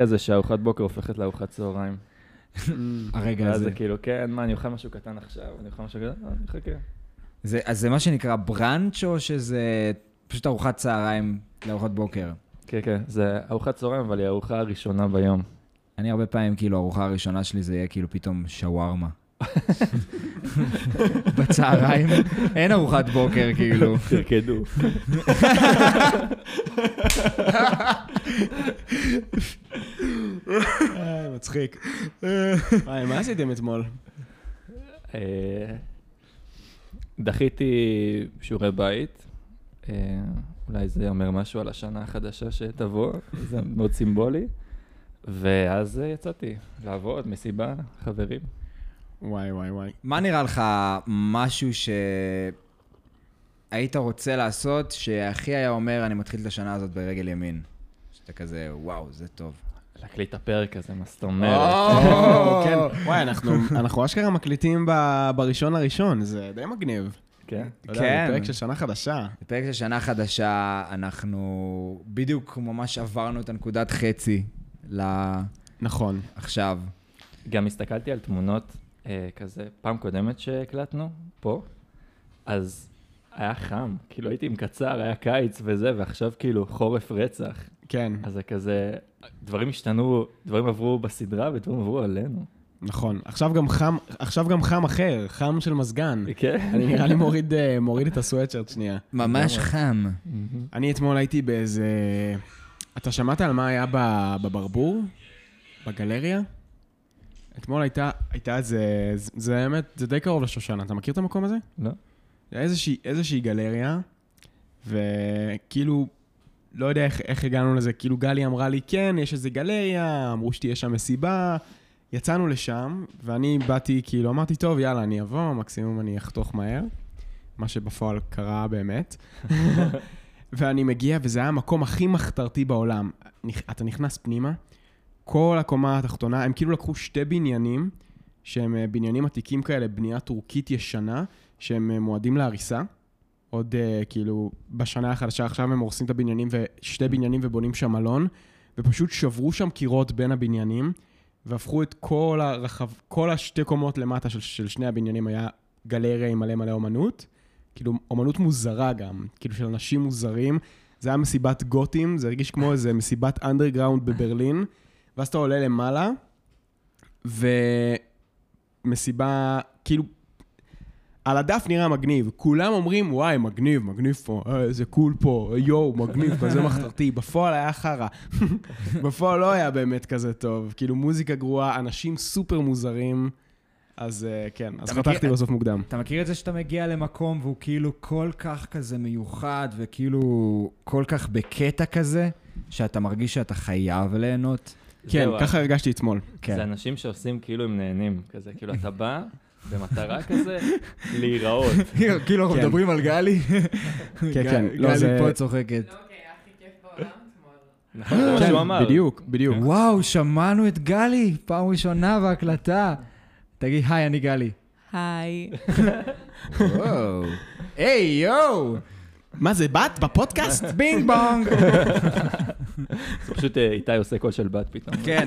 הזה שהארוחת בוקר הופכת לארוחת צהריים. הרגע ואז הזה. זה כאילו, כן, מה, אני אוכל משהו קטן עכשיו, אני אוכל משהו קטן, אה, אני אחכה. זה, אז זה מה שנקרא בראנץ' או שזה פשוט ארוחת צהריים לארוחת בוקר? כן, כן, זה ארוחת צהריים, אבל היא הארוחה הראשונה ביום. אני הרבה פעמים, כאילו, הארוחה הראשונה שלי זה יהיה כאילו פתאום שווארמה. בצהריים אין ארוחת בוקר, כאילו. תרקדו. אה, מצחיק. וואי, מה עשיתם אתמול? אה, דחיתי שיעורי בית. אה, אולי זה אומר משהו על השנה החדשה שתבוא, זה מאוד סימבולי. ואז אה, יצאתי לעבוד, מסיבה, חברים. וואי, וואי, וואי. מה נראה לך משהו שהיית רוצה לעשות, שהכי היה אומר, אני מתחיל את השנה הזאת ברגל ימין? שאתה כזה, וואו, זה טוב. להקליט את הפרק הזה, מה זאת אומרת? או, כן. וואי, אנחנו- אנחנו אשכרה מקליטים ב- בראשון לראשון, זה די מגניב. כן. אתה יודע, זה כן. פרק של שנה חדשה. זה פרק של שנה חדשה, אנחנו בדיוק ממש עברנו את הנקודת חצי לעכשיו. נכון. גם הסתכלתי על תמונות אה, כזה, פעם קודמת שהקלטנו, פה, אז היה חם, כאילו הייתי עם קצר, היה קיץ וזה, ועכשיו כאילו חורף רצח. כן, אז זה כזה, דברים השתנו, דברים עברו בסדרה ודברים עברו עלינו. נכון. עכשיו גם חם, עכשיו גם חם אחר, חם של מזגן. כן. אני נראה לי מוריד, אה, מוריד את הסוואצ'רט שנייה. ממש חם. אני אתמול הייתי באיזה... אתה שמעת על מה היה ב- בברבור? בגלריה? אתמול הייתה, הייתה איזה... זה- זה האמת, זה די קרוב לשושנה. אתה מכיר את המקום הזה? לא? זה איזושהי, איזושהי גלריה, וכאילו, לא יודע איך, איך הגענו לזה, כאילו גלי אמרה לי, כן, יש איזה גלריה, אמרו שתהיה שם מסיבה, יצאנו לשם, ואני באתי, כאילו, אמרתי, טוב, יאללה, אני אבוא, מקסימום אני אחתוך מהר, מה שבפועל קרה באמת. ואני מגיע, וזה היה המקום הכי מחתרתי בעולם. נכ- אתה נכנס פנימה, כל הקומה התחתונה, הם כאילו לקחו שתי בניינים, שהם אה, בניינים עתיקים כאלה, בנייה טורקית ישנה, שהם אה, מועדים להריסה. עוד אה, כאילו, בשנה החדשה עכשיו הם הורסים את הבניינים, ושתי בניינים ובונים שם מלון, ופשוט שברו שם קירות בין הבניינים, והפכו את כל הרחב, כל השתי קומות למטה של, של שני הבניינים היה גלריה עם מלא מלא אומנות. כאילו, אומנות מוזרה גם, כאילו של אנשים מוזרים. זה היה מסיבת גותים, זה הרגיש כמו איזה מסיבת אנדרגראונד בברלין, ואז אתה עולה למעלה, ומסיבה, כאילו, על הדף נראה מגניב. כולם אומרים, וואי, מגניב, מגניב פה, אה, איזה קול פה, אה, יואו, מגניב, כזה מחתרתי. בפועל היה חרא. בפועל לא היה באמת כזה טוב. כאילו, מוזיקה גרועה, אנשים סופר מוזרים. אז אה, כן, אז אתה מכיר- חתכתי בסוף מוקדם. אתה מכיר את זה שאתה מגיע למקום והוא כאילו כל כך כזה מיוחד וכאילו כל כך בקטע כזה, שאתה מרגיש שאתה חייב ליהנות? כן. כן, אה. זהו, ככה כן. הרגשתי אתמול. זה אנשים שעושים כאילו הם נהנים, כזה, כאילו אתה בא במטרה כזה להיראות. כאילו אנחנו כן. מדברים על גלי. כן, כן, גל- לא, גלי זה- פה צוחקת. נכון, זה אה, מה שהוא אמר. כן, בדיוק, בדיוק. וואו, שמענו את גלי, פעם ראשונה בהקלטה. תגיד, היי, אני גלי. היי. וואו. היי, יואו! מה זה, בת? בפודקאסט? בינג בונג! זה פשוט אה, איתי עושה קול של בת פתאום. כן,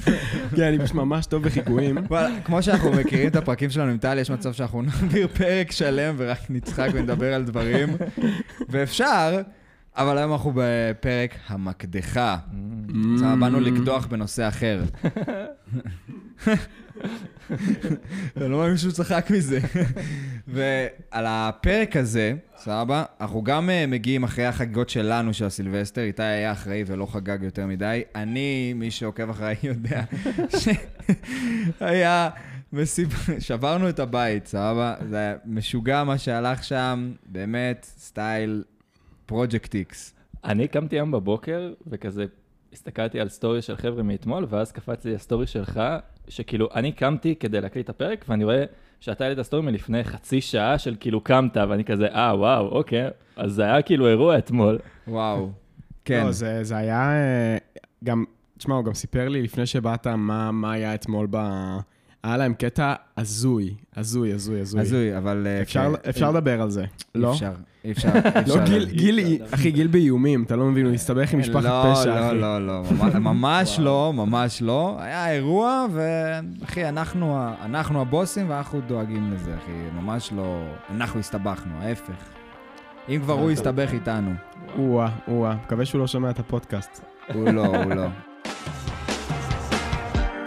כן, אני פשוט ממש טוב בחיקויים. וואלה, כמו שאנחנו מכירים את הפרקים שלנו עם טלי, יש מצב שאנחנו נעביר פרק שלם ורק נצחק ונדבר על דברים, ואפשר, אבל היום אנחנו בפרק המקדחה. עכשיו, באנו לקדוח בנושא אחר. אני לא מאמין שהוא צחק מזה. ועל הפרק הזה, סבבה, אנחנו גם אה, מגיעים אחרי החגיגות שלנו של הסילבסטר, איתי היה אחראי ולא חגג יותר מדי. אני, מי שעוקב אחריי יודע שהיה מסיבה, שברנו את הבית, סבבה? זה היה משוגע מה שהלך שם, באמת, סטייל פרוג'קט איקס. אני קמתי היום בבוקר, וכזה הסתכלתי על סטורי של חבר'ה מאתמול, ואז קפץ לי הסטורי שלך, שכאילו, אני קמתי כדי להקליט את הפרק, ואני רואה שאתה העלית סטורי מלפני חצי שעה של כאילו קמת, ואני כזה, אה, וואו, אוקיי. אז זה היה כאילו אירוע אתמול. וואו. כן. לא, זה, זה היה... אה, גם, תשמע, הוא גם סיפר לי לפני שבאת מה, מה היה אתמול ב... היה להם קטע הזוי, הזוי, הזוי, הזוי. הזוי, אבל... אה, אפשר- כן. אפשר לדבר על זה, אי לא? אפשר, אי אפשר. אי לא, אפשר גיל, להגיד. גיל, אחי, גיל באיומים, אתה לא מבין, הוא הסתבך עם משפחת פשע, לא, אחי. לא, לא, ממש- ממש לא, ממש לא. היה אירוע, ואחי, אנחנו ה- אנחנו הבוסים ואנחנו דואגים לזה, אחי. ממש לא... אנחנו הסתבכנו, ההפך. אם לא, כבר הוא יסתבך איתנו. או-אה, או-אה, מקווה שהוא לא שומע את הפודקאסט. הוא לא, הוא לא.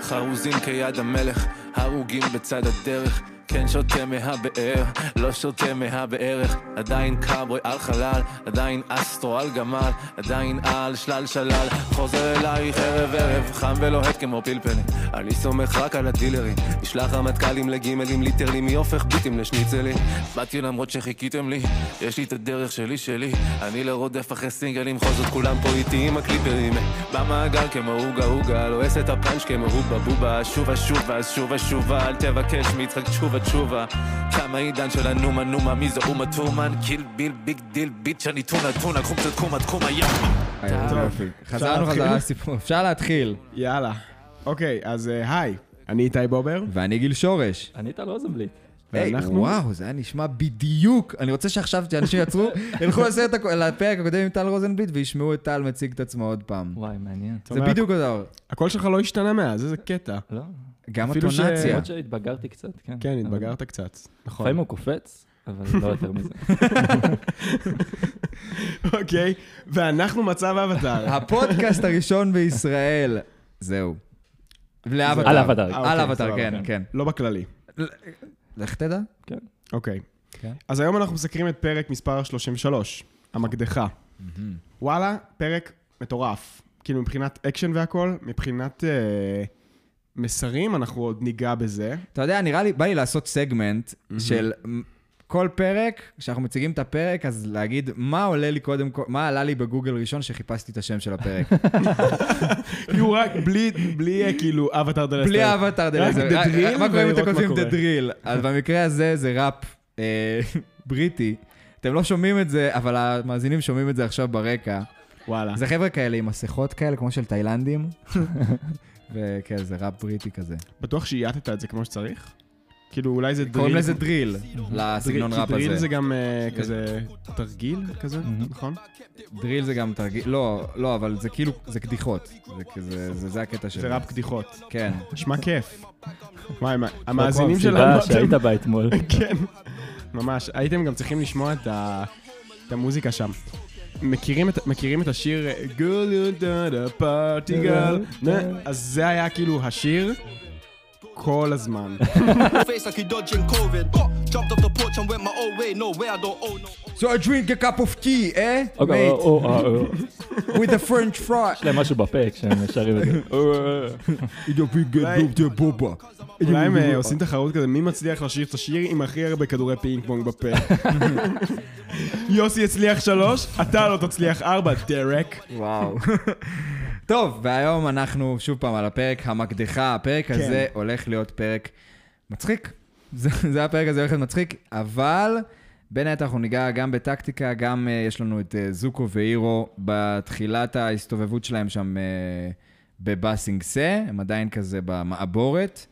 חרוזים כיד המלך, הרוגים בצד הדרך. כן שותה מהבאר, לא שותה מהבערך. עדיין קאבוי על חלל, עדיין אסטרו על גמל, עדיין על שלל שלל. חוזר אלייך ערב ערב, חם ולוהט כמו פלפלים. אני סומך רק על הטילרים, נשלח רמטכ"לים לגימלים, ליטרלים, מי הופך ביטים לשניצלים. באתי למרות שחיכיתם לי, יש לי את הדרך שלי שלי. אני לא רודף אחרי סינגלים, בכל זאת כולם פה איתי עם הקליפרים. במעגל כמו עוגה עוגה, לועס את הפאנץ' כמו הובה בובה. שובה שובה, אז שובה שובה, אל תבקש מיצחק תשובה תשובה. תם העידן של הנומה נומה, מי זה אומה טורמן? קיל ביל ביג דיל ביץ' אני טונה טונה, קחו קצת קומה תקומה יאמה. יופי. חזרנו להתחיל? חזרה לסיפור. אפשר להתחיל. יאללה. אוקיי, אז אה, היי, אני איתי בובר. ואני גיל שורש. ענית על רוזנבליט. היי, ואנחנו- וואו, זה היה נשמע בדיוק. אני רוצה שעכשיו שאנשים יעצרו, ילכו לסרט הכ- לפרק הקודם עם טל רוזנבליט וישמעו את טל מציג את עצמו עוד פעם. וואי, מעניין. זאת זה אומרת, בדיוק הדבר. הקול שלך לא השתנה מאז, איזה קטע. לא, גם אפילו ש- הטונציה. למרות שהתבגרתי קצת, כן. כן, אבל- התבגרת קצת. נכון. לפעמים הוא קופץ, אבל לא יותר מזה. אוקיי, ואנחנו מצב אבטאר. הפודקאסט הראשון בישראל. זהו. לאבטר. על אבטאר. אה, על אוקיי, אבטר, סבבה, כן, כן. לא בכללי. לך תדע. אוקיי. כן. אז היום אנחנו מסקרים את פרק מספר 33, המקדחה. וואלה, פרק מטורף. כאילו, מבחינת אקשן והכל, מבחינת אה, מסרים, אנחנו עוד ניגע בזה. אתה יודע, נראה לי, בא לי לעשות סגמנט של כל פרק, כשאנחנו מציגים את הפרק, אז להגיד מה עולה לי קודם כל, מה עלה לי בגוגל ראשון שחיפשתי את השם של הפרק. כאילו, רק בלי, בלי, אה, כאילו, אבטאר דלסטר. בלי האבטר דלזר. The Drill מה קורה אם אתם ולראות מה כותבים קורה. The Drill? אז במקרה הזה זה ראפ אה, בריטי. אתם לא שומעים את זה, אבל המאזינים שומעים את זה עכשיו ברקע. וואלה. זה חבר'ה כאלה עם מסכות כאלה, כמו של תאילנדים. וכן, זה ראפ בריטי כזה. בטוח שאייתת את זה כמו שצריך? כאילו, אולי זה דריל. קוראים לזה דריל, לסגנון דריל- ראפ כי הזה. כן. דריל זה גם אה, כזה תרגיל כזה, נכון? דריל זה גם תרגיל, לא, לא, אבל זה כאילו, זה קדיחות. זה כזה, זה- זה הקטע שלו. זה ראפ קדיחות. כן. נשמע כיף. וואי, מה- המאזינים כמו שלנו... המסיבה אתם- שהיית בה אתמול. כן, ממש. הייתם גם צריכים לשמוע את, ה... את המוזיקה שם. מכירים את, מכירים את השיר אה, Girl you done a party girl? נה, אז זה היה כאילו השיר כל הזמן. face like he dodging COVID. Got jumped off the porch and went my own way. No way, I don't owe no. So I drink a cup of tea, eh? אוקיי, Mate, או, או, או, או. with a French fry. יש להם משהו בפה כשהם שרים את זה. או, או, או. You're big אולי- and you're booba. אולי הם אה, עושים תחרות כזה, מי מצליח לשיר את השיר עם הכי הרבה כדורי פינג פונג בפה? יוסי הצליח שלוש, אתה לא תצליח ארבע, דרק. וואו. טוב, והיום אנחנו שוב פעם על הפרק המקדחה. הפרק כן. הזה הולך להיות פרק מצחיק. זה, זה הפרק הזה הולך להיות מצחיק, אבל בין היתר אנחנו ניגע גם בטקטיקה, גם uh, יש לנו את uh, זוקו ואירו בתחילת ההסתובבות שלהם שם uh, בבאסינגסה, הם עדיין כזה במעבורת.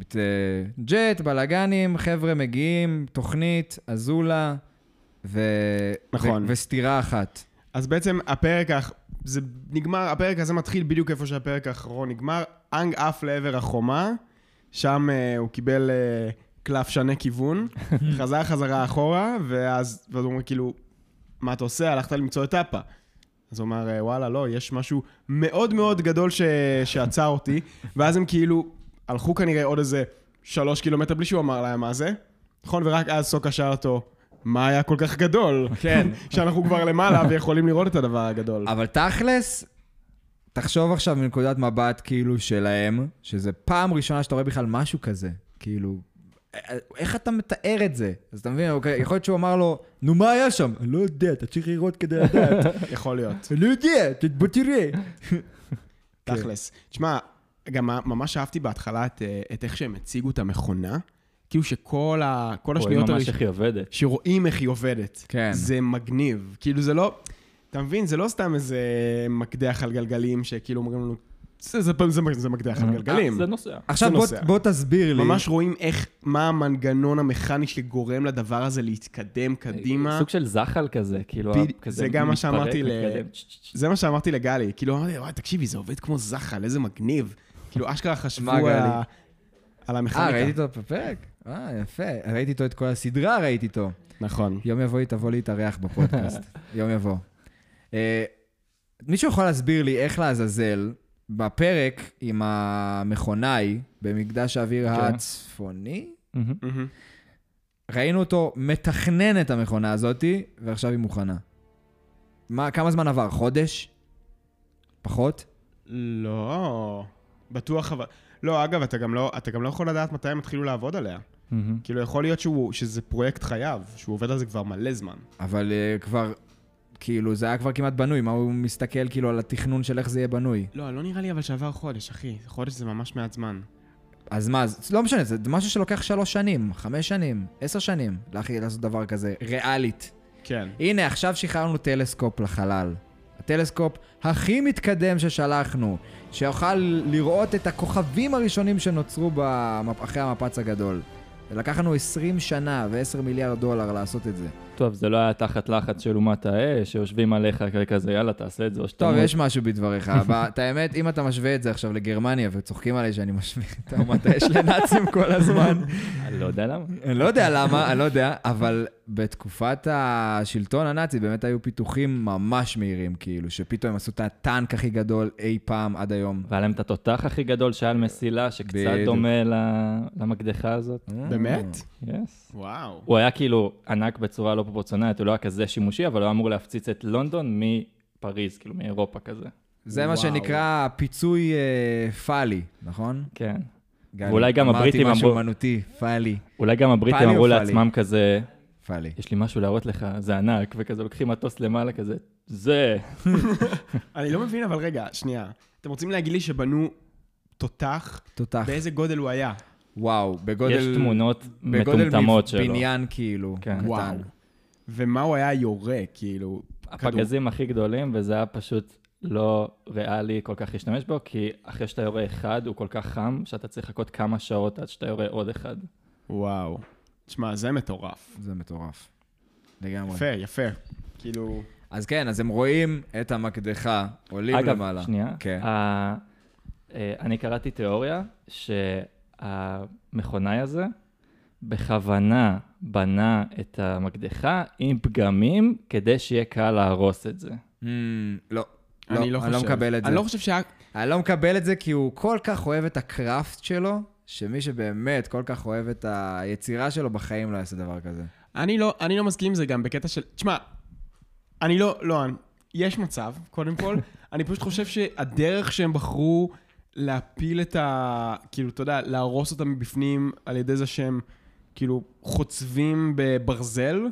את, אה, ג'ט, בלאגנים, חבר'ה מגיעים, תוכנית, אזולה, ו... נכון. ו- וסתירה אחת. אז בעצם הפרק, האח- זה נגמר, הפרק הזה מתחיל בדיוק איפה שהפרק האחרון נגמר. אנג עף לעבר החומה, שם אה, הוא קיבל אה, קלף שנה כיוון, חזר חזרה אחורה, ואז, ואז הוא אומר כאילו, מה אתה עושה? הלכת למצוא את טאפה. אז הוא אמר, "אה, וואלה, לא, יש משהו מאוד מאוד גדול ש... שעצר אותי, ואז הם כאילו הלכו כנראה עוד איזה שלוש קילומטר בלי שהוא אמר להם מה זה, נכון? ורק אז סוקה שאל אותו, מה היה כל כך גדול? כן. שאנחנו כבר למעלה ויכולים לראות את הדבר הגדול. אבל תכלס, תחשוב עכשיו מנקודת מבט כאילו שלהם, שזה פעם ראשונה שאתה רואה בכלל משהו כזה. כאילו, א- א- איך אתה מתאר את זה? אז אתה מבין, אוקיי, יכול להיות שהוא אמר לו, נו, מה היה שם? אני לא יודע, אתה צריך לראות כדי לדעת. יכול להיות, אני לא יודע, ת- בוא תראה. תכלס. תשמע, גם ממש אהבתי בהתחלה את, אה, את איך שהם הציגו את המכונה, כאילו שכל ה, כל רואים השניות ממש הראשונות, איך היא עובדת. שרואים איך היא עובדת. כן. זה מגניב. כאילו זה לא, אתה מבין, זה לא סתם איזה מקדח על גלגלים שכאילו אומרים לנו, זה- זה- זה- זה מקדח על גלגלים. אה, זה לא- נוסע. עכשיו בוא- נוסע. בוא תסביר לי. ממש רואים איך, מה המנגנון המכני שגורם לדבר הזה להתקדם קדימה. סוג של זחל כזה, כאילו, בד- כזה זה גם מה מתפרק, שאמרתי ל- מתקדם. צ', צ', צ'. זה מה שאמרתי לגלי, כאילו אמרתי, וואי, תקשיבי, זה עובד כמו זחל, איזה מגניב. כאילו, אשכרה חשבו מה, על גלי? ה- על אה, המכניקה. ראיתי אותו בפרק? אה, יפה. ראיתי איתו את כל הסדרה, ראיתי איתו. נכון. יום יבוא, היא תבוא להתארח בפודקאסט. יום יבוא. אה, מישהו יכול להסביר לי איך לעזאזל, בפרק עם המכונאי במקדש האוויר כן. הצפוני, מהמם. מהמם. ראינו אותו מתכנן את המכונה הזאתי, ועכשיו היא מוכנה. מה, כמה זמן עבר? חודש? פחות? לא, בטוח אבל... לא, אגב, אתה גם לא, אתה גם לא יכול לדעת מתי הם התחילו לעבוד עליה. מהמם. כאילו, יכול להיות שהוא, שזה פרויקט חייו, שהוא עובד על זה כבר מלא זמן. אבל אה, כבר, כאילו, זה היה כבר כמעט בנוי, מה הוא מסתכל כאילו על התכנון של איך זה יהיה בנוי? לא, לא נראה לי אבל שעבר חודש, אחי. חודש זה ממש מעט זמן. אז מה, זה לא משנה, זה משהו שלוקח שלוש שנים, חמש שנים, עשר שנים, להכי לעשות דבר כזה, ריאלית. כן. הנה, עכשיו שחררנו טלסקופ לחלל. הטלסקופ הכי מתקדם ששלחנו, שיוכל לראות את הכוכבים הראשונים שנוצרו במפ... אחרי המפץ הגדול. לקחנו 20 שנה ו-10 מיליארד דולר לעשות את זה. טוב, זה לא היה תחת לחץ של אומת האש, שיושבים עליך וכזה, יאללה, תעשה את זה, או שאתה... טוב, מת." יש משהו בדבריך, אבל את האמת, אם אתה משווה את זה עכשיו לגרמניה, וצוחקים עליי שאני משווה את האומת האש לנאצים כל הזמן, אני לא יודע למה. אני לא יודע למה, אני לא יודע, אבל בתקופת השלטון הנאצי באמת היו פיתוחים ממש מהירים, כאילו, שפתאום הם עשו את הטנק הכי גדול אי פעם עד היום. והיה להם את התותח הכי גדול שהיה על מסילה, שקצת בדיוק. דומה ל- למקדחה הזאת. באמת? Mm, יס. וואו. הוא היה כאילו ענק בצורה לא פרופורציונלית, הוא לא היה כזה שימושי, אבל הוא היה אמור להפציץ את לונדון מפריז, כאילו מאירופה כזה. זה מה וואו. שנקרא פיצוי אה, פאלי, נכון? כן. ואולי גם הבריטים אמרתי משהו אמרו- אומנותי, פאלי. אולי גם הבריטים פאלי אמרו או פאלי? לעצמם כזה, פאלי. יש לי משהו להראות לך, זה ענק, וכזה לוקחים מטוס למעלה כזה, זה. אני לא מבין, אבל רגע, שנייה. אתם רוצים להגיד לי שבנו תותח? תותח. באיזה גודל הוא היה? וואו, בגודל... יש תמונות בגודל מטומטמות מב- שלו. בניין כאילו, כן. קטן. וואו. ומה הוא היה יורה, כאילו? כדור. הפגזים הכי גדולים, וזה היה פשוט לא ריאלי כל כך להשתמש בו, כי אחרי שאתה יורה אחד, הוא כל כך חם, שאתה צריך לחכות כמה שעות עד שאתה יורה עוד אחד. וואו. תשמע, זה מטורף. זה מטורף. לגמרי. יפה, יפה. כאילו... אז כן, אז הם רואים את המקדחה, עולים למעלה. אגב, שנייה, כן. ה- אה, אני קראתי תיאוריה שהמכונאי הזה בכוונה בנה את המקדחה עם פגמים כדי שיהיה קל להרוס את זה. Mm, לא. אני לא חושב. אני לא מקבל את זה. אני לא חושב שהיה... אני לא מקבל את זה כי הוא כל כך אוהב את הקראפט שלו, שמי שבאמת כל כך אוהב את היצירה שלו בחיים לא יעשה דבר כזה. אני לא, אני לא מסכים עם זה גם בקטע של... תשמע, אני לא... לא, אני- יש מצב, קודם כל. אני פשוט חושב שהדרך שהם בחרו להפיל את ה... כאילו, אתה יודע, להרוס אותם מבפנים על ידי זה שהם כאילו חוצבים בברזל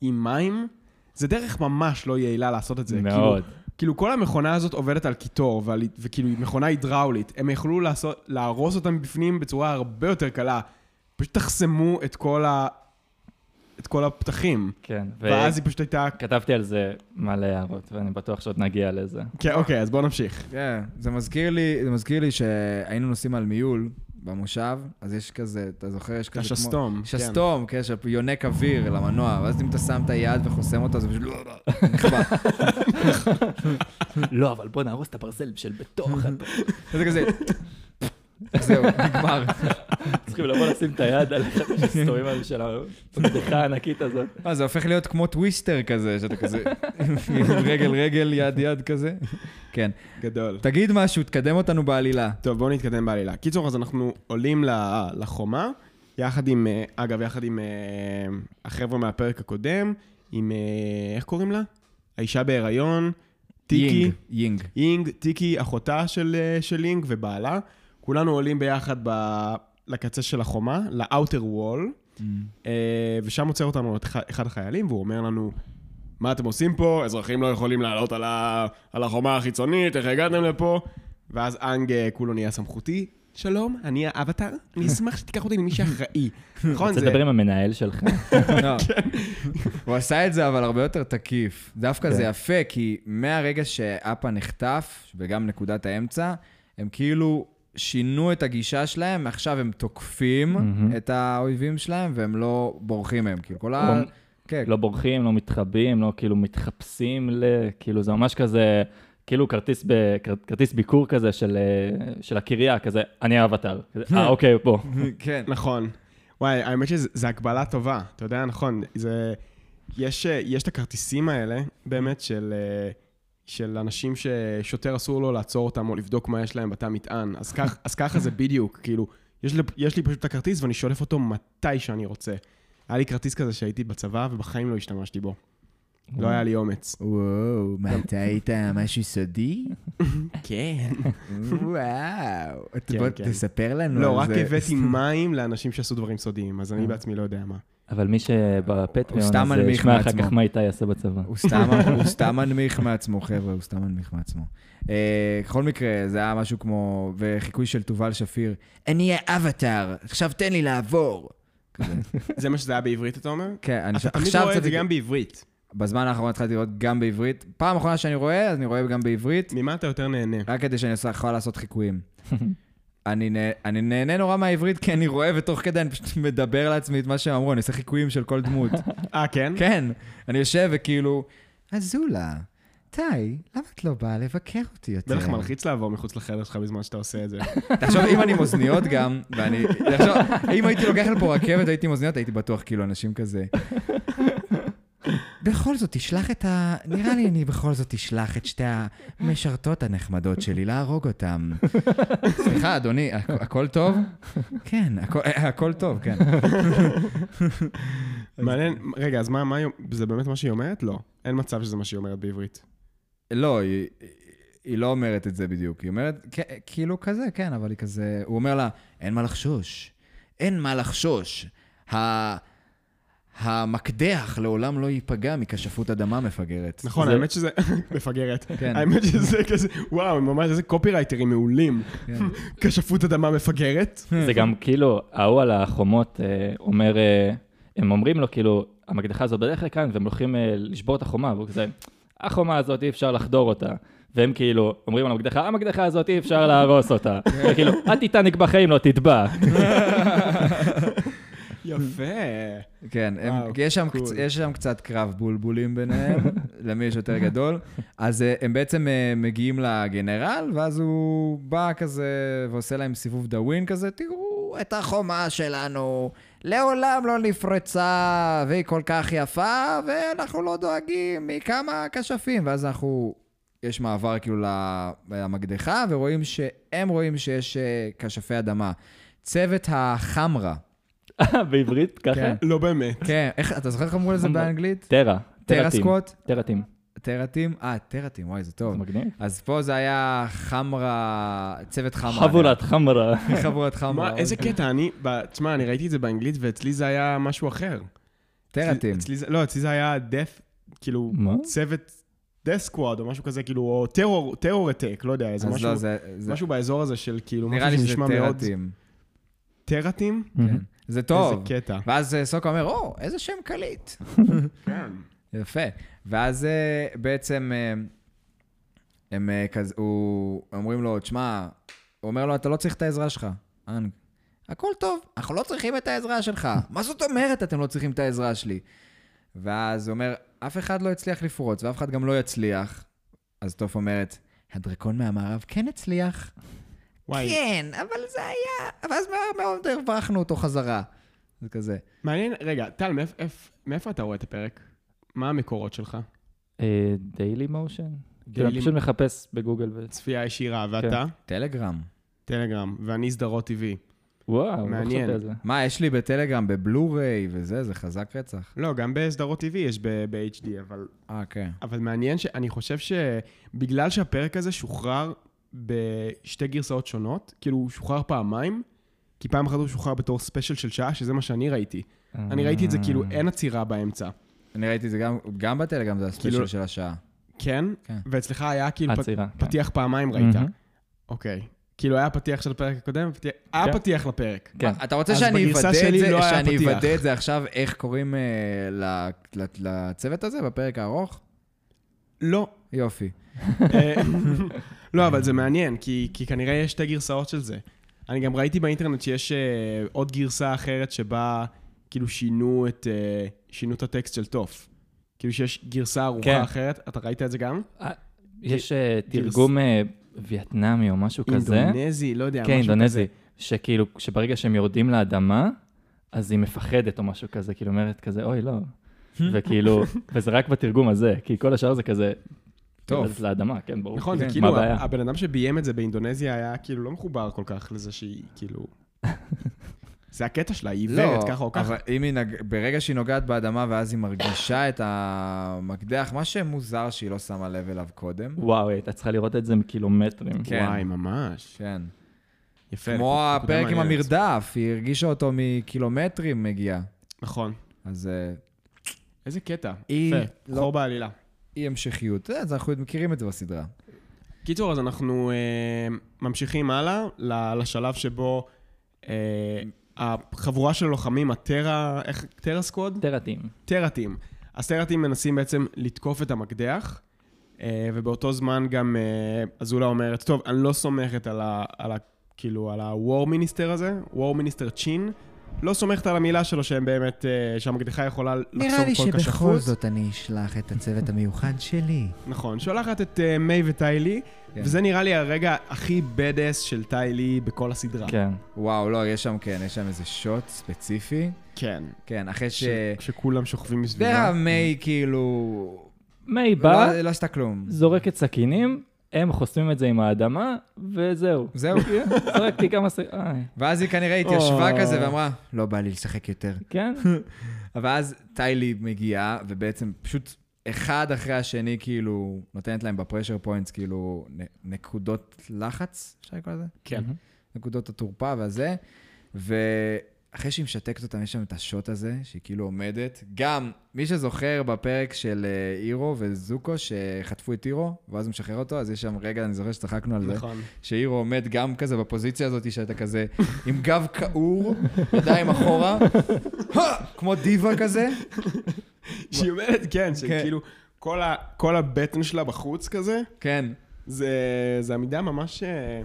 עם מים, זה דרך ממש לא יעילה לעשות את זה. מאוד. כאילו, כאילו כל המכונה הזאת עובדת על קיטור, ועל, וכאילו היא מכונה הידראולית. הם יכלו לעשות, להרוס אותה מבפנים בצורה הרבה יותר קלה. פשוט תחסמו את כל, ה, את כל הפתחים. כן, ו- ואז היא פשוט הייתה... כתבתי על זה מלא הערות, ואני בטוח שעוד נגיע לזה. כן, אוקיי, אז בואו נמשיך. כן, זה מזכיר לי, זה מזכיר לי שהיינו נוסעים על מיול במושב, אז יש כזה, אתה זוכר, יש כזה השסתום, כמו... כן. שסתום, כן, שיונק אוויר למנוע, ואז אם אתה שם את היד וחוסם אותו, זה פשוט... נחבא. לא, אבל בוא נהרוס את הברזל של בתוך. זה כזה... זהו, נגמר. צריכים לבוא לשים את היד על אחד השסתומים האלה של המקדחה הענקית הזאת. אה, זה הופך להיות כמו טוויסטר כזה, שאתה כזה... רגל רגל, יד יד כזה. כן. גדול. תגיד משהו, תקדם אותנו בעלילה. טוב, בואו נתקדם בעלילה. קיצור, אז אנחנו עולים ל- לחומה, יחד עם, אה, אגב, יחד עם אה, החבר'ה מהפרק הקודם, עם, אה, איך קוראים לה? האישה בהיריון, טיקי. יינג, יינג. אינג, טיקי, אחותה של, אה, של אינג ובעלה. כולנו עולים ביחד ב... לקצה של החומה, לאאוטר וול, אה, ושם עוצר אותנו את ח- אחד החיילים, והוא אומר לנו, מה אתם עושים פה? אזרחים לא יכולים לעלות על, ה... על החומה החיצונית, איך הגעתם לפה? ואז אנג אה, כולו נהיה סמכותי. שלום, אני האבטר, אני אשמח שתיקח אותי למי שאחראי. נכון? רוצה זה... לדבר עם המנהל שלך? לא. הוא עשה את זה, אבל הרבה יותר כן. תקיף. דווקא זה יפה, כי מהרגע שאפה נחטף, וגם נקודת האמצע, הם כאילו שינו את הגישה שלהם, עכשיו הם תוקפים מהמם. את האויבים שלהם והם לא בורחים מהם. כאילו, כל ה... לא- כן, לא בורחים, לא מתחבאים, לא כאילו מתחפשים ל... כאילו זה ממש כזה, כאילו כרטיס, ב... כר- כרטיס ביקור כזה של, אה, של הקריה, כזה, אני האבטר. כזה, אה, אוקיי, הוא פה. כן. נכון. וואי, האמת שזו הגבלה טובה, אתה יודע, נכון. זה... יש, אה, יש את הכרטיסים האלה, באמת, של, אה, של אנשים ששוטר אסור לו לעצור אותם או לבדוק מה יש להם בתא מטען. אז, כך, אז ככה זה בדיוק, כאילו, יש לי, יש לי פשוט את הכרטיס ואני שולף אותו מתי שאני רוצה. היה לי כרטיס כזה שהייתי בצבא ובחיים לא השתמשתי בו. לא היה לי אומץ. וואו, מה, אתה היית משהו סודי? כן. וואו. כן, בוא כן. תספר לנו לא, רק הבאתי מים לאנשים שעשו דברים סודיים, אז אני בעצמי לא יודע מה. אבל מי שבפטריון, הוא סתם אז אה, מנמיך ישמע אחר מעצמו. כך מה איתי יעשה בצבא. הוא סתם, הוא סתם מנמיך מעצמו, חבר'ה, הוא סתם מנמיך מעצמו. אה, בכל מקרה, זה היה משהו כמו, וחיקוי של תובל שפיר, אני האבטאר, עכשיו תן לי לעבור. כזה. זה מה שזה היה בעברית, אתה אומר? כן, אני אתה תמיד עכשיו רואה את זה קצת- גם בעברית. בזמן האחרון התחלתי לראות גם בעברית. פעם אחרונה שאני רואה, אז אני רואה גם בעברית, ממה אתה יותר נהנה? רק כדי שאני עושה- יכול לעשות חיקויים. אני, נה, אני נהנה נורא מהעברית, כי אני רואה ותוך כדי אני פשוט מדבר לעצמי את מה שהם אמרו, אני עושה חיקויים של כל דמות. אה, כן? כן, אני יושב וכאילו, אזולה, טאי, למה את לא באה לבקר אותי יותר? בטח מלחיץ לעבור מחוץ לחדר שלך בזמן שאתה עושה את זה. תחשוב, אם אני עם אוזניות גם, ואני... תחשוב, אם הייתי לוקח לפה רכבת והייתי עם אוזניות, הייתי בטוח כאילו אנשים כזה. בכל זאת, תשלח את ה... נראה לי אני בכל זאת תשלח את שתי המשרתות הנחמדות שלי להרוג אותם. סליחה, אדוני, הכ- הכל טוב? כן, הכל- הכל טוב, כן. מעניין, רגע, אז מה, מה, היא- זה באמת מה שהיא אומרת? לא. אין מצב שזה מה שהיא אומרת בעברית. לא, היא, היא לא אומרת את זה בדיוק. היא אומרת, "כ- כאילו כזה, כן, אבל היא כזה... הוא אומר לה, אין מה לחשוש. אין מה לחשוש. ה... המקדח לעולם לא ייפגע מכשפות אדמה מפגרת. נכון, זה- האמת שזה... מפגרת. כן. האמת שזה כזה, וואו, הם ממש איזה קופירייטרים מעולים. כן. כשפות אדמה מפגרת. זה גם כאילו, ההוא על החומות אה, אומר, אה, הם אומרים לו כאילו, המקדחה הזאת בדרך לכאן, והם הולכים אה, לשבור את החומה, והוא כזה, החומה הזאת אי אפשר לחדור אותה. והם כאילו אומרים על המקדחה, המקדחה הזאת אי אפשר להרוס אותה. וכאילו, אל תיטניק בחיים לא תטבע. יפה. כן, הם, וואו, יש, שם cool. קצ, יש שם קצת קרב בולבולים ביניהם, למי יש יותר גדול. אז אה, הם בעצם אה, מגיעים לגנרל, ואז הוא בא כזה ועושה להם סיבוב דאווין כזה, תראו את החומה שלנו, לעולם לא נפרצה, והיא כל כך יפה, ואנחנו לא דואגים מכמה כשפים. ואז אנחנו, יש מעבר כאילו ל- למקדחה, ורואים שהם רואים שיש אה, כשפי אדמה. צוות החמרה. בעברית ככה? כן. לא באמת. כן, איך, אתה זוכר איך אמרו לזה חמרה. באנגלית? טרה. טרה טים. סקווט? טרטים. טרטים? אה, טרטים, וואי, זה זה טוב. מגניב. אז פה זה היה חמרה, צוות חמרה. חבולת חמרה. חבולת חמרה. מה, איזה קטע, אני... ב- תשמע, אני ראיתי את זה באנגלית, ואצלי זה היה משהו אחר. טרטים. אצלי זה- לא, אצלי זה היה דף, כאילו, מה? צוות דף סקוואד או משהו כזה, כאילו, או טרור, טרור הטק, לא יודע, איזה אז משהו. לא, זה... זה- משהו באזור הזה של כאילו, נראה לי משהו שזה שנשמע מאוד... טרטים. טרטים? כן. זה טוב. איזה קטע. ואז אה, סוקה אומר, או, איזה שם קליט. כן. יפה. ואז אה, בעצם אה, הם אה, כזה, הוא, אומרים לו, תשמע, הוא אומר לו, אתה לא צריך את העזרה שלך, אנג. הכל טוב, אנחנו לא צריכים את העזרה שלך. מה זאת אומרת אתם לא צריכים את העזרה שלי? ואז הוא אומר, אף אחד לא הצליח לפרוץ, ואף אחד גם לא יצליח. אז טוף אומרת, הדרקון מהמערב כן הצליח. וואי. כן, אבל זה היה... ואז מהר מאוד הרווחנו אותו חזרה. זה כזה. מעניין, רגע, טל, מאיפ- איפ- מאיפה אתה רואה את הפרק? מה המקורות שלך? אה, דיילי מושן? כאילו, אני דיילי- פשוט מחפש בגוגל ו... צפייה ישירה, ואתה? כן. טלגרם. טלגרם, ואני סדרות TV. וואו, לא מעניין. חשבתי על זה. מה, יש לי בטלגרם, בבלו-ריי וזה, זה חזק רצח. לא, גם בסדרות TV יש ב- ב-HD, אבל... אה, כן. אבל מעניין שאני חושב שבגלל שהפרק הזה שוחרר בשתי גרסאות שונות, כאילו הוא שוחרר פעמיים, כי פעם אחת הוא שוחרר בתור ספיישל של שעה, שזה מה שאני ראיתי. אני ראיתי את זה כאילו אה, Mm. אין עצירה באמצע. אני ראיתי את זה גם, גם בטלגרם, זה הספיישל כאילו- של השעה. כן? כן. ואצלך היה כאילו פ- עצירה. כן. פתיח פעמיים ראית. מהמם. אוקיי. כאילו היה פתיח של הפרק הקודם, פתיח- היה פתיח לפרק. כן. אתה רוצה אז שאני בגרסה אוודא את שלי זה, לא היה שאני פתיח. אוודא את זה עכשיו, איך קוראים אה, ל- ל- לצוות הזה בפרק הארוך? לא. יופי. אה, לא, אבל זה מעניין, כי, כי כנראה יש שתי גרסאות של זה. אני גם ראיתי באינטרנט שיש אה, עוד גרסה אחרת שבה כאילו שינו את, אה, שינו את הטקסט של טוף. כאילו שיש גרסה ארוכה כן. אחרת, אתה ראית את זה גם? אה, יש אה, תרגום אה, וייטנאמי או משהו כזה. אינדונזי, לא יודע, כן, משהו אינדונזי. שכאילו, שברגע שהם יורדים לאדמה, אז היא מפחדת או משהו כזה, כאילו אומרת כזה, אוי, לא. וכאילו, וזה רק בתרגום הזה, כי כל השאר זה כזה... טוב. יורדת לאדמה, כן, ברור. נכון, מה זה כאילו, הבעיה? הבן אדם שביים את זה באינדונזיה היה כאילו לא מחובר כל כך לזה שהיא כאילו... זה הקטע שלה, היא עיוורת ככה או ככה. לא, אבל אם היא נג... ברגע שהיא נוגעת באדמה ואז היא מרגישה את המקדח, מה שמוזר שהיא לא שמה לב אליו קודם. וואו, אה, הייתה צריכה לראות את זה מקילומטרים. כן. וואי, ממש. כן. יפה. כמו נקודה הפרק עם מעניינת. המרדף, היא הרגישה אותו מקילומטרים מגיע. נכון. אז אה, איזה קטע. היא יפה. לא- חור בעלילה. אי המשכיות. אתה יודע, אה, אז אנחנו מכירים את זה בסדרה. קיצור, אז אנחנו אה, ממשיכים הלאה ל- לשלב שבו אה, החבורה של הלוחמים, הטרה, איך, טרה סקווד? טרטים. טרטים. אז טרטים מנסים בעצם לתקוף את המקדח, אה, ובאותו זמן גם אה, אזולה אומרת, טוב, אני לא סומכת על ה... על ה כאילו, על ה-war minister הזה, war minister צ'ין, לא סומכת על המילה שלו שהם באמת, אה, שהמקדחה יכולה לחסום כל כשפות. אני אשלח את הצוות המיוחד שלי. נכון, שולחת את אה, מיי וטיילי, כן. וזה נראה לי הרגע הכי בדס של טיילי בכל הסדרה. כן. וואו, לא, יש שם, כן, יש שם איזה שוט ספציפי. כן. כן, אחרי ש... ש... שכולם שוכבים מסביבה. והמיי כאילו... מיי בא, לא לא עשתה כלום. זורקת סכינים, הם חוסמים את זה עם האדמה, וזהו. זהו. זרקתי כמה אה, סכינים. ואז היא כנראה התיישבה או. כזה ואמרה, לא בא לי לשחק יותר. כן? ואז טיילי מגיעה, ובעצם פשוט אחד אחרי השני, כאילו, נותנת להם בפרשר פוינטס, כאילו, נ- נקודות לחץ, אפשר לקרוא לזה? כן. נקודות התורפה והזה, ואחרי שהיא משתקת אותם, יש שם את השוט הזה, שהיא כאילו עומדת. גם, מי שזוכר בפרק של אה, אירו וזוקו, שחטפו את אירו, ואז הוא משחרר אותו, אז יש שם רגע, אני זוכר שצחקנו על זה. נכון. שאירו עומד גם כזה בפוזיציה הזאת, שאתה כזה עם גב כעור, ידיים אחורה, כמו דיווה כזה. שהיא אומרת, כן, כן. שכאילו, כל, ה... כל הבטן שלה בחוץ כזה, כן, זה, זה עמידה ממש... אה,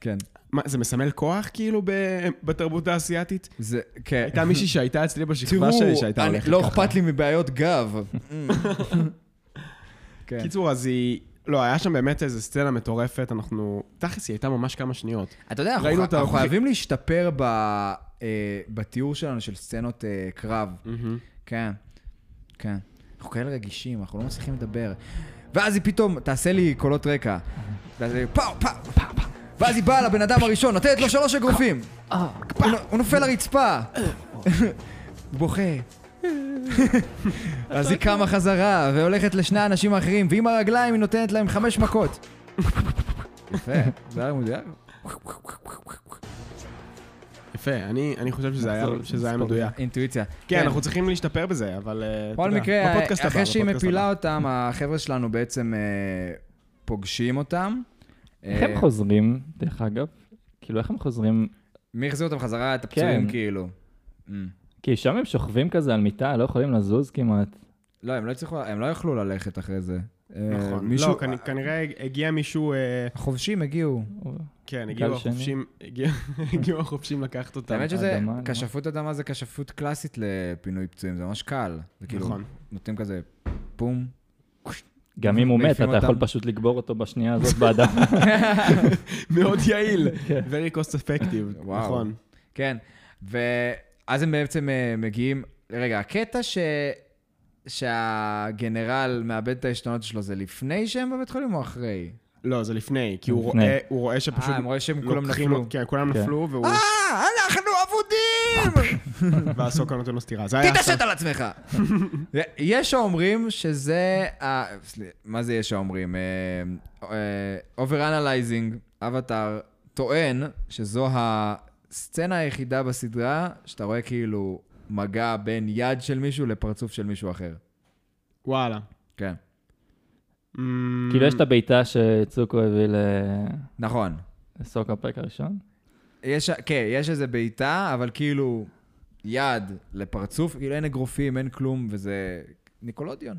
כן. מה, זה מסמל כוח כאילו ב... בתרבות האסייתית? זה, כן. הייתה מישהי שהייתה אצלי בשכבה שלי תראו, שהייתה אני- הולכת לא ככה. אכפת לי מבעיות גב. כן. קיצור, אז היא... לא, היה שם באמת איזו סצנה מטורפת, אנחנו... תכלס, היא הייתה ממש כמה שניות. אתה יודע, אנחנו ראינו את אנחנו האורחים. חייבים להשתפר ב- אה, בתיאור שלנו של סצנות אה, קרב. כן, כן. אנחנו כאלה רגישים, אנחנו לא מצליחים לדבר. ואז היא פתאום, תעשה לי קולות רקע. ואז היא פאו, פאו, פאו, פאו. ואז היא באה לבן אדם הראשון, נותנת לו שלוש אגרופים. הוא נ- הוא נופל לרצפה. בוכה. אז היא קמה חזרה, והולכת לשני האנשים האחרים, ועם הרגליים היא נותנת להם חמש מכות. יפה, זה היה מדויק. יפה, אני, אני חושב שזה היה, נחזור לזה, שזה היה נספור. מדויק. אינטואיציה. כן, אנחנו צריכים להשתפר בזה, אבל... אה, אתה בכל יודע, מקרה, בפודקאסט הבא, אחרי שהיא בפודקאסט מפילה הבא. אותם, החבר'ה שלנו בעצם אה, פוגשים אותם. איך הם אה, חוזרים, דרך אגב? כאילו, איך הם חוזרים? מי החזיר אותם חזרה? את הפצועים כן. כאילו. Mm. כי שם הם שוכבים כזה על מיטה, לא יכולים לזוז כמעט. לא, הם לא הצליחו, הם לא יכלו ללכת אחרי זה. אה, נכון. מישהו- לא, כנ- כנראה הגיע מישהו... אה, החובשים הגיעו. כן, הגיעו גל שני. החופשים, הגיע- הגיעו החופשים לקחת אותם. האמת שזה, אדמה, אדמה. כשפות אדמה זה כשפות קלאסית לפינוי פצועים, זה ממש קל. זה כאילו, נכון. נותנים כזה פום. גם אם הוא מת, מעיפים אתה יכול אותם. פשוט לגבור אותו בשנייה הזאת באדם. מאוד יעיל. Very cost effective. וואו. נכון. כן, ואז הם בעצם אה, מגיעים... רגע, הקטע ש... שהגנרל מאבד את העשתונות שלו זה לפני שהם בבית חולים או אחרי? לא, זה לפני, כי הוא לפני. רואה- הוא רואה שפשוט... אה, הם רואים שהם כולם לוקחים- נפלו. כן, כולם כן. נפלו, והוא... אה, אנחנו אבודים! והסוקה נותן לו סטירה. זה היה... תתעשת על עצמך! יש האומרים שזה... ה- סלי- מה זה יש האומרים? אה, אובר-אנלייזינג, אבטאר, טוען שזו הסצנה היחידה בסדרה שאתה רואה כאילו מגע בין יד של מישהו לפרצוף של מישהו אחר. וואלה. כן. אמ, כאילו, יש את הבעיטה שצוקו הביא ל- נכון. לסוק הפרק הראשון. יש, כן, יש איזה בעיטה, אבל כאילו יד לפרצוף, כאילו אין אגרופים, אין כלום, וזה ניקולודיון.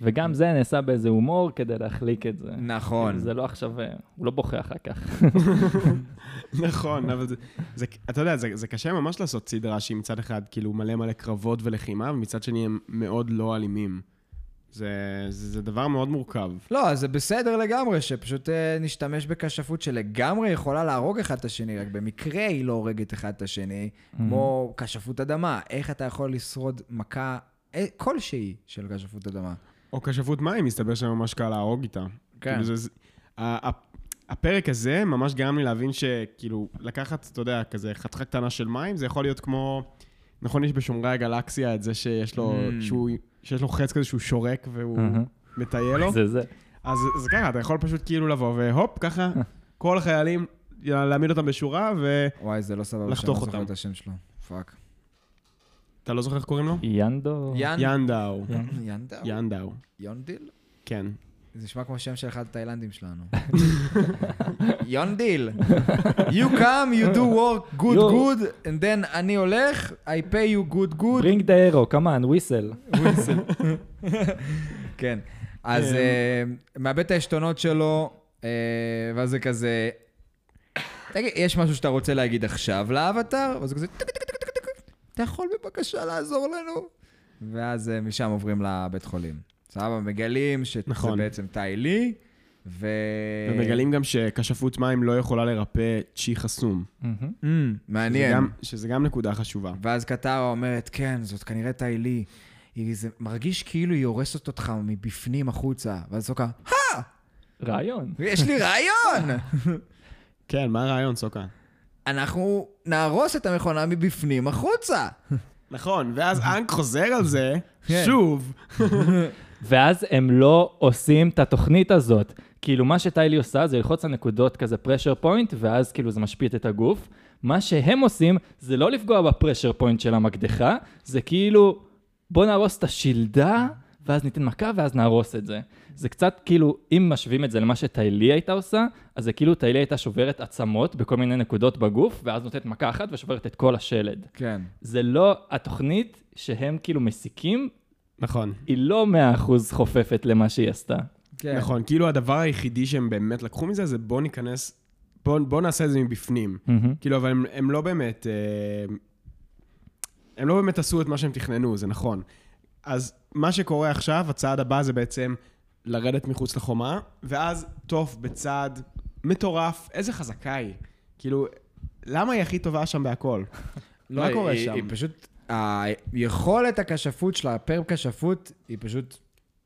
וגם זה נעשה באיזה הומור כדי להחליק את זה. נכון. זה לא עכשיו, אה, הוא לא בוכה אחר כך. נכון, אבל זה, זה, אתה יודע, זה, זה קשה ממש לעשות סדרה שהיא מצד אחד כאילו מלא מלא קרבות ולחימה, ומצד שני הם מאוד לא אלימים. זה, זה, זה דבר מאוד מורכב. לא, אז זה בסדר לגמרי, שפשוט אה, נשתמש בכשפות שלגמרי יכולה להרוג אחד את השני, רק במקרה היא לא הורגת אחד את השני, כמו כשפות אדמה. איך אתה יכול לשרוד מכה אה, כלשהי של כשפות אדמה? או כשפות מים, מסתבר שממש קל להרוג איתה. כן. כאילו זה, זה, ה- ה- הפרק הזה ממש גרם לי להבין שכאילו, לקחת, אתה יודע, כזה חתיכה קטנה של מים, זה יכול להיות כמו... נכון, יש בשומרי הגלקסיה את זה שיש לו, Mm. שהוא, שיש לו חץ כזה שהוא שורק והוא אה, אהה. מטייל לא? לו. זה זה. אז זה ככה, אתה יכול פשוט כאילו לבוא והופ, ככה, אה. כל החיילים, להעמיד אותם בשורה, ואתה וואי, זה לא סבבה שאני לחתוך לא זוכר אותם. את השם שלו. פאק. לא זוכר איך קוראים לו? ינדו? ינדאו. ינדל? ינדאו, יונדיל? כן. זה נשמע כמו שם של אחד התאילנדים שלנו. יונדיל. You come, you do work good Yo. good, and then אני הולך, I pay you good good. ברינג דה אירו, כמובן, וויסל. כן. אז אה, מאבד את העשתונות שלו, אה, ואז זה כזה... תגיד, יש משהו שאתה רוצה להגיד עכשיו לאבטר? ואז זה כזה... "טק, טק, טק, טק, טק, טק. אתה יכול בבקשה לעזור לנו? ואז אה, משם עוברים לבית חולים. סבבה, מגלים שזה נכון. בעצם תאי לי, ו... אה. ומגלים גם שכשפות מים לא יכולה לרפא צ'י חסום. מהמם. Mm, מעניין. שזה גם- שזה גם נקודה חשובה. ואז קטרה אומרת, כן, זאת כנראה טיילי. היא, זה מרגיש כאילו היא הורסת אותך מבפנים החוצה. ואז סוקה, רעיון. יש לי רעיון! כן, מה הרעיון, סוקה? אנחנו נהרוס את המכונה מבפנים החוצה. נכון, ואז אנק חוזר על זה, כן. שוב. ואז הם לא עושים את התוכנית הזאת. כאילו, מה שטיילי עושה זה ללחוץ על נקודות כזה פרשר פוינט, ואז כאילו זה משפיט את הגוף. מה שהם עושים זה לא לפגוע בפרשר פוינט של המקדחה, זה כאילו, בוא נהרוס את השלדה, ואז ניתן מכה, ואז נהרוס את זה. זה קצת כאילו, אם משווים את זה למה שטיילי הייתה עושה, אז זה כאילו טיילי הייתה שוברת עצמות בכל מיני נקודות בגוף, ואז נותנת מכה אחת ושוברת את כל השלד. כן. זה לא התוכנית שהם כאילו מסיקים, נכון, היא לא 100% חופפת למה שהיא עשתה. כן. נכון. כאילו הדבר היחידי שהם באמת לקחו מזה, זה בוא ניכנס, בוא בוא נעשה את זה מבפנים. כאילו, אבל הם, הם לא באמת... אה, הם לא באמת עשו את מה שהם תכננו, זה נכון. אז מה שקורה עכשיו, הצעד הבא זה בעצם לרדת מחוץ לחומה, ואז טוף בצעד מטורף, איזה חזקה היא. כאילו, למה היא הכי טובה שם בהכל? לא, מה קורה היא, שם? היא פשוט... היכולת הכשפות שלה, הפר כשפות, היא פשוט...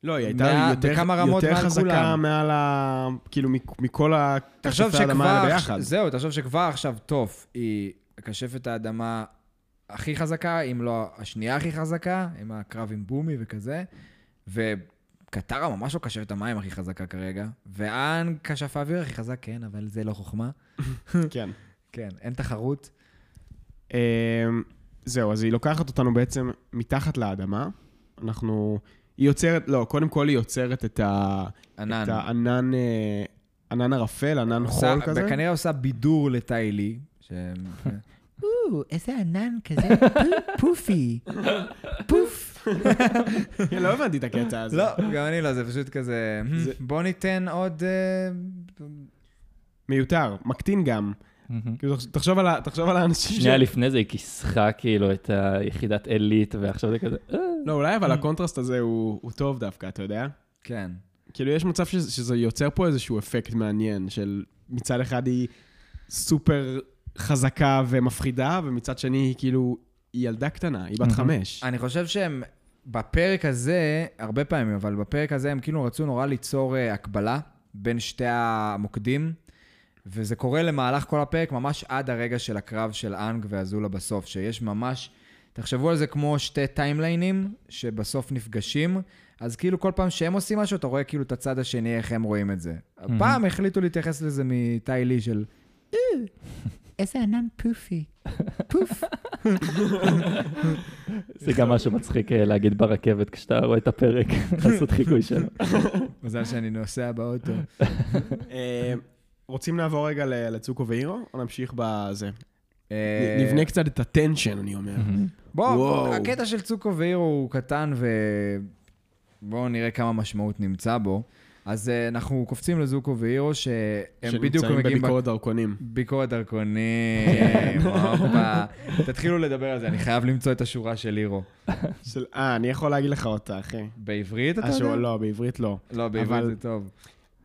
לא, היא הייתה מה- יותר, בכמה רמות יותר מעל חזקה כולם. מעל ה... כאילו, מכ- מכל ה... תחשוב כשפי האדמה שכבר... האלה ביחד. זהו, תחשוב שכבר עכשיו טוף היא כשפת האדמה הכי חזקה, אם לא השנייה הכי חזקה, עם הקרב עם בומי וכזה, וקטרה ממש לא כשפת המים הכי חזקה כרגע, ואן כשף האוויר הכי חזק, כן, אבל זה לא חוכמה. כן. כן, אין תחרות. אמ, זהו, אז היא לוקחת אותנו בעצם מתחת לאדמה. אנחנו... היא יוצרת, לא, קודם כל היא יוצרת את, ה, ענן. את הענן, אה, ענן ערפל, ענן חול כזה. וכנראה עושה בידור לטיילי. ש... או, איזה ענן כזה פופי. פוף. כן, לא הבנתי את הקטע הזה. לא, גם אני לא, זה פשוט כזה... זה- בוא ניתן עוד... אה, מיותר, מקטין גם. מהמם. כאילו, תחש- תחשוב על, ה- תחשוב על האנשים שנייה לפני זה היא כיסחה כאילו את היחידת עילית, ועכשיו זה כזה... "אה, לא, אולי אבל הקונטרסט הזה הוא, הוא טוב דווקא, אתה יודע? כן. כאילו, יש מצב שזה, שזה יוצר פה איזשהו אפקט מעניין, של מצד אחד היא סופר חזקה ומפחידה, ומצד שני היא כאילו, היא ילדה קטנה, היא בת חמש. אני חושב שהם בפרק הזה, הרבה פעמים, אבל בפרק הזה הם כאילו רצו נורא ליצור אה, הקבלה בין שתי המוקדים, וזה קורה למהלך כל הפרק, ממש עד הרגע של הקרב של אנג ואזולה בסוף, שיש ממש... תחשבו על זה כמו שתי טיימליינים שבסוף נפגשים, אז כאילו כל פעם שהם עושים משהו, אתה רואה כאילו את הצד השני, איך הם רואים את זה. הפעם החליטו להתייחס לזה מטאי לי של... "אה, איזה ענן פופי. פוף. זה גם משהו מצחיק אה, להגיד ברכבת כשאתה רואה את הפרק, לעשות חיקוי שלו. מזל שאני נוסע באוטו. אה, רוצים לעבור רגע ל- לצוקו ואירו, או נמשיך בזה? אה, נבנה קצת את הטנשן, אני אומר. בוא, וואו. הקטע של צוקו ואירו הוא קטן ו... בואו נראה כמה משמעות נמצא בו. אז אה, אנחנו קופצים לזוקו והירו, שהם בדיוק שנמצאים מגיעים... בביקורת דרכונים. ביקורת דרכונים, הופה. תתחילו לדבר על זה, אני חייב למצוא את השורה של הירו. של- אה, אני יכול להגיד לך אותה, אחי. בעברית אתה השורה- יודע? לא, בעברית לא. לא, בעברית אבל- זה טוב.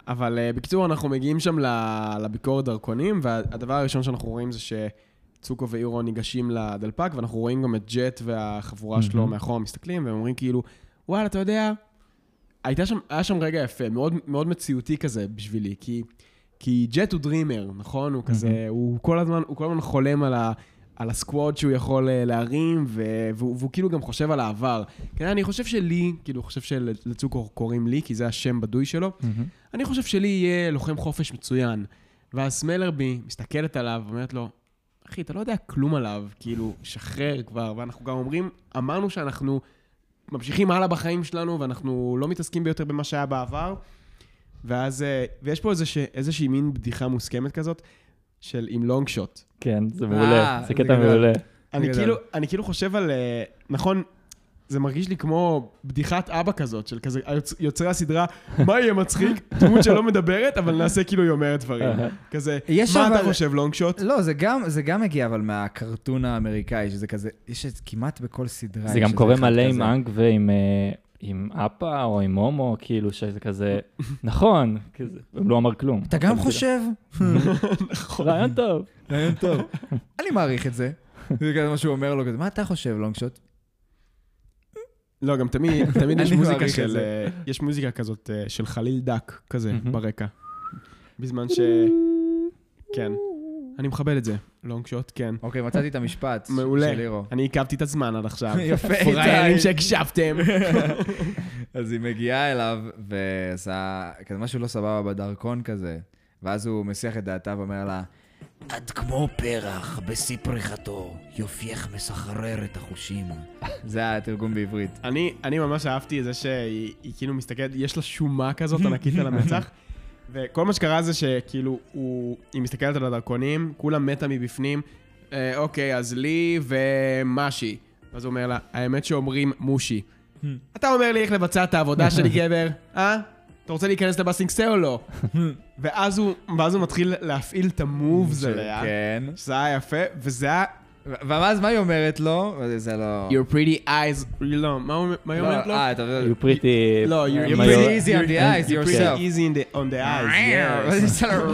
אבל אה, בקיצור, אנחנו מגיעים שם ל- לביקורת דרכונים, והדבר הראשון שאנחנו רואים זה שצוקו ואירו ניגשים לדלפק, ואנחנו רואים גם את ג'ט והחבורה שלו מאחורה מסתכלים, והם אומרים כאילו, וואלה, אתה יודע, הייתה שם, היה שם רגע יפה, מאוד, מאוד מציאותי כזה בשבילי, כי, כי ג'ט הוא דרימר, נכון? הוא כזה, הוא כל הזמן, הוא כל הזמן חולם על ה... על הסקווד שהוא יכול אה, להרים, ו- והוא, והוא כאילו גם חושב על העבר. כן, אני חושב שלי, כאילו, חושב שלצוקו קוראים לי, כי זה השם בדוי שלו, אני חושב שלי יהיה לוחם חופש מצוין. ואז סמלרבי מסתכלת עליו ואומרת לו, אחי, אתה לא יודע כלום עליו, כאילו, שחרר כבר. ואנחנו גם אומרים, אמרנו שאנחנו ממשיכים הלאה בחיים שלנו, ואנחנו לא מתעסקים ביותר במה שהיה בעבר. ואז, אה, ויש פה איזושה, איזושהי מין בדיחה מוסכמת כזאת, של עם לונג שוט. כן, זה אה, מעולה, זה זה קטע גדול. מעולה. אני גדול. כאילו, אני כאילו חושב על... אה, נכון, זה מרגיש לי כמו בדיחת אבא כזאת, של כזה היוצ- יוצרי הסדרה, מה יהיה מצחיק? דמות שלא מדברת, אבל נעשה כאילו היא אומרת דברים. כזה, יש מה אבל- אתה חושב, לונג שוט? לא, זה גם, זה גם הגיע אבל מהקרטון האמריקאי, שזה כזה, יש את- כמעט בכל סדרה. זה יש גם איזה קורה אחד מלא עם כזה. אנג ועם אה, עם אפה או עם הומו, כאילו שזה כזה, נכון, כזה, הוא לא אמר כלום. אתה גם חושב? רעיון טוב. רעיון טוב. אני מעריך את זה. זה כזה מה שהוא אומר לו, כזה, מה אתה חושב, לונג שוט? לא, גם תמיד תמיד יש אני מוזיקה מעריך את של... זה. אה, יש מוזיקה כזאת אה, של חליל דק, כזה, מהמם. ברקע. בזמן ש... כן. אני מכבד את זה, לונג שוט, כן. אוקיי, מצאתי את המשפט מעולה. של לירו. אני עיכבתי את הזמן עד עכשיו. יפה, איתי. פראיירים שהקשבתם. אז היא מגיעה אליו, ועשה כזה משהו לא סבבה בדרכון כזה, ואז הוא מסיח את דעתה ואומר לה, את כמו פרח בשיא פריחתו, יופייך מסחרר את החושים. זה התרגום בעברית. אני, אני ממש אהבתי את זה שהיא היא כאילו מסתכלת, יש לה שומה כזאת ענקית על המצח, וכל מה שקרה זה שכאילו, הוא, היא מסתכלת על הדרכונים, כולה מתה מבפנים, אה, אוקיי, אז לי ומשי. אז הוא אומר לה, האמת שאומרים מושי. אתה אומר לי איך לבצע את העבודה שלי, גבר, אה? אתה רוצה להיכנס לבסינגסה או לא? ואז הוא, ואז הוא מתחיל להפעיל את המובס עליה, כן. שזה היה יפה, וזה היה... ו- ואז מה היא אומרת לו? זה לא... Your pretty eyes, לא, מה הוא- מה היא לא, אומרת לו? אה, אתה יודע... You pretty... לא, you're- You're מה pretty you- easy on the eyes You're pretty yourself. Ah, easy in the, on the eyes, yes. ואז היא עושה לו-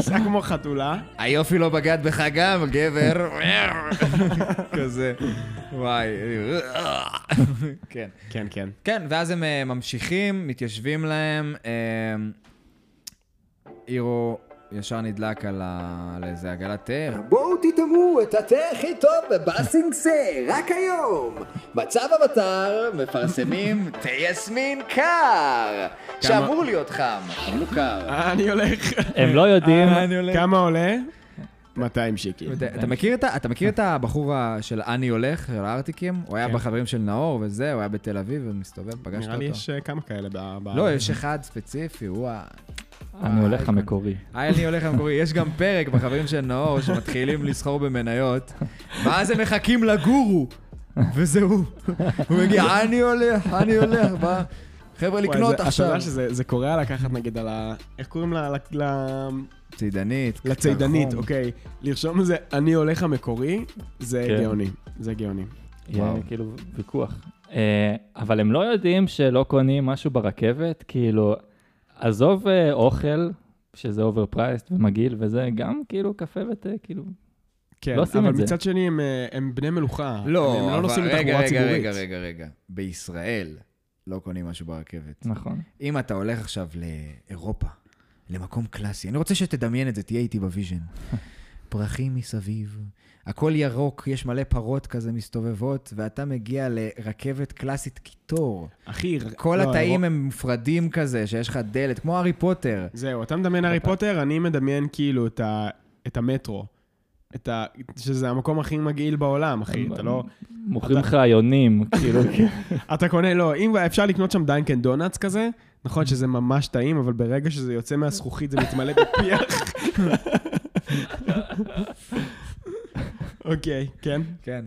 זה היה כמו חתולה. היופי לא בגד בך גם, גבר. כזה. וואי. כן. כן, כן. כן, ואז הם אה, ממשיכים, מתיישבים להם. אה, אירו ישר נדלק על ה- על איזה עגלת תה. בואו תטעמו את התה הכי טוב בבאסינגסה, רק היום. מצב הבטר מפרסמים תה יסמין קר, שאמור להיות חם, אבל הוא קר. אה, אני הולך. הם לא יודעים, כמה עולה? 200 שקל. אתה- אתה מכיר את ה- אתה מכיר את הבחור ה- של אני הולך, של הארטיקים? הוא היה כן. בחברים של נאור וזה, הוא היה בתל אביב, ומסתובב, פגשת נראה לי אותו. יש אה, כמה כאלה ב... ב- לא, יש אחד ספציפי, הוא ה... אה, אני הולך המקורי. היי, אני הולך למקורי. יש גם פרק בחברים של נאור שמתחילים לסחור במניות, ואז הם מחכים לגורו, וזה הוא. הוא מגיע, אני הולך, אני הולך, מה? חבר'ה, וואי, לקנות זה- אתה עכשיו. יודע שזה זה קורע לקחת נגיד על ה... איך קוראים לה? ל- ל- צידנית. לצידנית, קרחון. אוקיי. לרשום איזה אני הולך המקורי, זה כן. גאוני. זה גאוני. כן, יהיה וואו. כאילו ויכוח. אה, אבל הם לא יודעים שלא קונים משהו ברכבת, כאילו, עזוב אה, אוכל, שזה אוברפרייסט ומגעיל וזה, גם כאילו קפה ותה, כאילו, כן, לא עושים אבל את זה. מצד שני הם, אה, הם בני מלוכה. הם לא, לא אבל נוסעים רגע, בתחבורה רגע, ציבורית. רגע, רגע, רגע. בישראל לא קונים משהו ברכבת. נכון. אם אתה הולך עכשיו לאירופה, למקום קלאסי, אני רוצה שתדמיין את זה, תהיה איתי בוויז'ן. פרחים מסביב, הכל ירוק, יש מלא פרות כזה מסתובבות, ואתה מגיע לרכבת קלאסית קיטור. אחי, כל לא, התאים אירו- הם מופרדים כזה, שיש לך דלת, כמו הארי פוטר. זהו, אתה מדמיין הארי פוטר, אני מדמיין כאילו את, ה, את המטרו. את ה, שזה המקום הכי מגעיל בעולם, אחי. אתה לא... מוכרים לך יונים, כאילו, אתה קונה, לא, אם אפשר לקנות שם דיינקן דונלדס כזה, נכון שזה ממש טעים, אבל ברגע שזה יוצא מהזכוכית זה מתמלא בפיח. אוקיי, כן. כן.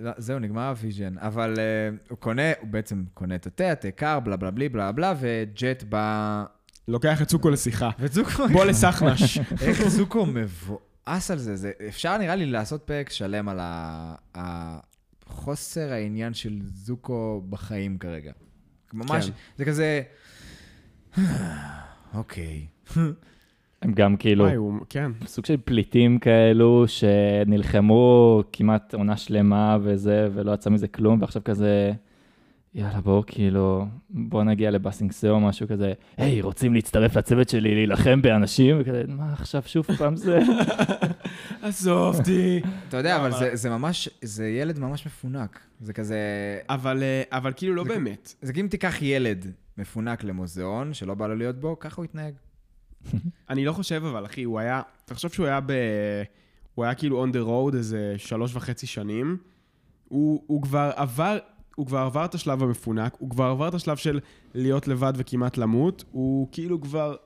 לא, זהו, נגמר הוויז'ן. אבל אה, הוא קונה, הוא בעצם קונה את התה, התה קר, בלה בלה בלי בלה בלה, וג'ט בא... לוקח את צוקו לשיחה. וזוקו... בוא לסחנש. איך זוקו מבואס על זה? זה. אפשר נראה לי לעשות פרק שלם על ה- ה- חוסר העניין של זוקו בחיים כרגע. ממש, כן. זה כזה... אוקיי. הם גם כאילו וואי, הוא- כן. סוג של פליטים כאלו שנלחמו כמעט עונה שלמה וזה, ולא יצא מזה כלום, ועכשיו כזה, יאללה בואו כאילו, בואו נגיע לבאסינג סאו, משהו כזה, היי, רוצים להצטרף לצוות שלי להילחם באנשים? וכזה, מה עכשיו שוב פעם זה? עזוב אותי. אתה יודע, אבל לא, זה- זה ממש, זה ילד ממש מפונק. זה כזה... אבל אה, אבל כאילו לא זה- באמת. זה כאילו אם תיקח ילד מפונק למוזיאון, שלא בא לו להיות בו, ככה הוא יתנהג. אוקיי, אני לא חושב, אבל אחי, הוא היה, תחשוב שהוא היה ב... הוא היה כאילו on the road איזה שלוש וחצי שנים. הוא, הוא כבר עבר... הוא כבר עבר את השלב המפונק, הוא כבר עבר את השלב של להיות לבד וכמעט למות, הוא כאילו כבר...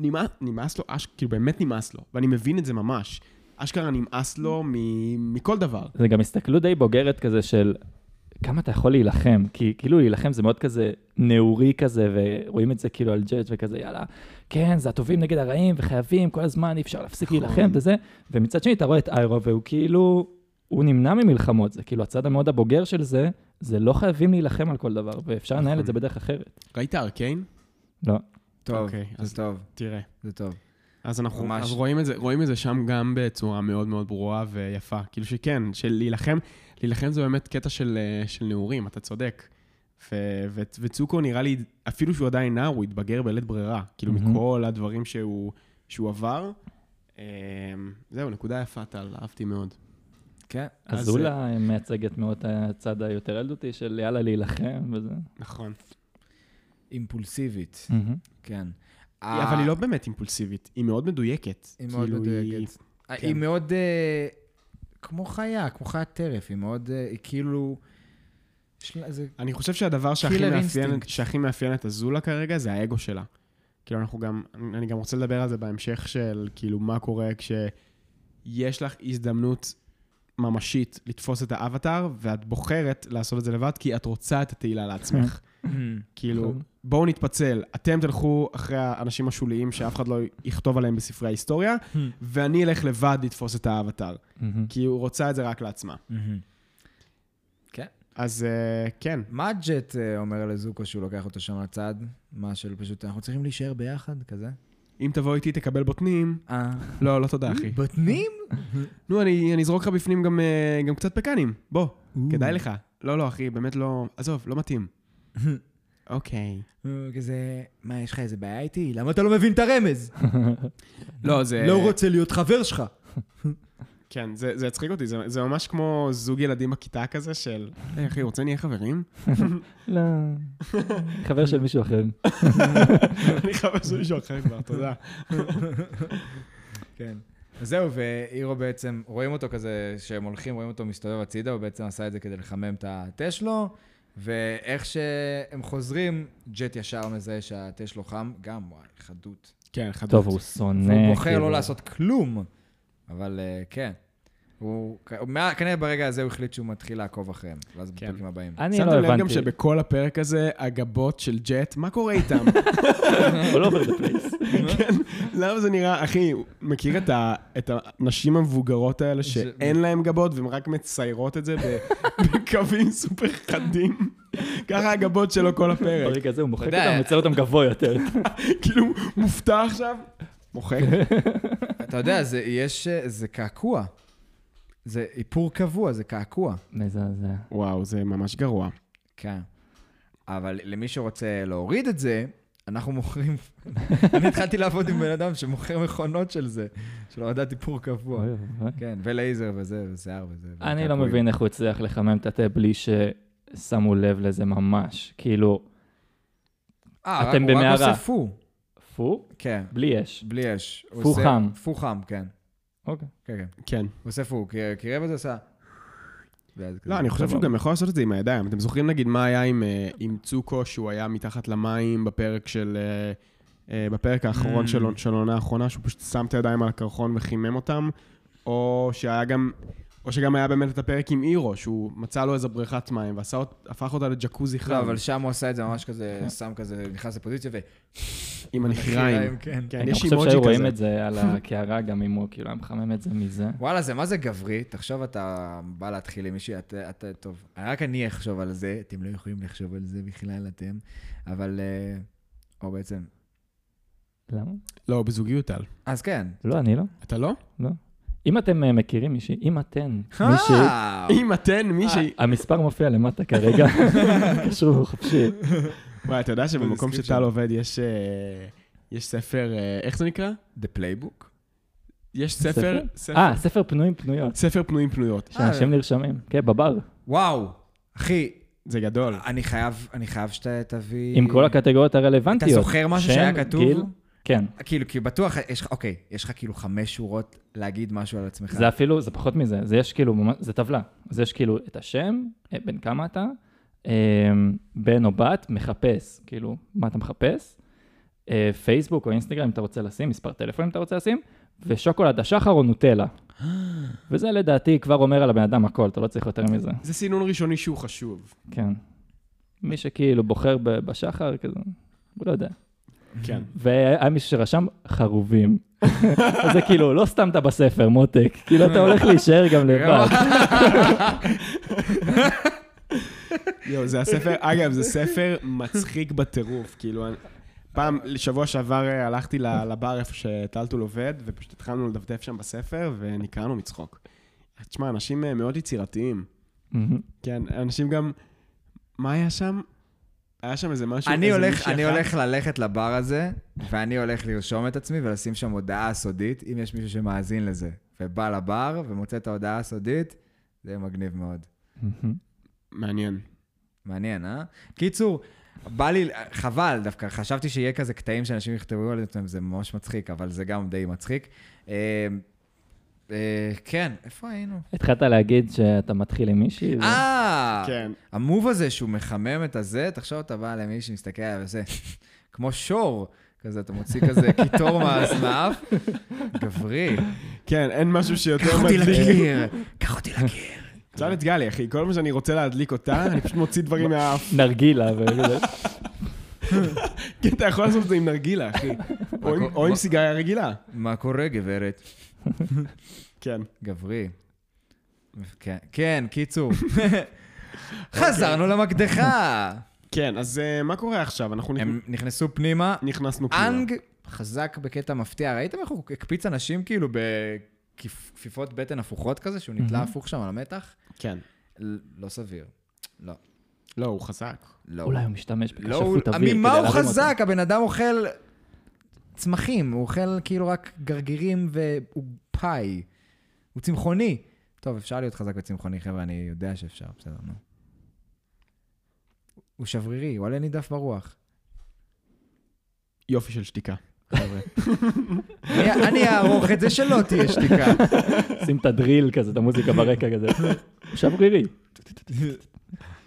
נמאס, נמאס לו, אש, כאילו באמת נמאס לו, ואני מבין את זה ממש. אשכרה נמאס לו מ, מכל דבר. זה גם הסתכלות די בוגרת כזה של כמה אתה יכול להילחם, כי כאילו להילחם זה מאוד כזה נעורי כזה, ורואים את זה כאילו על ג'אג' וכזה, יאללה, כן, זה הטובים נגד הרעים, וחייבים, כל הזמן אי אפשר להפסיק להילחם וזה, ומצד שני אתה רואה את איירו, והוא כאילו, הוא נמנע ממלחמות, זה כאילו הצד המאוד הבוגר של זה, זה לא חייבים להילחם על כל דבר, ואפשר לנהל את זה בדרך אחרת. ראית ארקיין? לא. טוב, אוקיי, אז- זה טוב, תראה. זה טוב. אז אנחנו ממש. אז רואים, את זה, רואים את זה שם גם בצורה מאוד מאוד ברורה ויפה. כאילו שכן, של להילחם, להילחם זה באמת קטע של, אה, של נעורים, אתה צודק. ו, ו, וצוקו נראה לי, אפילו שהוא עדיין נער, הוא התבגר בלית ברירה. כאילו מהמם. מכל הדברים שהוא, שהוא עבר. אה, זהו, נקודה יפה, טל, אהבתי מאוד. כן. אז אז, אולה מייצגת מאוד את הצד היותר ילדותי של יאללה להילחם וזה. נכון. אימפולסיבית, כן. אבל היא לא באמת אימפולסיבית, היא מאוד מדויקת. היא מאוד כאילו, מדויקת. אה, היא כן. מאוד... אה, כמו חיה, כמו חיית טרף, היא מאוד... אה, היא כאילו... יש לה איזה... אני חושב שהדבר שהכי Killer מאפיין, instinct. שהכי מאפיין את אזולה כרגע זה האגו שלה. כאילו, אנחנו גם, אני גם רוצה לדבר על זה בהמשך של כאילו מה קורה כשיש לך הזדמנות ממשית לתפוס את האבטאר, ואת בוחרת לעשות את זה לבד כי את רוצה את התהילה לעצמך. כאילו, נכון. בואו נתפצל, אתם תלכו אחרי האנשים השוליים שאף אחד לא יכתוב עליהם בספרי ההיסטוריה, Hmm. ואני אלך לבד לתפוס את האבטאר, מהמם. כי הוא רוצה את זה רק לעצמה. אז אה, כן, מה ג'ט אה, אומר לזוקו שהוא לוקח אותו שם לצד? מה של פשוט, אנחנו צריכים להישאר ביחד, כזה? אם תבוא איתי תקבל בוטנים. אה... לא, לא תודה, אחי. בוטנים? נו, אני, אני אזרוק לך בפנים גם, אה, גם קצת פקנים. בוא, כדאי לך. לא, לא, אחי, באמת לא... עזוב, לא מתאים. אוקיי. אה, כזה, מה, יש לך איזה בעיה איתי? למה אתה לא מבין את הרמז? לא, זה... רוצה להיות חבר שלך. כן, זה, זה יצחיק אותי, זה, זה ממש כמו זוג ילדים בכיתה כזה של... היי, אחי, רוצה נהיה חברים? לא. חבר של מישהו אחר. אני חבר של מישהו אחר כבר, תודה. כן. אז זהו, ואירו בעצם, רואים אותו כזה, שהם הולכים, רואים אותו מסתובב הצידה, הוא בעצם עשה את זה כדי לחמם את התה שלו, ואיך שהם חוזרים, ג'ט ישר מזהה שהתה שלו חם, גם, וואי, חדות. כן, חדות. טוב, הוא שונא. הוא בוחר כאילו. לא לעשות כלום, אבל אה, כן. הוא, כ- הוא מה- כנראה ברגע הזה הוא החליט שהוא מתחיל לעקוב אחריהם, ואז כן. בפרקים הבאים. אני לא שמתם לב גם הבנתי. שבכל הפרק הזה, הגבות של ג'ט, מה קורה איתם? all over the place. כן? למה זה נראה, אחי, מכיר את, ה, את הנשים המבוגרות האלה שאין להן גבות והן רק מציירות את זה ב, בקווים סופר חדים? ככה הגבות שלו כל הפרק. ברגע הזה הוא מוחק אתה יודע, אותם, יוצר אותם גבוה יותר. כאילו, מופתע עכשיו, מוחק. אתה יודע, זה, יש, אה, זה קעקוע. זה איפור קבוע, זה קעקוע. מזעזע. וואו, זה ממש גרוע. כן. אבל למי שרוצה להוריד את זה, אנחנו מוכרים... אני התחלתי לעבוד עם בן אדם שמוכר מכונות של זה, של הורדת איפור קבוע. אוי, אוי. כן, ולייזר וזה, ושיער וזה. אני לא וקעקועים. מבין איך הוא הצליח לחמם את התה בלי ששמו לב לזה ממש. כאילו, אה, רק- אתם במערה. הוא רק עושה פו. פו? כן, בלי אש. בלי אש. הוא פו עושה- חם. פו חם, כן. אוקיי. כן, כן. כן. הוא עושה פו, כי- כי רבע זה עשה... ואז כזה. לא, אני חושב שהוא גם יכול לעשות את זה עם הידיים. אתם זוכרים נגיד מה היה עם, אה, עם צוקו, שהוא היה מתחת למים בפרק של... אה, אה, בפרק האחרון Mm. של של העונה האחרונה, שהוא פשוט שם את הידיים על הקרחון וחימם אותם, או שהיה גם... או או שגם היה באמת את הפרק עם אירו, שהוא מצא לו איזה בריכת מים, והפך אותה לג'קוזי חם. לא, אבל שם הוא עשה את זה ממש כזה, שם כזה, נכנס לפוזיציה ו... עם הנחיריים. כן. כן, אני יש חושב שהיו אימוג'י רואים כזה. את זה על הקערה, גם אם הוא כאילו היה מחמם את זה מזה. וואלה, זה מה זה גברי? תחשוב, אתה בא להתחיל עם מישהי, אתה, אתה, טוב, רק אני אחשוב על זה, אתם לא יכולים לחשוב על זה בכלל, אתם, אבל... אה, או בעצם... למה? לא, בזוגיות, טל. אז כן. לא, אני לא. אתה לא? לא. אם אתם אה, מכירים מישהי, אם אתן אה! מישהי, מישהי... אם אתן מישהי... המספר מופיע למטה כרגע, קשור חופשי. וואי, אתה יודע שבמקום description. שטל עובד יש אה, יש ספר, אה, איך זה נקרא? The Playbook? יש ספר... אה, ספר פנויים פנויות, ספר פנויים פנויות. אה. שאנשים נרשמים. כן, בבר. וואו, אחי, זה גדול. אני חייב, אני חייב שאתה תביא... עם כל הקטגוריות הרלוונטיות. אתה זוכר משהו שם, שהיה כתוב? גיל, כן. כאילו, כי בטוח, יש לך, אוקיי, יש לך כאילו חמש שורות להגיד משהו על עצמך. זה אפילו, זה פחות מזה, זה יש כאילו, ממש- זה טבלה. אז יש כאילו את השם, אה, בן כמה אתה, אה, בן או בת, מחפש, כאילו, מה אתה מחפש, אה, פייסבוק או אינסטגרם אם אתה רוצה לשים, מספר טלפון אם אתה רוצה לשים, ושוקולד השחר או נוטלה. וזה לדעתי כבר אומר על הבן אדם הכל, אתה לא צריך יותר מזה. זה סינון ראשוני שהוא חשוב. כן. מי שכאילו בוחר ב- בשחר, כזה, הוא לא יודע. כן. והיה מישהו שרשם חרובים. אז זה כאילו, לא סתם אתה בספר, מותק. כאילו, אתה הולך להישאר גם לבד. יואו, זה הספר, אגב, זה ספר מצחיק בטירוף, כאילו, אני- פעם, שבוע שעבר אה, הלכתי ל- לבר איפה שטלטול עובד, ופשוט התחלנו לדפדף שם בספר, ונקרענו מצחוק. תשמע, אנשים אה, מאוד יצירתיים. מהמם. כן, אנשים גם... מה היה שם? היה שם איזה משהו... אני איזה הולך, מישהי אני אחת- הולך ללכת לבר הזה, ואני הולך לרשום את עצמי ולשים שם הודעה סודית, אם יש מישהו שמאזין לזה, ובא לבר ומוצא את ההודעה הסודית, זה מגניב מאוד. מעניין. מעניין, אה? קיצור, בא לי, חבל דווקא, חשבתי שיהיה כזה קטעים שאנשים יכתבו על עצמם, זה ממש מצחיק, אבל זה גם די מצחיק. אה, אה, כן, איפה היינו? התחלת להגיד שאתה מתחיל עם מישהי, ו- אה! כן. המוב הזה שהוא מחמם את הזה, תחשוב, אתה בא למישהי שמסתכל עליו וזה, כמו שור, כזה, אתה מוציא כזה קיטור מהאף, גברי. כן, אין משהו שיותר קח אותי מדליק. לקיר, קח אותי לקיר. תשאל את גלי, אחי, כל מה שאני רוצה להדליק אותה, אני פשוט מוציא דברים מהאף. נרגילה וכזה. כן, אתה יכול לעשות את זה עם נרגילה, אחי. או עם- או עם סיגריה רגילה. מה קורה, גברת? כן. גברי. כן, כן, קיצור. חזרנו למקדחה. כן, אז אה, מה קורה עכשיו? אנחנו נכ- הם נכנסו פנימה, נכנסנו פנימה. אנג חזק בקטע מפתיע. ראיתם איך הוא הקפיץ אנשים כאילו בכפיפות בטן הפוכות כזה, שהוא נתלה הפוך שם על המתח? כן. ל- לא סביר. לא. לא, הוא חזק. לא. אולי הוא משתמש לא, הוא... בכשפות אוויר כדי ממה להרים הוא אותו. חזק? הבן אדם אוכל צמחים, הוא אוכל כאילו רק גרגירים והוא פאי. הוא צמחוני. טוב, אפשר להיות חזק וצמחוני, חבר'ה, אני יודע שאפשר, בסדר, נו. הוא שברירי, הוא עלה נידף ברוח. יופי של שתיקה. חבר'ה. אני- אני אערוך את זה שלא תהיה שתיקה. שים את הדריל כזה, את המוזיקה ברקע כזה. שברירי.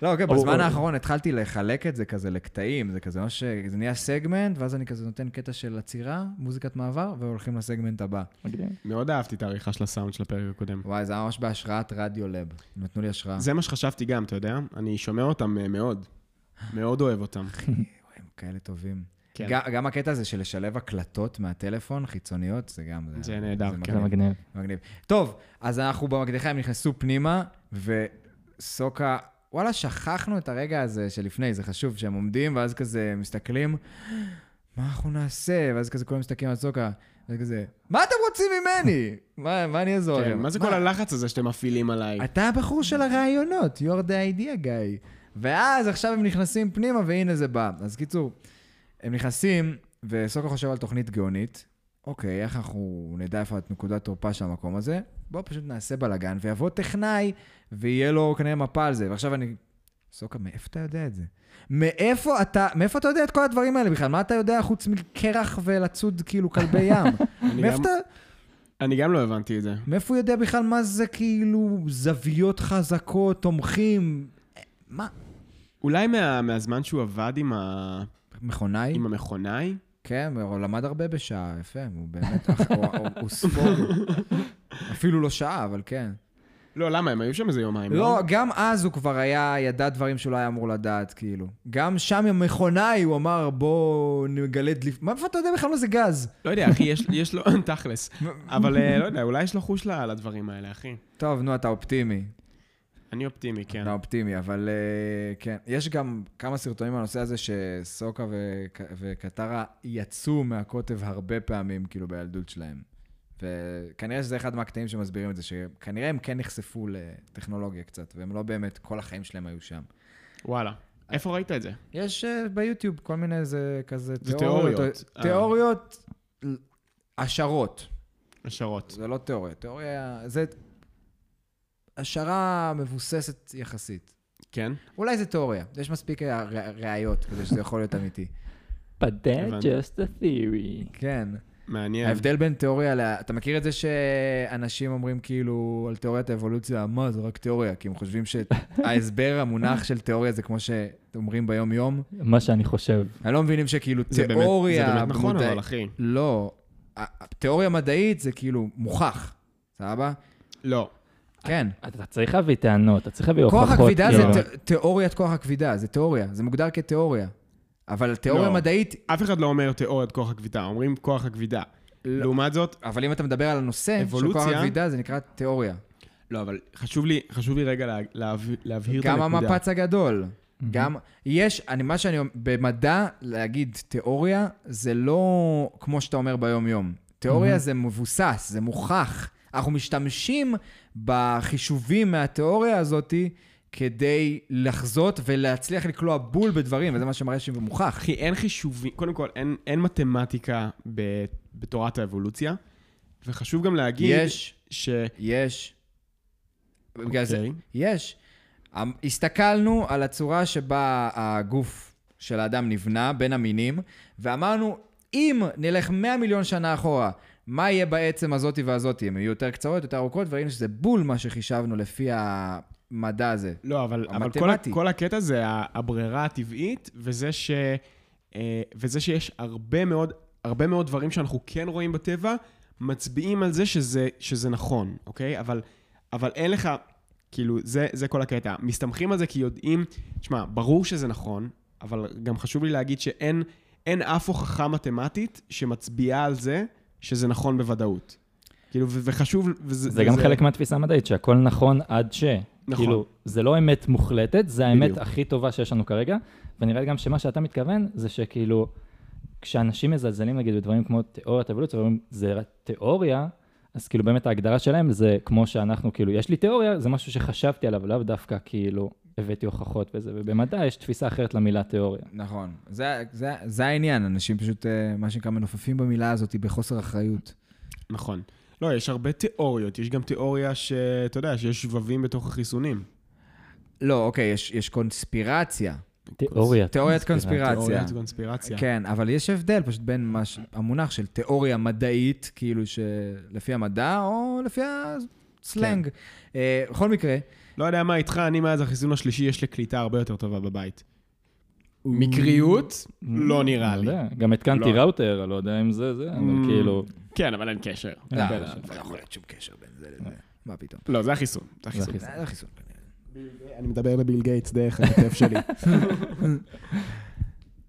לא, אוקיי, ברור, בזמן ברור. האחרון התחלתי לחלק את זה כזה לקטעים, זה כזה ממש, אה, זה נהיה סגמנט, ואז אני כזה נותן קטע של עצירה, מוזיקת מעבר, והולכים לסגמנט הבא. מגניב. מאוד אהבתי את העריכה של הסאונד של הפרק הקודם. וואי, זה היה ממש בהשראת רדיו לב. נתנו לי השראה. זה מה שחשבתי גם, אתה יודע? אני שומע אותם אה, מאוד. מאוד אוהב אותם. הם כאלה טובים. כן. גם- גם הקטע הזה של לשלב הקלטות מהטלפון, חיצוניות, זה גם... זה נהדר, כן. זה מגניב, מגניב. מגניב. טוב, אז אנחנו במקדחה, הם נכנסו פנימה, וסוקה... וואלה, שכחנו את הרגע הזה שלפני, זה חשוב, שהם עומדים, ואז כזה מסתכלים, מה אנחנו נעשה? ואז כזה כולם מסתכלים על סוקה, ואז כזה, מה אתם רוצים ממני? מה מה אני אעזור כן, לכם? מה זה כל הלחץ הזה שאתם מפעילים עליי? אתה הבחור של הרעיונות, you're the idea guy. ואז עכשיו הם נכנסים פנימה, והנה זה בא. אז קיצור, הם נכנסים, וסוקו חושב על תוכנית גאונית. אוקיי, איך אנחנו נדע איפה את נקודת תורפה של המקום הזה? בואו פשוט נעשה בלאגן, ויבוא טכנאי, ויהיה לו כנראה מפה על זה. ועכשיו אני... סוקה, מאיפה אתה יודע את זה? מאיפה אתה, מאיפה אתה יודע את כל הדברים האלה בכלל? מה אתה יודע חוץ מקרח ולצוד כאילו כלבי ים? מאיפה גם- אתה... אני גם לא הבנתי את זה. מאיפה הוא יודע בכלל מה זה כאילו זוויות חזקות, תומכים? מה? אולי מה- מהזמן שהוא עבד עם ה- מכונאי? עם המכונאי? כן, הוא למד הרבה בשעה, יפה, הוא באמת, אח- הוא- הוא- הוא ספורט. אפילו לא שעה, אבל כן. לא, למה? הם היו שם איזה יומיים, לא, גם אז הוא כבר היה, ידע דברים שהוא לא היה אמור לדעת, כאילו. גם שם עם מכונאי, הוא אמר, בוא נגלה דליפ... מאיפה אתה יודע בכלל מה זה גז? לא יודע, אחי, יש- יש לו, תכלס. אבל אה, לא יודע, אולי יש לו חוש ל- לדברים האלה, אחי. טוב, נו, אתה אופטימי. אני אופטימי, כן. אתה לא, אופטימי, אבל אה, כן. יש גם כמה סרטונים בנושא הזה שסוקה וק- וקטרה יצאו מהקוטב הרבה פעמים, כאילו, בילדות שלהם. וכנראה שזה אחד מהקטעים שמסבירים את זה, שכנראה הם כן נחשפו לטכנולוגיה קצת, והם לא באמת, כל החיים שלהם היו שם. וואלה. איפה ראית את זה? יש אה, ביוטיוב כל מיני איזה כזה זה תיאוריות. אה, תיאוריות, השערות. השערות. זה לא תיאוריה, תיאוריה... זה השערה מבוססת יחסית. כן? אולי זה תיאוריה, יש מספיק אה, רא- ראיות כדי שזה יכול להיות אמיתי. But that's הבנתי. just a theory. כן. מעניין. ההבדל בין תיאוריה ל... אתה מכיר את זה שאנשים אומרים כאילו על תיאוריית האבולוציה, מה, זה רק תיאוריה, כי הם חושבים שההסבר, המונח של תיאוריה זה כמו שאומרים ביום-יום. מה שאני חושב. הם לא מבינים שכאילו זה באמת- תיאוריה... זה באמת נכון, מודע- אבל אחי. לא, ה- תיאוריה מדעית זה כאילו מוכח, סבבה? לא. כן. אתה צריך להביא טענות, אתה צריך להביא הוכחות. כוח הכבידה כאילו. זה ת- תיאוריית כוח הכבידה, זה תיאוריה, זה מוגדר כתיאוריה. אבל תיאוריה לא. מדעית, אף אחד לא אומר תיאוריית כוח הכבידה, אומרים כוח הכבידה. לא. לעומת זאת, אבל אם אתה מדבר על הנושא של כוח אבולוציה. הכבידה, זה נקרא תיאוריה. לא, אבל חשוב לי, חשוב לי רגע לה, להב, להבהיר את גם הנקודה. המפץ הגדול. גם, יש, אני, מה שאני אומר, במדע, להגיד תיאוריה, זה לא כמו שאתה אומר ביום-יום. תיאוריה זה מבוסס, זה מוכח. אנחנו משתמשים בחישובים מהתיאוריה הזאת כדי לחזות ולהצליח לקלוע בול בדברים, וזה מה שמראה שזה מוכח. אחי, אין חישובים, קודם כל, אין, אין מתמטיקה ב, בתורת האבולוציה, וחשוב גם להגיד... יש. ש... יש. בגלל זה, אוקיי. יש. המ- הסתכלנו על הצורה שבה הגוף של האדם נבנה בין המינים, ואמרנו, אם נלך 100 מיליון שנה אחורה, מה יהיה בעצם הזאתי והזאתי? הן יהיו יותר קצרות, יותר ארוכות, וראינו שזה בול מה שחישבנו לפי המדע הזה. לא, אבל, אבל כל, ה- המתמטי. כל הקטע זה ה- הברירה הטבעית, וזה, ש, אה, וזה שיש הרבה מאוד, הרבה מאוד דברים שאנחנו כן רואים בטבע, מצביעים על זה שזה, שזה נכון, אוקיי? אבל, אבל אין לך, כאילו, זה, זה כל הקטע. מסתמכים על זה כי יודעים, תשמע, ברור שזה נכון, אבל גם חשוב לי להגיד שאין אין אף הוכחה מתמטית שמצביעה על זה שזה נכון בוודאות. כאילו, ו- וחשוב, וזה... זה גם וזה- חלק מהתפיסה המדעית, שהכל נכון עד ש... נכון. כאילו, זה לא אמת מוחלטת, זה האמת בדיוק. הכי טובה שיש לנו כרגע, ונראה לי גם שמה שאתה מתכוון, זה שכאילו, כשאנשים מזלזלים נגיד בדברים כמו תיאוריית אבולוציה, ואומרים, זה רק תיאוריה, אז כאילו באמת ההגדרה שלהם זה כמו שאנחנו, כאילו, יש לי תיאוריה, זה משהו שחשבתי עליו, לאו דווקא כאילו הבאתי הוכחות וזה, ובמדע יש תפיסה אחרת למילה תיאוריה. נכון. זה, זה, זה העניין, אנשים פשוט, אה, מה שנקרא, מנופפים במילה הזאת בחוסר אחריות. נכון. לא, יש הרבה תיאוריות. יש גם תיאוריה שאתה יודע, שיש שבבים בתוך החיסונים. לא, אוקיי, יש, יש קונספירציה. תיאוריה. תיאוריית קונספירציה. תיאוריית קונספירציה. כן, אבל יש הבדל פשוט בין מה ש... המונח של תיאוריה מדעית, כאילו שלפי המדע, או לפי הסלנג. אה, בכל מקרה, לא יודע מה איתך, אני מאז החיסון השלישי, יש לי קליטה הרבה יותר טובה בבית. מקריות? לא נראה לא לי. יודע, גם התקנתי לא. ראוטר, אני לא יודע אם זה זה, אבל כאילו, כן, אבל אין קשר. לא, אין לא קשר. לא יכול להיות שום קשר בין זה לזה. מה פתאום? לא, זה החיסון. זה החיסון. החיסון. זה חיסון. אני מדבר לביל גייטס דרך הכתף שלי.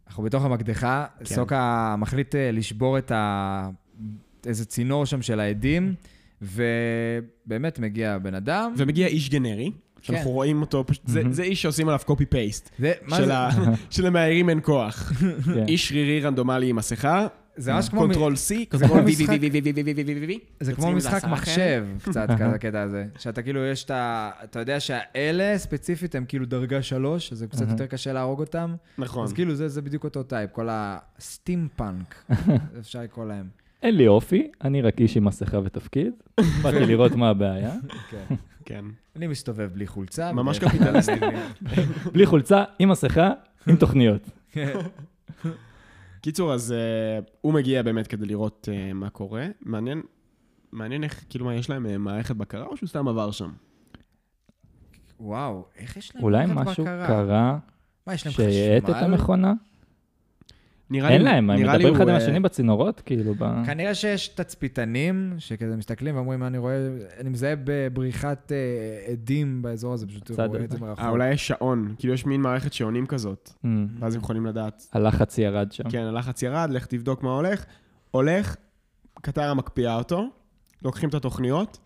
אנחנו בתוך המקדחה, סוקה מחליט אה, לשבור את ה... איזה צינור שם של העדים, ובאמת מגיע בן אדם. ומגיע איש גנרי, שאנחנו רואים אותו, פשוט- זה- זה איש שעושים עליו קופי פייסט. זה, מה של זה? ה- של המאיירים אין כוח. כן. איש שרירי רנדומלי עם מסכה, זה ממש כמו... מ- קונטרול C, זה כמו קונטרול V, V, משחק- V, V, V, V, V, V, V. זה כמו יוצאים איזה משחק כן. עשרה מחשב, קצת כזה הקטע הזה. שאתה כאילו, יש את ה... אתה יודע שהאלה ספציפית הם כאילו דרגה שלוש, אז זה קצת יותר קשה להרוג אותם. נכון. אז כאילו, זה זה בדיוק אותו טייפ, כל הסטים פאנק, אפשר לקרוא להם. אין לי אופי, אני רק איש עם מסכה ותפקיד, באתי לראות מה הבעיה. כן. אני מסתובב בלי חולצה. ממש בדרך כלל קפיטליסטי. אני- בלי חולצה, עם מסכה, עם תוכניות. כן. קיצור, אז אה, הוא מגיע באמת כדי לראות אה, מה קורה. מעניין, מעניין איך, כאילו, מה, יש להם אה, מערכת בקרה או שהוא סתם עבר שם? וואו, איך יש להם אולי מערכת משהו בקרה? קרה מה, יש להם שהאט את חשמל? המכונה? כן, נראה לי... אין להם, הם נראה לי מדברים אחד הוא, עם אה, כן. השני בצינורות, כאילו, ב... כנראה שיש תצפיתנים שכזה מסתכלים ואומרים, מה אני רואה, אני מזהה בבריחת אה, עדים באזור הזה, פשוט בצד רואה את הזה. זה מרחוק. אה, אולי יש שעון. כאילו, יש מין מערכת שעונים כזאת, Mm. ואז הם יכולים לדעת. הלחץ ירד שם. כן, הלחץ ירד, לך תבדוק מה הולך. הולך, קטרה מקפיאה אותו, לוקחים את התוכניות.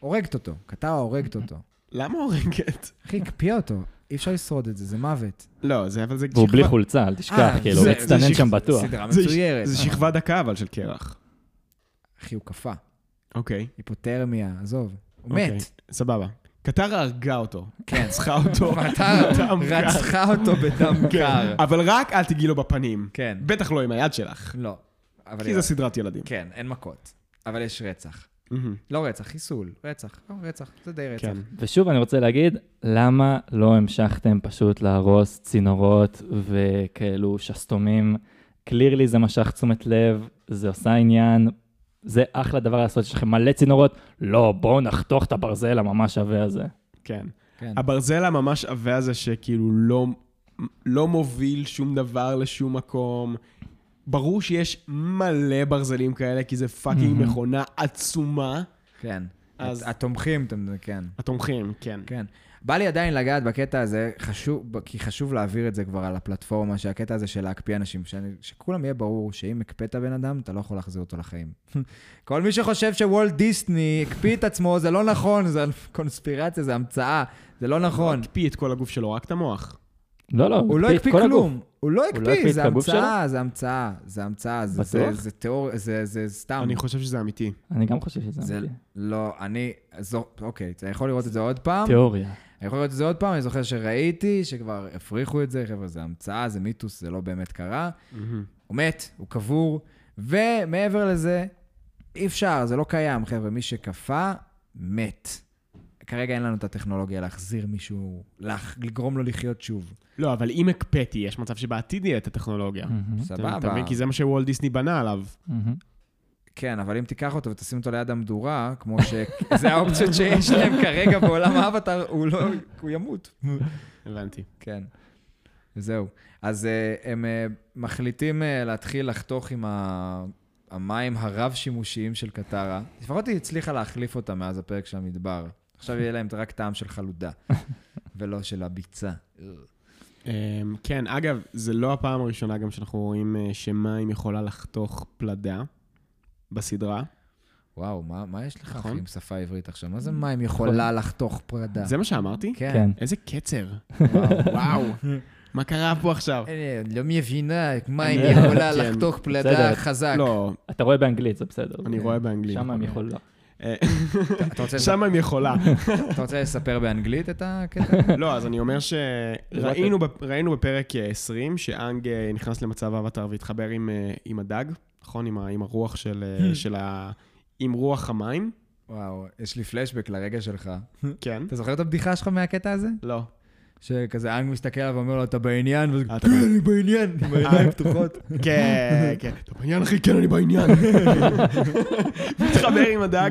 הורגת אותו, קטרה הורגת אותו. למה הורגת? אחי, הקפיאה אותו, אי אפשר לשרוד את זה, זה מוות. לא, זה אבל זה... והוא בלי שכבה- חולצה, אל תשכח, אה, כאילו, הוא זה- זה מצטנן שכ- שם בטוח. סדרה זה- מצוירת. זה שכבה דקה אבל של קרח. אחי, הוא קפא, אוקיי. היפותרמיה, עזוב. הוא אוקיי, מת. סבבה. קטרה הרגה אותו. כן. רצחה אותו. אתה בדם קר. כן. אה. רצחה אותו בדם קר. אבל רק אל תגיעי לו בפנים. כן. בטח לא עם היד שלך. לא. אבל... כי זה סדרת ילדים. כן, אין מכות. אבל יש רצח. מהמם. לא רצח, חיסול. רצח. לא, רצח. זה די רצח. כן. ושוב, אני רוצה להגיד, למה לא המשכתם פשוט להרוס צינורות וכאלו שסתומים? קלירלי זה משך תשומת לב, זה עושה עניין, זה אחלה דבר לעשות, יש לכם מלא צינורות, לא, בואו נחתוך את הברזל הממש עבה הזה. כן. כן. הברזל הממש עבה הזה שכאילו לא, לא מוביל שום דבר לשום מקום. ברור שיש מלא ברזלים כאלה, כי זה פאקינג מכונה עצומה. כן. אז- הת- התומכים, אתם- כן. התומכים, כן. כן. בא לי עדיין לגעת בקטע הזה, חשוב, כי חשוב להעביר את זה כבר על הפלטפורמה, שהקטע הזה של להקפיא אנשים, שאני, שכולם יהיה ברור שאם הקפאת בן אדם, אתה לא יכול להחזיר אותו לחיים. כל מי שחושב שוולט דיסני הקפיא את עצמו, זה לא נכון, זה קונספירציה, זה המצאה, זה לא נכון. הקפיא את כל הגוף שלו, רק את המוח. לא, לא, הוא לא הקפיא את הקפיא כל הגוף. כלום, הוא לא לא הקפיא הקפיא, את זה הגוף שלו? המצאה, זה המצאה, זה המצאה, זה- זה- בטוח? זה תיאוריה, זה זה סתם. אני חושב שזה אמיתי. אני גם חושב שזה זה אמיתי. לא, אני, זו- אוקיי, אתה יכול לראות את זה עוד פעם. תיאוריה. אני יכול לראות את זה עוד פעם, אני זוכר שראיתי שכבר הפריחו את זה, חבר'ה, זה המצאה, זה מיתוס, זה לא באמת קרה. הוא מת, הוא קבור, ומעבר לזה, אי אפשר, זה לא קיים, חבר'ה. מי שקפא, מת. כרגע אין לנו את הטכנולוגיה להחזיר מישהו, לח- לגרום לו לחיות שוב. לא, אבל אם הקפאתי, יש מצב שבעתיד יהיה את הטכנולוגיה. אתה- אתה אמ, סבבה. מבין? כי זה מה שוולט דיסני בנה עליו. מהמם. כן, אבל אם תיקח אותו ותשים אותו ליד המדורה, כמו ש... זה האופציות שיש להם כרגע בעולם האבטר, הוא לא... הוא ימות. הבנתי. כן. זהו. אז אה, הם אה, מחליטים אה, להתחיל לחתוך עם ה- המים הרב-שימושיים של קטרה. לפחות היא הצליחה להחליף אותם מאז הפרק של המדבר. עכשיו יהיה להם רק טעם של חלודה, ולא של הביצה. אמ, כן, אגב, זה לא הפעם הראשונה גם שאנחנו רואים אה, שמים יכולה לחתוך פלדה בסדרה. וואו, מה, מה יש לך, אחי, נכון. עם שפה עברית עכשיו? מה זה מים יכולה לחתוך פרדה? זה כן. מה שאמרתי? כן. כן. איזה קצר. וואו. וואו. מה קרה פה עכשיו? אה, לא מבינה, מים אני- יכולה כן. לחתוך פלדה בסדר. חזק. לא, אתה רואה באנגלית, זה בסדר. אני זה- רואה באנגלית. שם הם יכולים... לא. אה, אתה רוצה- שם הם יכולה. אתה רוצה לספר באנגלית את הקטע? לא, אז אני אומר שראינו בפ- ראינו בפרק אה, 20 שאנג אה, נכנס למצב האבטר והתחבר עם, אה, עם הדג, נכון? עם ה- עם הרוח של אה, של ה... עם רוח המים. וואו, יש לי פלשבק לרגע שלך. כן. אתה זוכר את הבדיחה שלך מהקטע הזה? לא. שכזה אנג מסתכל עליו ואומר לו, אתה בעניין? ואז אה, הוא, אתה כן, אני בעניין, עם העיניים פתוחות. כן, כן. אתה בעניין, אחי? כן, אני בעניין. מתחבר עם הדג,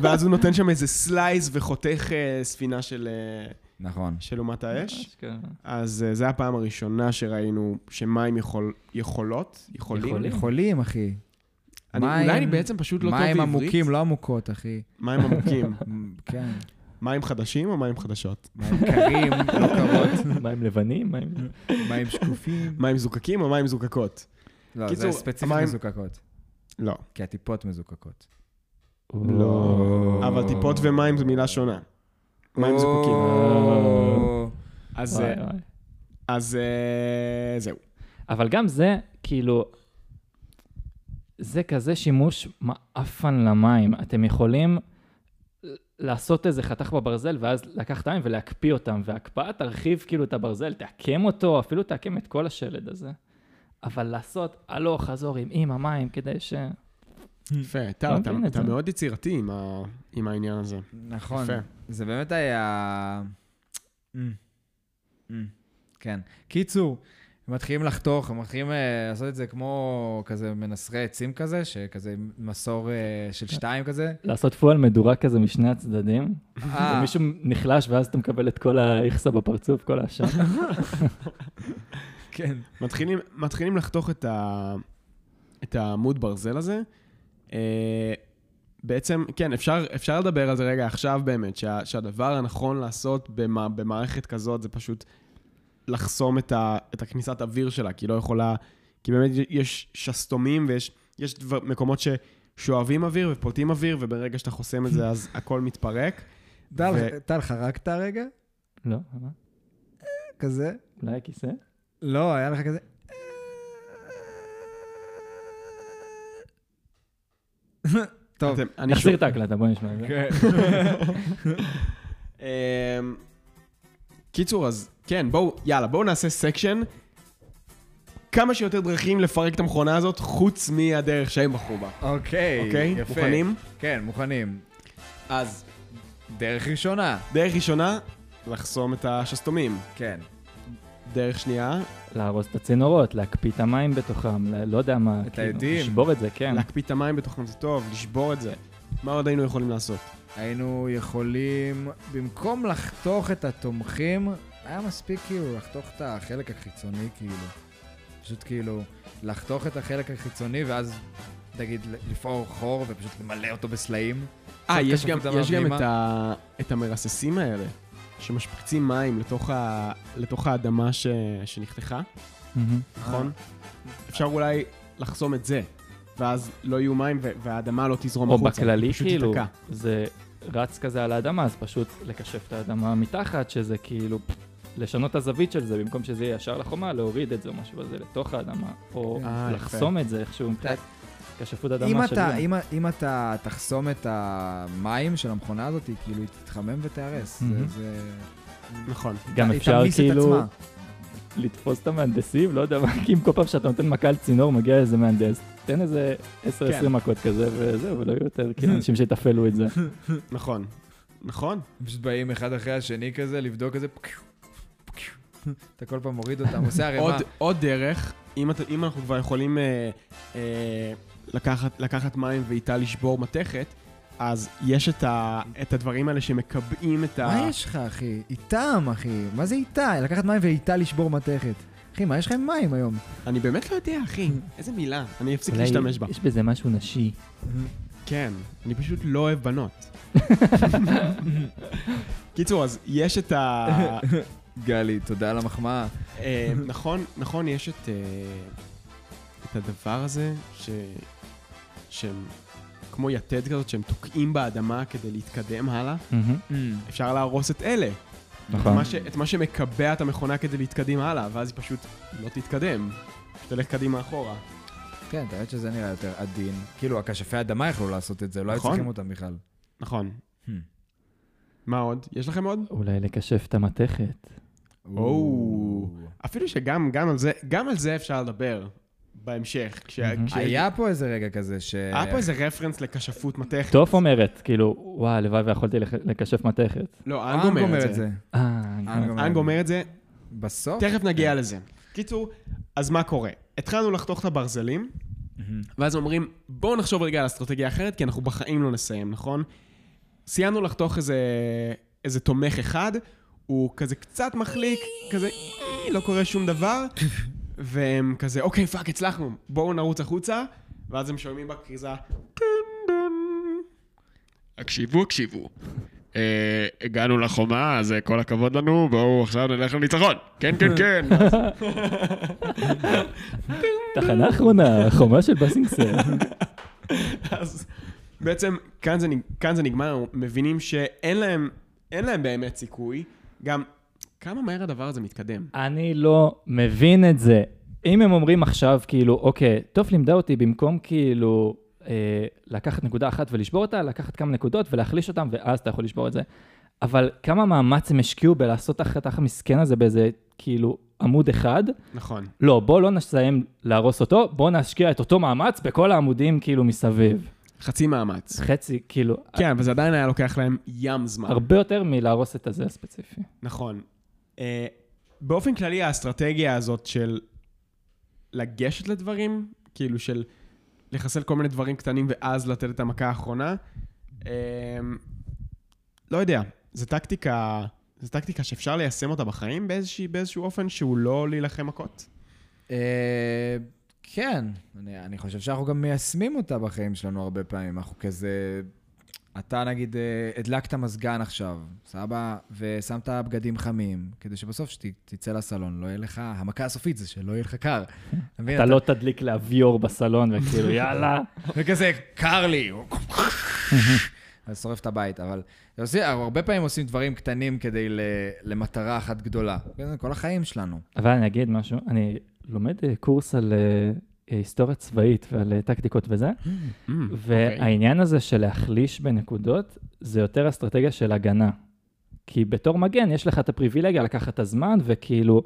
ואז הוא נותן שם איזה סלייס וחותך אה, ספינה של, אה, נכון. של אומת האש. כן. אז זו הפעם הראשונה שראינו שמים יכול, יכולות, יכולים. יכולים. יכולים, אחי. אני, מים- אולי אני בעצם פשוט לא טוב בעברית. מים עמוקים, לא עמוקות, אחי. מים עמוקים. מ- כן. מים חדשים או מים חדשות? מים קרים, לא קרות. מה הם לבנים? מה הם... מים שקופים. מים זוקקים או מים זוקקות? לא, קיצור, זה ספציפית המים- מזוקקות. לא. כי הטיפות מזוקקות. אבל טיפות ומים זו מילה שונה. מים זוקקים. או. אז, וואי, אה, וואי. אז אה, זהו. אבל גם זה, כאילו, זה כזה שימוש מעפן למים. אתם יכולים לעשות איזה חתך בברזל, ואז לקחת מים ולהקפיא אותם, וההקפאה תרחיב כאילו את הברזל, תעקם אותו, אפילו תעקם את כל השלד הזה. אבל לעשות הלוך חזור עם עם המים כדי ש... יפה, טל, לא אתה, מבין את אתה זה. מאוד יצירתי עם, ה, עם העניין הזה. נכון. יפה. זה באמת היה... Mm. Mm. כן. קיצור, הם מתחילים לחתוך, הם מתחילים אה, לעשות את זה כמו כזה מנסרי עצים כזה, שכזה עם מסור אה, של שתיים כזה. לעשות פועל מדורה כזה משני הצדדים, אה, ומישהו נחלש ואז אתה מקבל את כל האיכסה בפרצוף, כל העשן. כן. מתחילים, מתחילים לחתוך את, ה, את העמוד ברזל הזה. אה, בעצם, כן, אפשר, אפשר לדבר על זה רגע עכשיו באמת, שה, שהדבר הנכון לעשות במה, במערכת כזאת זה פשוט לחסום את, ה, את הכניסת אוויר שלה, כי היא לא יכולה, כי באמת יש שסתומים ויש יש דבר, מקומות ששואבים אוויר ופולטים אוויר, וברגע שאתה חוסם את זה אז הכל מתפרק. טל, טל, חרקת רגע? לא, מה? כזה? אולי הכיסא? לא, היה לך כזה... טוב, אתם- אני נחזיר את ההקלטה, בוא נשמע את זה. כן. אמ, קיצור, אז כן, בואו, יאללה, בואו נעשה סקשן. כמה שיותר דרכים לפרק את המכונה הזאת, חוץ מהדרך שהם בחרו בה. אוקיי, אוקיי, יפה. מוכנים? כן, מוכנים. אז, דרך ראשונה. דרך ראשונה, לחסום את השסתומים. כן. דרך שנייה, להרוס את הצינורות, להקפיא את המים בתוכם, ל- לא יודע מה, את האדים. לשבור את זה, כן. להקפיא את המים בתוכם זה טוב, לשבור את זה. מה עוד היינו יכולים לעשות? היינו יכולים, במקום לחתוך את התומכים, היה מספיק כאילו לחתוך את החלק החיצוני, כאילו. פשוט כאילו, לחתוך את החלק החיצוני ואז, נגיד, לפעור חור ופשוט למלא אותו בסלעים. אה, קצת יש קשקשו גם, את יש גם הפנימה. את, ה, את המרססים האלה, שמשפריצים מים לתוך, ה, לתוך האדמה ש, שנחתכה. מהמם. נכון? אפשר אולי לחסום את זה, ואז לא יהיו מים ו- והאדמה לא תזרום או החוצה. בכללי, פשוט כאילו, תיתקע. זה רץ כזה על האדמה, אז פשוט לקשף את האדמה מתחת, שזה כאילו... פ- לשנות את הזווית של זה, במקום שזה יהיה ישר לחומה, להוריד את זה או משהו כזה לתוך האדמה, או אה, יפה. לחסום את זה איכשהו מבחינת כשפות אם אדמה של אתה, זה. אם, אם אתה תחסום את המים של המכונה הזאת, היא כאילו היא תתחמם ותיהרס. זה... מהמם. זה... נכון. גם היא אפשר תמיס את כאילו עצמה. לתפוס את המהנדסים, לא יודע מה, כי אם כל פעם שאתה נותן מכה על צינור, מגיע איזה מהנדס, תן איזה כן. 10-20 מכות כזה, וזהו, ולא יהיו יותר כאילו אנשים שיתפעלו את זה. נכון. נכון? הם פשוט באים אחד אחרי השני כזה, לבדוק איזה... אתה כל פעם מוריד אותם, עושה אה, עוד, ערימה. עוד דרך, אם, אתה, אם אנחנו כבר יכולים אה, אה, לקחת, לקחת מים ואיתה לשבור מתכת, אז יש את, ה, את הדברים האלה שמקבעים את ה... מה יש לך, אחי? איתם, אחי. מה זה איתה? לקחת מים ואיתה לשבור מתכת. אחי, מה יש לך עם מים היום? אני באמת לא יודע, אחי. איזה מילה. אני אפסיק אולי להשתמש בה. יש בזה משהו נשי. כן, אני פשוט לא אוהב בנות. קיצור, אז יש את ה... גלי, תודה על המחמאה. אה, נכון, נכון, יש את, אה, את הדבר הזה, ש, שהם כמו יתד כזאת, שהם תוקעים באדמה כדי להתקדם הלאה. מהמם. Mm. אפשר להרוס את אלה, את נכון. מה, ש, את מה שמקבע את המכונה כדי להתקדם הלאה, ואז היא פשוט לא תתקדם. תלך קדימה אחורה. כן, אתה יודע שזה נראה יותר עדין. כאילו, הכשפי אדמה יכלו לעשות את זה, לא היו נכון. צריכים אותם בכלל. נכון. Hmm. מה עוד? יש לכם עוד? אולי לקשף את המתכת. או. אפילו שגם גם על, זה, גם על זה אפשר לדבר בהמשך. כש, Mhm. כש, היה פה איזה רגע כזה ש... היה פה איזה רפרנס לכשפות מתכת. טוף אומרת, כאילו, וואי, הלוואי ויכולתי לח- לקשף מתכת. לא, אנג אנג אומר את זה. אה, אנג אומר את אנג זה. אומר את זה, בסוף? תכף נגיע לזה. קיצור, אז מה קורה? התחלנו לחתוך את הברזלים, ואז אומרים, בואו נחשוב רגע על אסטרטגיה אחרת, כי אנחנו בחיים לא נסיים, נכון? סיימנו לחתוך איזה, איזה תומך אחד, הוא כזה קצת מחליק, כזה, "אי, לא קורה שום דבר, והם כזה, אוקיי, פאק, הצלחנו, בואו נרוץ החוצה, ואז הם שומעים בכריזה, "טון, טון". הקשיבו, הקשיבו. אה, הגענו לחומה, אז אה, כל הכבוד לנו, בואו עכשיו נלך לניצחון. כן, כן, כן. תחנה אחרונה, חומה של בסינגסר. אז בעצם כאן זה, נג- כאן זה נגמר, מבינים שאין להם, אין להם באמת סיכוי. גם כמה מהר הדבר הזה מתקדם. אני לא מבין את זה. אם הם אומרים עכשיו, כאילו, אוקיי, טוב לימדה אותי במקום כאילו אה, לקחת נקודה אחת ולשבור אותה, לקחת כמה נקודות ולהחליש אותם, ואז אתה יכול לשבור את זה. אבל כמה מאמץ הם השקיעו בלעשות את החתך המסכן הזה באיזה, כאילו, עמוד אחד? נכון. לא, בוא לא נסיים להרוס אותו, בוא נשקיע את אותו מאמץ בכל העמודים, כאילו, מסביב. חצי מאמץ. חצי, כאילו, כן, אבל זה עדיין היה לוקח להם ים זמן. הרבה יותר מלהרוס את הזה הספציפי. נכון. אה, באופן כללי, האסטרטגיה הזאת של לגשת לדברים, כאילו של לחסל כל מיני דברים קטנים ואז לתת את המכה האחרונה, אה, לא יודע, זו טקטיקה, זו טקטיקה שאפשר ליישם אותה בחיים באיזשה, באיזשהו אופן שהוא לא להילחם מכות. אה, כן, אני, אני חושב שאנחנו גם מיישמים אותה בחיים שלנו הרבה פעמים. אנחנו כזה... אתה נגיד אה, הדלקת מזגן עכשיו, סבא, ושמת בגדים חמים, כדי שבסוף שתצא לסלון, לא יהיה לך... המכה הסופית זה שלא יהיה לך קר. אתה מבין? אתה לא תדליק לאביור בסלון וכאילו יאללה. וכזה, קר לי. אז שורף את הבית, אבל אתה עושה- הרבה פעמים עושים דברים קטנים כדי ל- למטרה אחת גדולה. כן, זה כל החיים שלנו. אבל אני אגיד משהו, אני לומד אה, קורס על אה, היסטוריה צבאית ועל אה, טקטיקות וזה, Mm. Hmm, והעניין הזה של להחליש בנקודות, זה יותר אסטרטגיה של הגנה. כי בתור מגן יש לך את הפריבילגיה לקחת את הזמן וכאילו,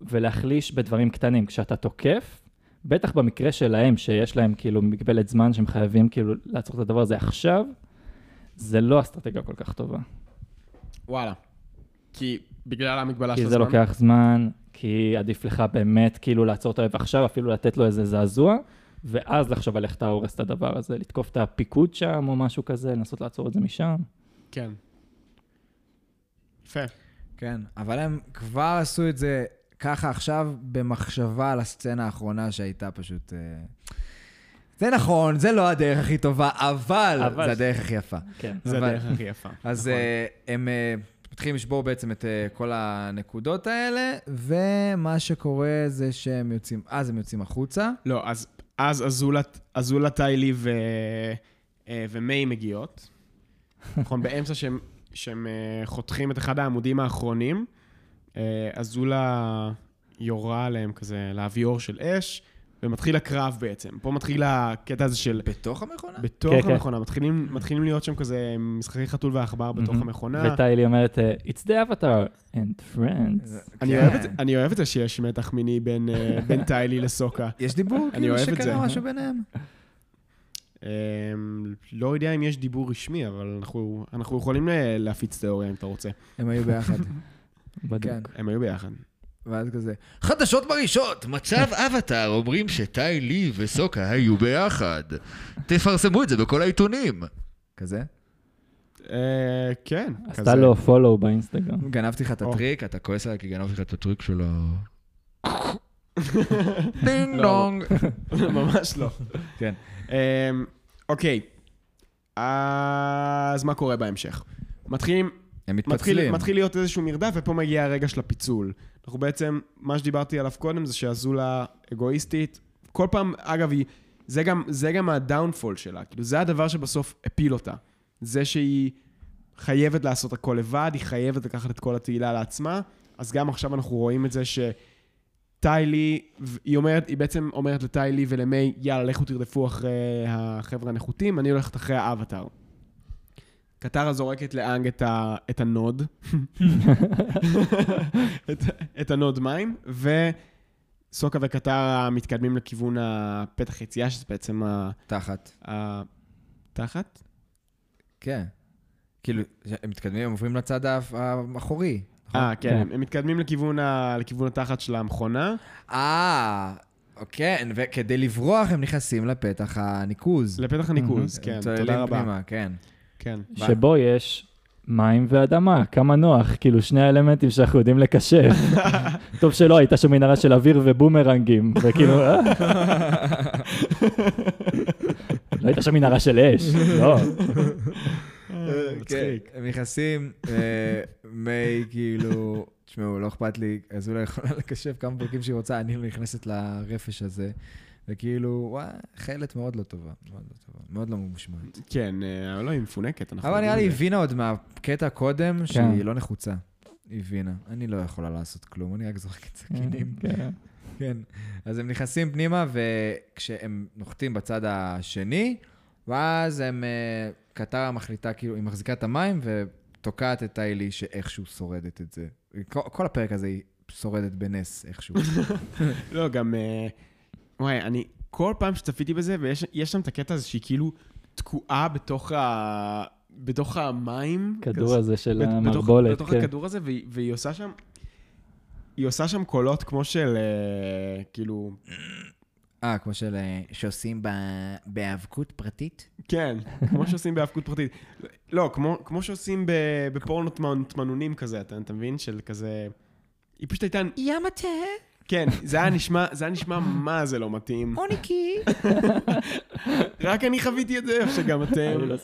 ולהחליש בדברים קטנים. כשאתה תוקף, בטח במקרה שלהם, שיש להם כאילו מגבלת זמן שהם חייבים כאילו לעצור את הדבר הזה עכשיו, זה לא אסטרטגיה כל כך טובה. וואלה. כי בגלל המגבלה של כי הזמן. זה לוקח זמן, כי עדיף לך באמת כאילו לעצור את האויב עכשיו, אפילו לתת לו איזה זעזוע, ואז לחשוב על איך אתה הורס את הדבר הזה, לתקוף את הפיקוד שם או משהו כזה, לנסות לעצור את זה משם. כן. יפה. כן, אבל הם כבר עשו את זה ככה עכשיו, במחשבה על הסצנה האחרונה שהייתה פשוט... אה, זה נכון, זה לא הדרך הכי טובה, אבל, אבל- זה הדרך הכי יפה. כן. זה אבל- הדרך הכי נכון. יפה. אז אה, הם אה, מתחילים לשבור בעצם את אה, כל הנקודות האלה, ומה שקורה זה שהם יוצאים, אז הם יוצאים החוצה. לא, אז, אז אזולה, אזולה טיילי ו, אה, ומיי מגיעות. נכון, באמצע שהם, שהם אה, חותכים את אחד העמודים האחרונים, אה, אזולה יורה עליהם כזה לאוויור של אש, ומתחיל הקרב בעצם. פה מתחיל הקטע הזה של... בתוך המכונה? בתוך כן, כן. המכונה, מתחילים, מתחילים להיות שם כזה אה, משחקי חתול ועכבר בתוך מהמם. המכונה. וטיילי אומרת, אה, It's the avatar and friends. אני, כן. אוהב את, זה- אני אוהב את זה שיש מתח מיני בין, אה, בין טיילי לסוקה. יש דיבור, אני כאילו, אוהב את זה. שקרה משהו ביניהם. אמ, לא יודע אם יש דיבור רשמי, אבל אנחנו, אנחנו יכולים ל- להפיץ תיאוריה אם אתה רוצה. הם היו ביחד, בדיוק. כן. הם היו ביחד. ואז כזה, חדשות מרעישות, מצב אבטאר אומרים שטאי לי וסוקה היו ביחד. תפרסמו את זה בכל העיתונים. כזה. אה, כן, עשתה לו follow באינסטגרם. גנבתי לך את או. הטריק, אתה כועס עליי כי גנבתי לך את הטריק של ה... כן. לא, דינג דונג. ממש לא. כן. אמ, אוקיי, אז מה קורה בהמשך? מתחילים, הם מתחיל, מתפצלים. מתחיל להיות איזשהו מרדף, ופה מגיע הרגע של הפיצול. אנחנו בעצם, מה שדיברתי עליו קודם זה שאזולה אגואיסטית. כל פעם, אגב, היא, זה, גם, זה גם הדאונפול שלה. כאילו, זה הדבר שבסוף הפיל אותה. זה שהיא חייבת לעשות הכל לבד, היא חייבת לקחת את כל התהילה לעצמה. אז גם עכשיו אנחנו רואים את זה שטיילי, היא אומרת, היא בעצם אומרת לטיילי ולמיי, יאללה, לכו תרדפו אחרי החבר'ה הנחותים, אני הולכת אחרי האבטאר. קטרה זורקת לאנג את, ה, את הנוד, את, את הנוד מים, וסוקה וקטרה מתקדמים לכיוון הפתח יציאה, שזה בעצם ה- תחת. ה- תחת? כן. כאילו, הם מתקדמים, הם עוברים לצד האף- האחורי. נכון? אה, כן, כן. הם, הם מתקדמים לכיוון, ה, לכיוון התחת של המכונה. אה, כן, וכדי לברוח הם נכנסים לפתח הניקוז. לפתח הניקוז, כן, צוללים תודה רבה. פנימה, כן. כן. שבו יש מים ואדמה, כמה נוח, כאילו שני האלמנטים שאנחנו יודעים לקשר. טוב שלא, הייתה שם מנהרה של אוויר ובומרנגים, וכאילו... אה. אה, לא הייתה שם מנהרה של אש, לא. אה, מצחיק. כן, הם נכנסים, אה, מיי כאילו, תשמעו, לא אכפת לי, אז אולי יכולה לקשב כמה פרקים שהיא רוצה, אני נכנסת לרפש הזה, וכאילו, וואי, חיילת מאוד לא טובה, מאוד לא טובה, מאוד לא ממושמעת. כן, אה, לא, היא מפונקת. אנחנו אבל נראה לי יודעים היא את זה. הבינה עוד מהקטע קודם, כן. שהיא לא נחוצה. היא הבינה, אני לא יכולה לעשות כלום, אני רק זורקת סכינים. כן. כן. אז הם נכנסים פנימה, וכשהם נוחתים בצד השני, ואז הם... אה, קטרה מחליטה, כאילו, היא מחזיקה את המים ותוקעת את טיילי שאיכשהו שורדת את זה. כל, כל הפרק הזה היא שורדת בנס איכשהו. לא, גם... אה, וואי, אני כל פעם שצפיתי בזה, ויש יש שם את הקטע הזה שהיא כאילו תקועה בתוך ה... בתוך המים. כדור כזה. הזה של בת- בתוך- המערבולת, בתוך כן. הכדור הזה, והיא- והיא עושה שם... היא עושה שם קולות כמו של... אה, כאילו... אה, כמו של... אה, שעושים ב- בהיאבקות פרטית? כן, כמו שעושים בהאבקות פרטית. לא, כמו, כמו שעושים ב- בפורנות מנ- תמנונים כזה, אתה, אתה מבין? של כזה... היא פשוט הייתה... ימתה? כן, זה היה נשמע, זה היה נשמע מה זה לא מתאים. אוניקי. רק אני חוויתי את זה, איפה שגם אתם. אני לא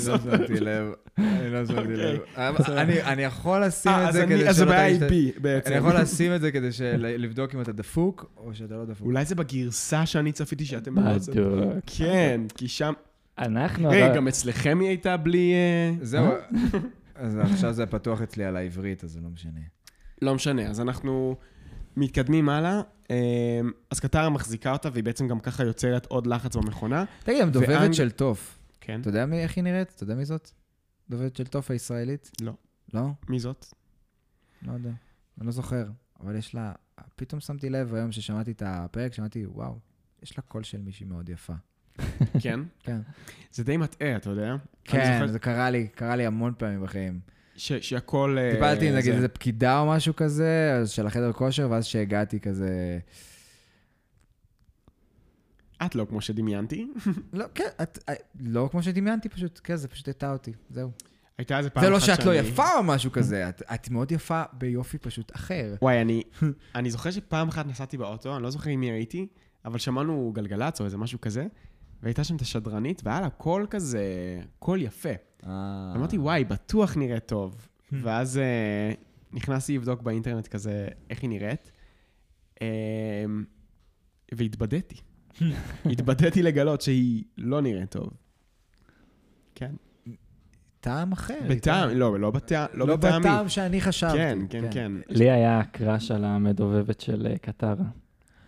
שמתי לב. אני לא שמתי לב, אני לא אוקיי. שמתי לב. אבל אני- אני יכול לשים אה, את אז זה אני- כדי אז שלא הבעיה היא תגיד בי שאתה- בעצם. אני יכול לשים את זה כדי של- לבדוק אם אתה דפוק או שאתה לא דפוק. אולי זה בגרסה שאני צפיתי שאתם לא רוצים. בדיוק. כן, כי שם... אה, אנחנו... רגע, אבל- גם אצלכם היא הייתה בלי... אה, זהו, אז עכשיו זה פתוח אצלי על העברית, אז זה לא משנה. לא משנה, אז אנחנו מתקדמים הלאה. אה, אז קטרה מחזיקה אותה, והיא בעצם גם ככה יוצרת עוד לחץ במכונה. תגיד, ואנג- המדובבת של תוף, כן. אתה יודע מי- איך היא נראית? אתה יודע מי זאת? דובבת של תוף הישראלית? לא. לא? מי זאת? לא יודע. אני לא זוכר. אבל יש לה... פתאום שמתי לב היום ששמעתי את הפרק, שמעתי, וואו, יש לה קול של מישהי מאוד יפה. כן. כן. זה די מטעה, אתה יודע? אני כן, זוכר זה קרה לי, קרה לי המון פעמים בחיים. ש- שהכל... אה, טיפלתי, זה- נגיד, איזה פקידה או משהו כזה, אז של החדר כושר, ואז שהגעתי כזה... את לא כמו שדמיינתי. לא, כן, את... לא כמו שדמיינתי פשוט, כן, זה פשוט הטעה אותי, זהו. הייתה איזה פעם זה אחת לא שאני... שאת לא יפה או משהו כזה, את- את מאוד יפה ביופי פשוט אחר. וואי, אני, אני זוכר שפעם אחת נסעתי באוטו, אני לא זוכר עם מי הייתי, אבל שמענו גלגלצ או איזה משהו כזה, והייתה שם את השדרנית, והיה לה קול כזה, קול יפה. אמרתי, וואי, בטוח נראה טוב. ואז אה, נכנסתי לבדוק באינטרנט כזה איך היא נראית, אה, והתבדיתי. התבדיתי לגלות שהיא לא נראית טוב. כן. טעם אחר. בטעם, לא, לא בטעם, לא בטעם שאני חשבתי. כן, כן, כן. לי היה קראש על המדובבת של אה, קטרה.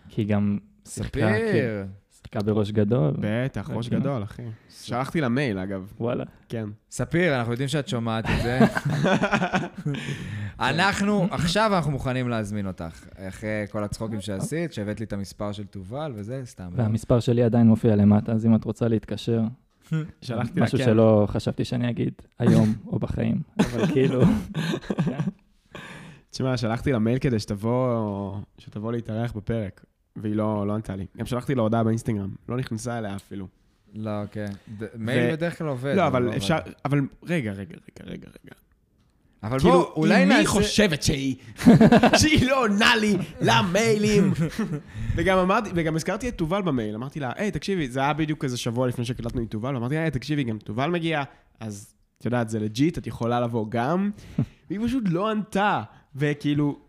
כי היא גם שיחקה כאילו, ספיר. שיחקה בראש גדול. בטח, ראש גדול, אחי. כן. שלחתי לה מייל, אגב. וואלה. כן. ספיר, אנחנו יודעים שאת שומעת את זה. אנחנו, עכשיו אנחנו מוכנים להזמין אותך. אחרי כל הצחוקים שעשית, שהבאת לי את המספר של תובל וזה, סתם. והמספר שלי עדיין מופיע למטה, אז אם את רוצה להתקשר, שלחתי לה, משהו כן. שלא חשבתי שאני אגיד היום או בחיים, אבל כאילו, תשמע, שלחתי לה מייל כדי שתבוא, שתבוא להתארח בפרק, והיא לא, לא ענתה לי. גם שלחתי לה הודעה באינסטגרם, לא נכנסה אליה אפילו. לא, כן. ד- מייל בדרך כלל עובד. לא, אבל עובד. אפשר, אבל רגע, רגע, רגע, רגע, רגע. אבל בוא, כאילו, אולי אם היא נעשה... חושבת שהיא, שהיא לא עונה לי למיילים. וגם אמרתי, וגם הזכרתי את תובל במייל, אמרתי לה, היי, תקשיבי, זה היה בדיוק איזה שבוע לפני שקלטנו עם תובל, ואמרתי לה, היי, תקשיבי, גם תובל מגיע, אז את יודעת, זה לג'יט, את יכולה לבוא גם. והיא פשוט לא ענתה, וכאילו,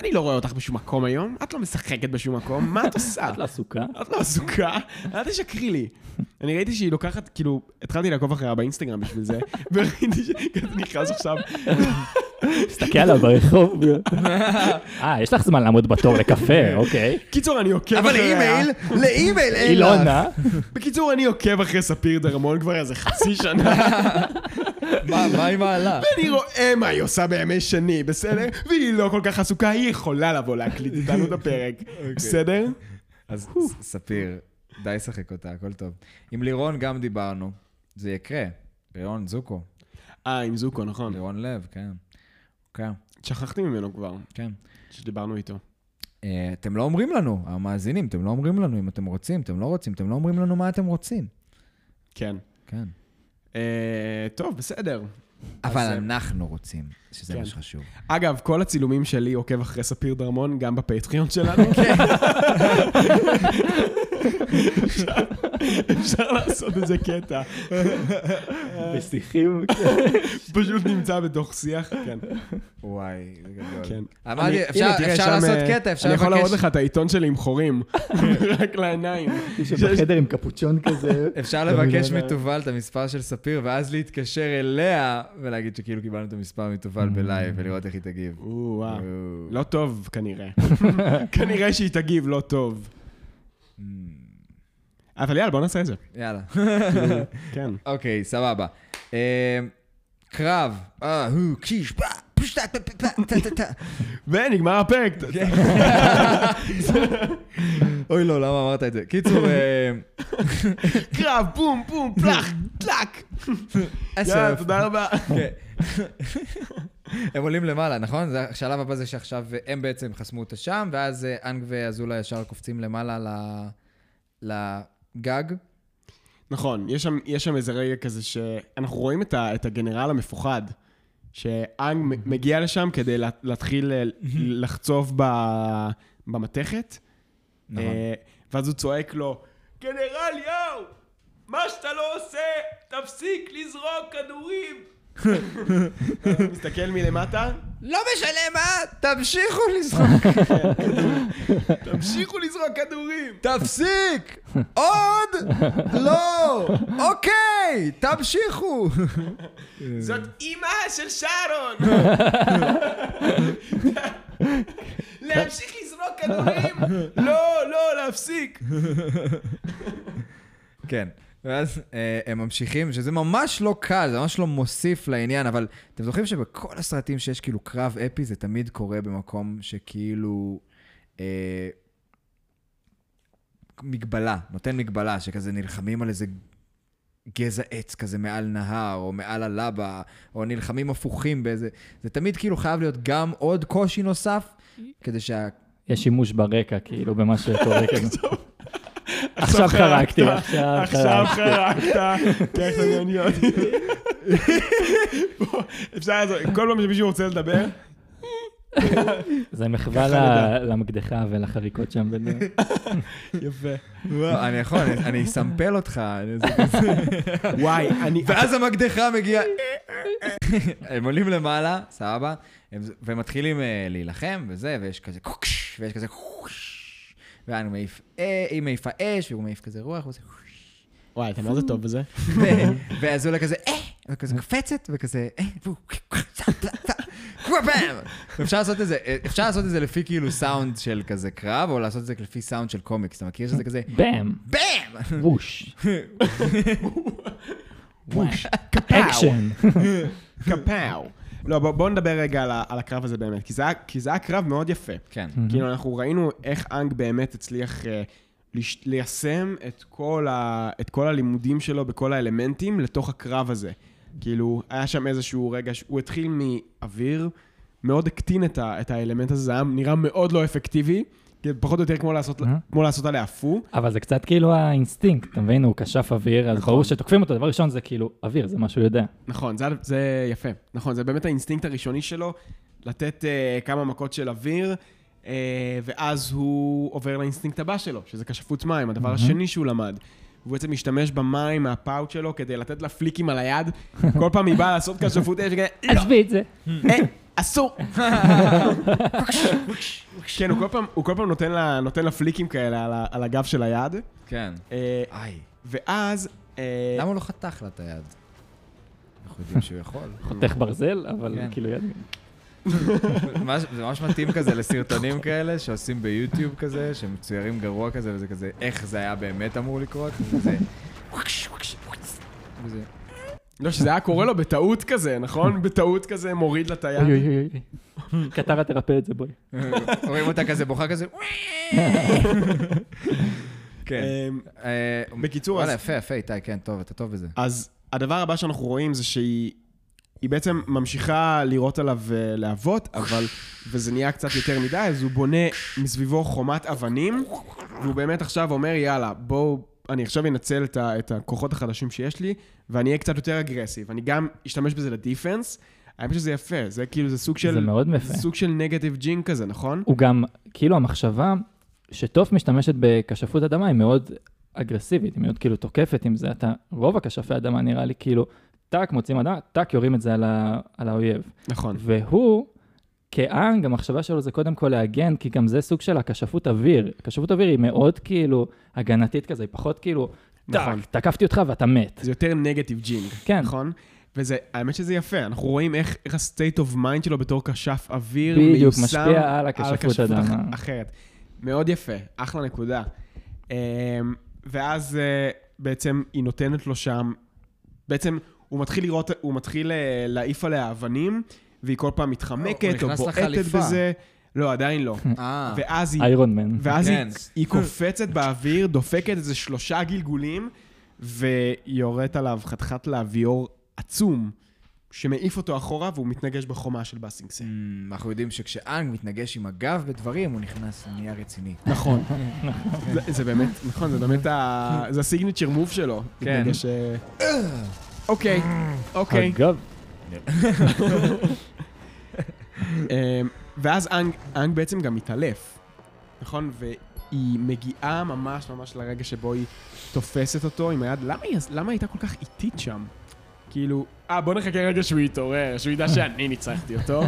אני לא רואה אותך בשום מקום היום, את לא משחקת בשום מקום, מה את עושה? את לא עסוקה. את לא עסוקה, אל תשקרי לי. אני ראיתי שהיא לוקחת, כאילו, התחלתי לעקוב אחריה באינסטגרם בשביל זה, וראיתי שכזה נכנס עכשיו, תסתכל עליו ברחוב. אה, יש לך זמן לעמוד בתור לקפה, אוקיי. קיצור, אני עוקב אבל אחריה. לאימייל, לאימייל אין היא לך. לא עונה. בקיצור, אני עוקב אחרי ספיר דרמון כבר איזה חצי שנה, מה, מה היא מעלה? אני רואה מה היא עושה בימי שני, בסדר? והיא לא כל כך עסוקה, היא יכולה לבוא להקליט איתנו את הפרק, בסדר? אז ס- ספיר, די לשחק אותה, הכל טוב. עם לירון גם דיברנו, זה יקרה. לירון זוקו, אה, עם זוקו, נכון. לירון לב, כן. כן, שכחתי ממנו כבר, כן. שדיברנו איתו. אה, אתם לא אומרים לנו, המאזינים, אתם לא אומרים לנו אם אתם רוצים, אתם לא רוצים, אתם לא אומרים לנו מה אתם רוצים. כן. כן. אה, טוב, בסדר. אבל אה, אנחנו רוצים, שזה כן. מה שחשוב. אגב, כל הצילומים שלי עוקב אחרי ספיר דרמון, גם בפטריון שלנו. כן. אפשר- אפשר לעשות איזה קטע. בשיחים. פשוט נמצא בתוך שיח, כן. וואי, זה גדול. כן. אמרתי, אני- אפשר הנה, תראה, אפשר שם, לעשות אה, קטע, אפשר אני לבקש... יכול להראות לך את העיתון שלי עם חורים, רק לעיניים. בחדר עם קפוצ'ון כזה. אפשר לא לבקש מתובל את המספר של ספיר, ואז להתקשר אליה ולהגיד שכאילו קיבלנו את המספר Mm. מתובל בלייב, ולראות איך היא תגיב. או, וואו. או. לא טוב כנראה. כנראה שהיא תגיב לא טוב. אבל יאללה, בוא נעשה את זה. יאללה. כן. אוקיי, סבבה. אה, קרב. אה, הו, קיש, בא, פשטה, טה, טה, טה, טה, טה. ונגמר הפרק. אוי, לא, למה אמרת את זה? קיצור, אה, קרב, בום, בום, פלח, טלק. יאללה, אסף. תודה רבה. כן. הם עולים למעלה, נכון? זה- השלב הבא זה שעכשיו הם בעצם חסמו אותה שם, ואז אה, אנג ואזולה ישר קופצים למעלה ל- לגג. נכון, יש שם, יש שם איזה רגע כזה שאנחנו רואים את, ה, את הגנרל המפוחד, שאנג מ- מגיע לשם כדי לה- להתחיל ל- לחצוב ב, אה, במתכת. נכון. אה, ואז הוא צועק לו, גנרל יאו, מה שאתה לא עושה, תפסיק לזרוק כדורים. הוא מסתכל מלמטה, כן, לא משנה מה, תמשיכו לזרוק. תמשיכו לזרוק כדורים. תפסיק! עוד? לא! אוקיי, תמשיכו! זאת אימא של שרון. להמשיך לזרוק כדורים? לא, לא, להפסיק. כן. ואז אה, הם ממשיכים, שזה ממש לא קל, זה ממש לא מוסיף לעניין, אבל אתם זוכרים שבכל הסרטים שיש כאילו קרב אפי, זה תמיד קורה במקום שכאילו... אה, מגבלה, נותן מגבלה, שכזה נלחמים על איזה גזע עץ כזה מעל נהר, או מעל הלבה, או נלחמים הפוכים באיזה... זה תמיד כאילו חייב להיות גם עוד קושי נוסף, כדי שה... יש שימוש ברקע, כאילו, במה שקורה כאן. עכשיו חרקתי, עכשיו עכשיו חרקתי. חרקת, תכף אני אני אני. בוא, אפשר לעשות, כל פעם שמישהו רוצה לדבר, זה מחווה ל- למקדחה ולחריקות שם. בין- יפה. וואו, אני יכול, אני- אני אסמפל אותך. אני- זה- וואי, אני... ואז המקדחה מגיעה... הם עולים למעלה, סבבה, הם- והם מתחילים אה, להילחם וזה, ויש כזה קוקש, ויש כזה קוקש, ואני מעיף, אה, היא מעיפה אש, והוא מעיף כזה רוח, ועושה קוקש. וואי, אתה מאוד טוב בזה. ו- ואז עולה כזה, אה, וכזה קופצת, וכזה, אה, והוא צה, צה, צה, קוואבאם. אפשר לעשות את זה, אפשר לעשות את זה לפי כאילו סאונד של כזה קרב, או לעשות את זה לפי סאונד של קומיקס, אתה מכיר שזה כזה, באם, באם! ווש, וואש, אקשן. קפאו. לא, בוא- בואו נדבר רגע על ה- על הקרב הזה באמת, כי זה היה- כי זה היה קרב מאוד יפה. כן. כאילו, אנחנו ראינו איך אנג באמת הצליח אה, לש- ליישם את כל ה- את כל הלימודים שלו בכל האלמנטים לתוך הקרב הזה. כאילו, היה שם איזשהו רגע, ש- הוא התחיל מאוויר, מאוד הקטין את ה- את האלמנט הזה, זה היה נראה מאוד לא אפקטיבי, כאילו, פחות או יותר כמו לעשות- אה. כמו לעשות עליה הפוך. אבל זה קצת כאילו האינסטינקט, אתה מבין? הוא כשף אוויר, אז ברור שתוקפים אותו, דבר ראשון זה כאילו, אוויר, זה מה שהוא יודע. נכון, זה, זה יפה. נכון, זה באמת האינסטינקט הראשוני שלו, לתת אה, כמה מכות של אוויר, אה, ואז הוא עובר לאינסטינקט הבא שלו, שזה כשפות מים, הדבר השני שהוא למד. הוא בעצם משתמש במים מהפאוט שלו כדי לתת לה פליקים על היד. כל פעם היא באה לעשות כשפות אש, כזה, "לא, עזבי את זה. אה, אסור. כן, הוא כל פעם- הוא כל פעם נותן לה- נותן לה פליקים כאלה על ה- על הגב של היד. כן. אה, איי. ואז... אה, למה הוא לא חתך לה את היד? אנחנו יודעים שהוא יכול. חותך ברזל, אבל כן. כאילו, יד- ממש- זה ממש מתאים כזה לסרטונים כאלה שעושים ביוטיוב כזה, שמצוירים גרוע כזה, וזה כזה, איך זה היה באמת אמור לקרות? וזה... וזה- לא, שזה היה קורה לו בטעות כזה, נכון? בטעות כזה מוריד לה את היד. אוי אוי אוי אוי. קטרה תרפא את זה, בואי. רואים אותה כזה בוכה כזה... כן. אמ, אה, בקיצור, וואלה, אז- יפה, יפה, איתי, כן, טוב, אתה טוב בזה. אז הדבר הבא שאנחנו רואים זה שהיא היא בעצם ממשיכה לירות עליו אה, להבות, אבל... וזה נהיה קצת יותר מדי, אז הוא בונה מסביבו חומת אבנים, והוא באמת עכשיו אומר, יאללה, בואו... אני עכשיו אנצל את, ה, את הכוחות החדשים שיש לי, ואני אהיה קצת יותר אגרסיב. אני גם אשתמש בזה לדיפנס. האמת שזה יפה, זה כאילו, זה סוג של... זה מאוד זה מפה. סוג של נגטיב ג'ין כזה, נכון? הוא גם, כאילו המחשבה שטוף משתמשת בכשפות אדמה היא מאוד אגרסיבית, היא מאוד כאילו תוקפת עם זה. אתה, רוב הכשפי אדמה נראה לי כאילו, טאק, מוצאים אדמה, טאק, יורים את זה על, ה, על האויב. נכון. והוא, כאנג, המחשבה שלו זה קודם כל להגן, כי גם זה סוג של הכשפות אוויר. כשפות אוויר היא מאוד כאילו הגנתית כזה, היא פחות כאילו, נכון. טאק, תקפתי אותך ואתה מת. זה יותר נגטיב ג'ינג, כן. נכון? וזה, האמת שזה יפה, אנחנו רואים איך, איך ה-state of mind שלו בתור כשף אוויר בדיוק, מיושם משפיע על הכשפות אדמה. אח- אחרת. מאוד יפה, אחלה נקודה. אמ, ואז אה, בעצם היא נותנת לו שם, בעצם הוא מתחיל לראות, הוא מתחיל אה, להעיף עליה אבנים, והיא כל פעם הוא מתחמקת או נכנס בועטת לחליפה. בזה. לא, עדיין לא. אה, ואז היא איירון מן. ואז היא, כן. היא קופצת באוויר, דופקת איזה שלושה גלגולים, ויורדת עליו חתיכת לאוויור עצום, שמעיף אותו אחורה והוא מתנגש בחומה של Mm. באסינגסה. אנחנו יודעים שכשאנג מתנגש עם הגב בדברים, הוא נכנס לנהיה רציני. נכון. זה, זה באמת, נכון, זה באמת ה... זה הסיגניצ'ר מוב שלו. כן. מתנגש, אה, אוקיי, אוקיי. אגב, אמ, ואז אנג, אנג בעצם גם מתעלף. נכון? והיא מגיעה ממש ממש לרגע שבו היא תופסת אותו עם היד. למה היא, למה היא הייתה כל כך איטית שם? כאילו, אה, בוא נחכה רגע שהוא יתעורר, שהוא ידע שאני ניצחתי אותו.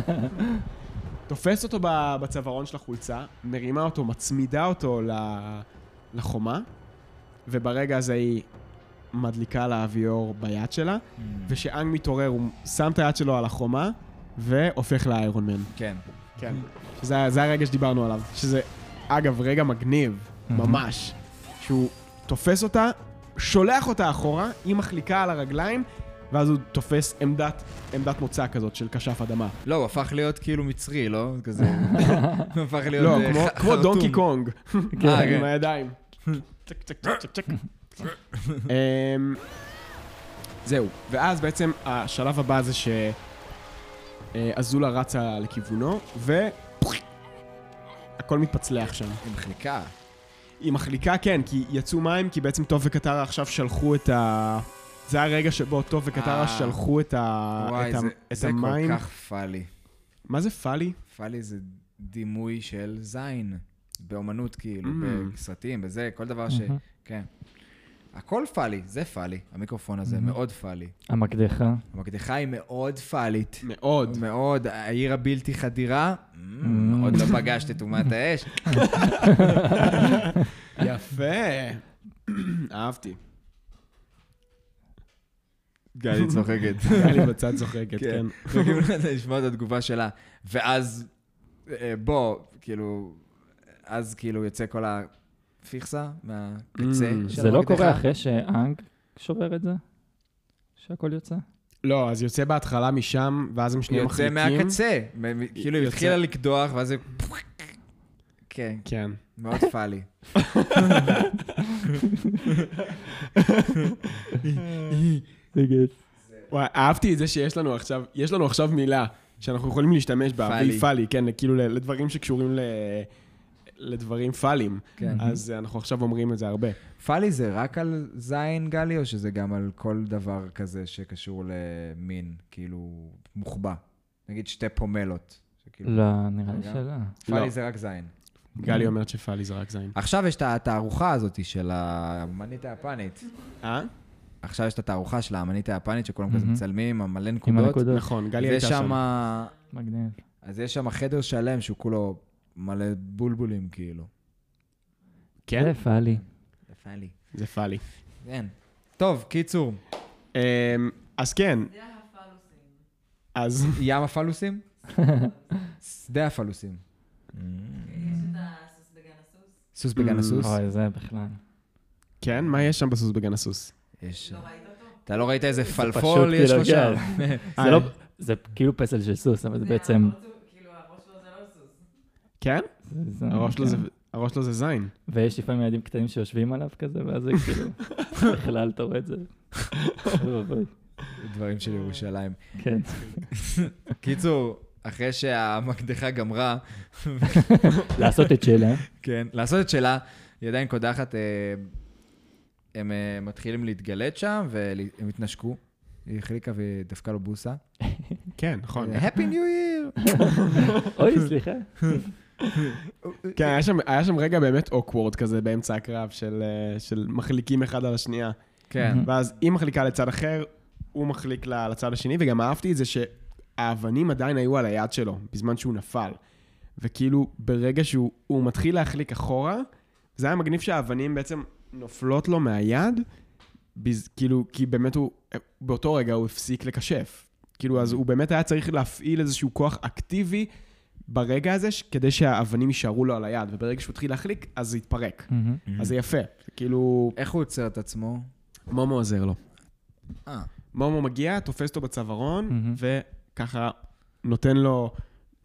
תופס אותו ב- בצווארון של החולצה, מרימה אותו, מצמידה אותו ל- לחומה, וברגע הזה היא מדליקה לה אביור ביד שלה, וכשאנג מתעורר הוא שם את היד שלו על החומה, והופך לאיירון מן. כן. כן. שזה היה- זה הרגע שדיברנו עליו, שזה, אגב, רגע מגניב, ממש. שהוא תופס אותה, שולח אותה אחורה, היא מחליקה על הרגליים, ואז הוא תופס עמדת, עמדת מוצא כזאת של כשף אדמה. לא, הוא הפך להיות כאילו מצרי, לא? כזה... הוא הפך להיות לא, אה, כמו, ח- כמו חרטום. דונקי קונג. אה, כן. עם הידיים. צ'ק, צ'ק, צ'ק, צ'ק, צ'ק. אמ, זהו, ואז בעצם השלב הבא זה שאזולה רצה לכיוונו, והכל מתפצלח שם. עם חלקה. היא מחליקה, כן, כי יצאו מים, כי בעצם טוב וקטרה עכשיו שלחו את ה... זה הרגע שבו טוב וקטרה אה. שלחו את, ה... וואי, את, ה... זה- את זה המים. כל כך פאלי. מה זה פאלי? פאלי זה דימוי של זין. באומנות, כאילו, Mm. בסרטים, בזה, כל דבר ש... כן. הכל פאלי, זה פאלי. המיקרופון הזה מאוד פאלי. המקדחה. המקדחה היא מאוד פאלית. מאוד. מאוד, העיר הבלתי חדירה, "מ, עוד לא פגשת את אומת האש. יפה. אהבתי. גלי צוחקת. גלי בצד צוחקת, כן. כן. וגם לשמוע את התגובה שלה. ואז, אה, בוא, כאילו, אז כאילו יוצא כל הפיכסה מהקצה של Mm. זה לא המקדחה. קורה אחרי שאנג שובר את זה? שהכל יוצא? לא, אז יוצא בהתחלה משם, ואז הם שניהם יוצא מחליקים. מהקצה. מ- מ- כאילו, היא יוצא. התחילה לקדוח, ואז זה... כן, כן. מאוד פאלי. וואי, אהבתי את זה שיש לנו עכשיו, יש לנו עכשיו מילה שאנחנו יכולים להשתמש בה, פאלי. והיא פאלי, כן, כאילו ל- לדברים שקשורים ל... לדברים פאליים. כן. אז אה, אנחנו עכשיו אומרים את זה הרבה. פאלי זה רק על זין גלי, או שזה גם על כל דבר כזה שקשור למין, כאילו, מוחבא? נגיד שתי פומלות. שכאילו- כאילו. לא, נראה לי רגע. שלא. פאלי לא. זה רק זין. כן. גלי אומרת שפאלי זה רק זין. עכשיו יש את התערוכה הזאת של האמנית היפנית. אה? עכשיו יש את התערוכה של האמנית היפנית, שכולם כזה מהמם. מצלמים, עם מלא עם נקודות. הנקודות. נכון, גלי הייתה ויש שם. שם... מגניב. אז יש שם חדר שלם שהוא כולו מלא בולבולים, כאילו. כן? זה פאלי. פאלי. זה פאלי. כן. טוב, קיצור, אמ, אז כן. אז ים הפלוסים? שדה הפלוסים. סוס לא בגן הסוס? אוקיי. אוי, זה בכלל. כן, מה יש שם בסוס בגן הסוס? יש... אתה לא ראית איזה פשוט פלפול יש כאילו, לו שם? זה לא... זה כאילו פסל של סוס, אבל זה בעצם... כן? זה- אה, זה- הראש שלו זה- כן. הראש שלו זה זין. ויש לפעמים ילדים קטנים שיושבים עליו כזה, ואז זה כאילו... בכלל, אתה רואה את זה? אוי ואבוי. דברים של ירושלים. כן. קיצור, אחרי שהמקדחה גמרה, לעשות את אה? שלה. כן, לעשות את שלה, היא עדיין קודחת, אה, הם אה, מתחילים להתגלט שם, והם התנשקו. היא החליקה ודפקה לו בוסה. כן, נכון. Happy New Year! אוי, סליחה. כן, היה שם- היה שם רגע באמת אוקוורד כזה באמצע הקרב של אה, של מחליקים אחד על השנייה. כן, ואז היא מחליקה לצד אחר, הוא מחליק לה לצד השני, וגם אהבתי את זה שהאבנים עדיין היו על היד שלו, בזמן שהוא נפל. וכאילו, ברגע שהוא הוא מתחיל להחליק אחורה, זה היה מגניב שהאבנים בעצם נופלות לו מהיד, בז, כאילו, כי באמת הוא, באותו רגע הוא הפסיק לקשף. כאילו, אז הוא באמת היה צריך להפעיל איזשהו כוח אקטיבי ברגע הזה, ש- כדי שהאבנים יישארו לו על היד, וברגע שהוא התחיל להחליק, אז זה התפרק. Mm. אז זה יפה. כאילו, איך הוא עוצר את עצמו? מומו עוזר לו. אה. מומו מגיע, תופס אותו בצווארון, מהמם. וככה נותן לו,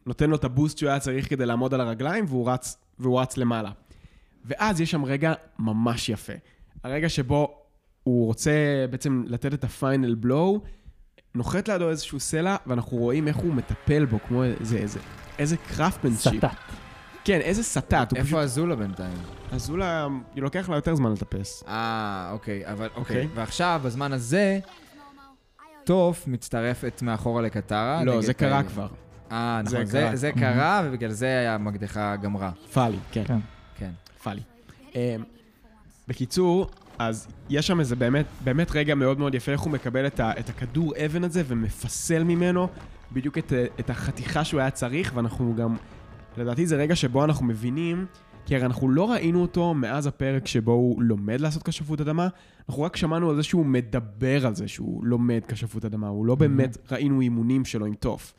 נותן לו את הבוסט שהוא היה צריך כדי לעמוד על הרגליים, והוא רץ, והוא רץ למעלה. ואז יש שם רגע ממש יפה. הרגע שבו הוא רוצה בעצם לתת את הפיינל בלואו, נוחת לידו איזשהו סלע, ואנחנו רואים איך הוא מטפל בו, כמו איזה, איזה, איזה קראפטמנשיפ. סטט. כן, איזה סטט. הוא פשוט... איפה אזולה בינתיים? אזולה, לוקח לה יותר זמן לטפס. אה, אוקיי, אבל אוקיי. אוקיי. ועכשיו, בזמן הזה, טוף מצטרפת מאחורה לקטרה. לא, נגד זה קרה פיירי. כבר. אה, זה נכון, זה- קרה. Mm-hmm. זה קרה, ובגלל זה המקדחה גמרה. פאלי, כן. כן. כן. פאלי. אמ, בקיצור, אז יש שם איזה באמת, באמת רגע מאוד מאוד יפה, איך הוא מקבל את, ה, את הכדור אבן הזה ומפסל ממנו בדיוק את, ה- את החתיכה שהוא היה צריך, ואנחנו גם, לדעתי זה רגע שבו אנחנו מבינים, כי הרי אנחנו לא ראינו אותו מאז הפרק שבו הוא לומד לעשות כשפות אדמה, אנחנו רק שמענו על זה שהוא מדבר על זה שהוא לומד כשפות אדמה, הוא לא באמת ראינו אימונים שלו עם תוף.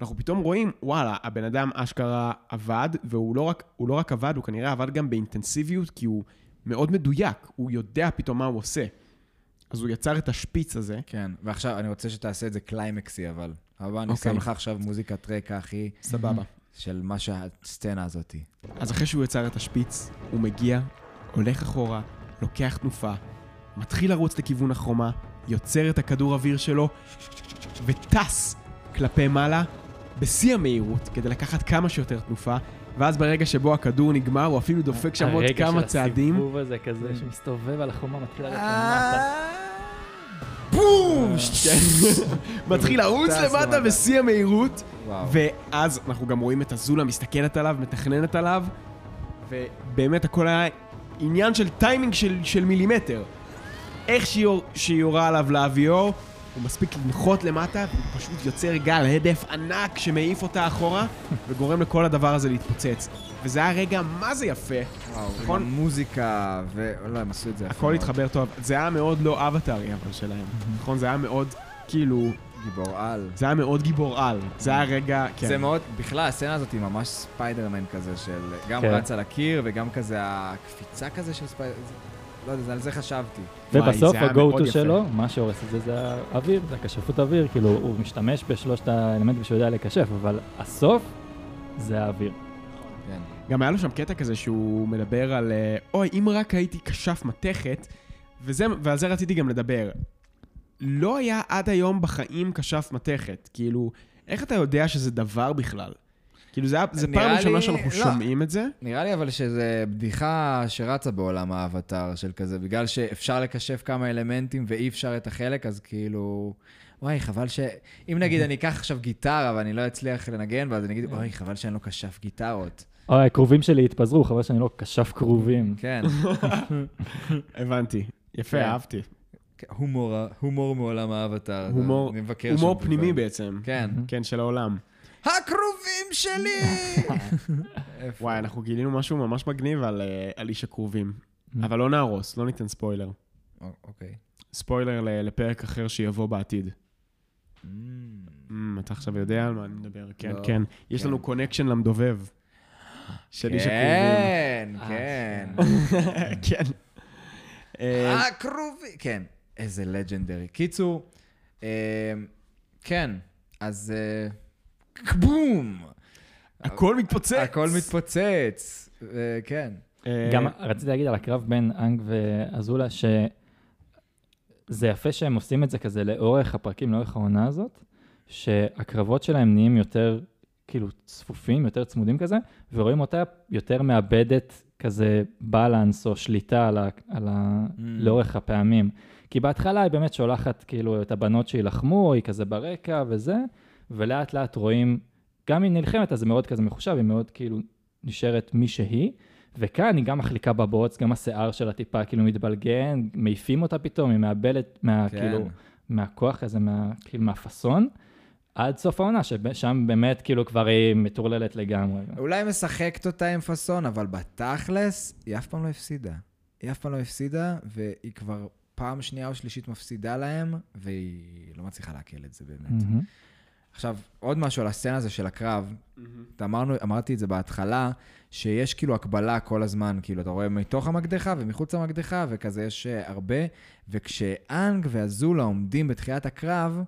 אנחנו פתאום רואים, וואלה, הבן אדם אשכרה עבד, והוא לא רק, הוא לא רק עבד, הוא כנראה עבד גם באינטנסיביות, כי הוא מאוד מדויק, הוא יודע פתאום מה הוא עושה. אז הוא יצר את השפיץ הזה. כן, ועכשיו אני רוצה שתעשה את זה קליימקסי, אבל. הבא, אני אוקיי. שם לך עכשיו מוזיקת רקע, אחי, סבבה. של מה שהסצנה הזאתי. אז אחרי שהוא יצר את השפיץ, הוא מגיע, הולך אחורה, לוקח תנופה, מתחיל לרוץ לכיוון החומה, יוצר את הכדור אוויר שלו, וטס כלפי מעלה בשיא המהירות, כדי לקחת כמה שיותר תנופה, ואז ברגע שבו הכדור נגמר, הוא אפילו דופק שם עוד כמה הרגע של צעדים. אה, הסיבוב הזה כזה, שמסתובב על החומה, מתחיל ללכת למטה. מתחיל לרוץ טס למטה למטה. בשיא המהירות, וואו. ואז אנחנו גם רואים את אזולה מסתכלת עליו, מתכננת עליו, ובאמת הכל היה עניין של טיימינג של, של מילימטר. איך שהיא יור- שהיא יורה עליו לאוויור, הוא מספיק לנחות למטה, הוא פשוט יוצר גל הדף ענק שמעיף אותה אחורה, וגורם לכל הדבר הזה להתפוצץ. וזה היה רגע מה זה יפה, וואו, נכון? נכון? מוזיקה, ו... לא, הם עשו את זה. יפה הכל מאוד. התחבר טוב. זה היה מאוד לא אבטארי אבל שלהם, נכון? זה היה מאוד, כאילו, לא. גיבור על. זה היה מאוד גיבור על. זה היה רגע, כן. זה מאוד, בכלל, הסצנה הזאת היא ממש ספיידרמן כזה, של גם כן. רץ על הקיר וגם כזה הקפיצה כזה של ספיידרמן. לא יודע, זה- על זה חשבתי. וואי, ובסוף זה היה מאוד ה-go-to יפה. שלו, מה שהורס את זה זה האוויר, זה הכשפות האוויר, כאילו הוא משתמש בשלושת האלמנטים שהוא יודע לקשף, אבל הסוף זה האוויר. כן. גם היה לו שם קטע כזה שהוא מדבר על, אה, אוי, אם רק הייתי כשף מתכת, וזה, ועל זה רציתי גם לדבר. לא היה עד היום בחיים כשף מתכת. כאילו, איך אתה יודע שזה דבר בכלל? כאילו, זה, היה- זה נראה פעם ראשונה לי- שאנחנו לא. שומעים את זה. נראה לי אבל שזה בדיחה שרצה בעולם האבטאר של כזה, בגלל שאפשר לקשף כמה אלמנטים ואי אפשר את החלק, אז כאילו... וואי, חבל ש... אם נגיד אני אקח עכשיו גיטרה ואני לא אצליח לנגן, ואז אני כן. אגיד, אוי, חבל שאני לא כשף גיטרות. אוי, הקרובים שלי התפזרו, חבל שאני לא כשף קרובים. כן, הבנתי. יפה, כן. אהבתי. הומור, ה- הומור מעולם האבטאר. אז הומור, אני מבקר הומור שם פנימי לפעמים. בעצם. כן. כן, של העולם. הקרובים שלי! וואי, אנחנו גילינו משהו ממש מגניב על, אה, על איש הקרובים. אבל לא נהרוס, לא ניתן ספוילר. או- אוקיי. ספוילר ל- לפרק אחר שיבוא בעתיד. Mm, אתה עכשיו יודע על מה אני מדבר, כן, לא, כן. יש לנו קונקשן למדובב. של איש הקרובים. כן, כן. אה, כן. אה, הקרובי, כן. איזה לג'נדרי. קיצור, אה, כן, אז אה, בום! הכל מתפוצץ. הכל מתפוצץ. אה, כן. אה, גם רציתי להגיד על הקרב בין אנג ואזולה, שזה יפה שהם עושים את זה כזה לאורך הפרקים, לאורך העונה הזאת, שהקרבות שלהם נהיים יותר כאילו צפופים, יותר צמודים כזה, ורואים אותה יותר מאבדת כזה בלנס או שליטה על ה, על ה, לאורך הפעמים. כי בהתחלה היא באמת שולחת כאילו את הבנות שיילחמו, היא כזה ברקע וזה, ולאט לאט רואים, גם אם נלחמת אז זה מאוד כזה מחושב, היא מאוד כאילו נשארת מי שהיא, וכאן היא גם מחליקה בבוץ, גם השיער שלה טיפה כאילו מתבלגן, מעיפים אותה פתאום, היא מאבדת מה, כן. כאילו, מהכוח הזה, מה, כאילו מהפאסון, עד סוף העונה, ששם באמת כאילו כבר היא מטורללת לגמרי. אולי משחקת אותה עם פאסון, אבל בתכלס, היא אף פעם לא הפסידה. היא אף פעם לא הפסידה, והיא כבר פעם שנייה או שלישית מפסידה להם, והיא לא מצליחה לעכל את זה באמת. מהמם. עכשיו, עוד משהו על הסצנה הזו של הקרב. אתה אמרנו, אמרתי את זה בהתחלה, שיש כאילו הקבלה כל הזמן, כאילו, אתה רואה מתוך המקדחה ומחוץ למקדחה, וכזה יש אה, הרבה. וכשאנג ואזולה עומדים בתחילת הקרב,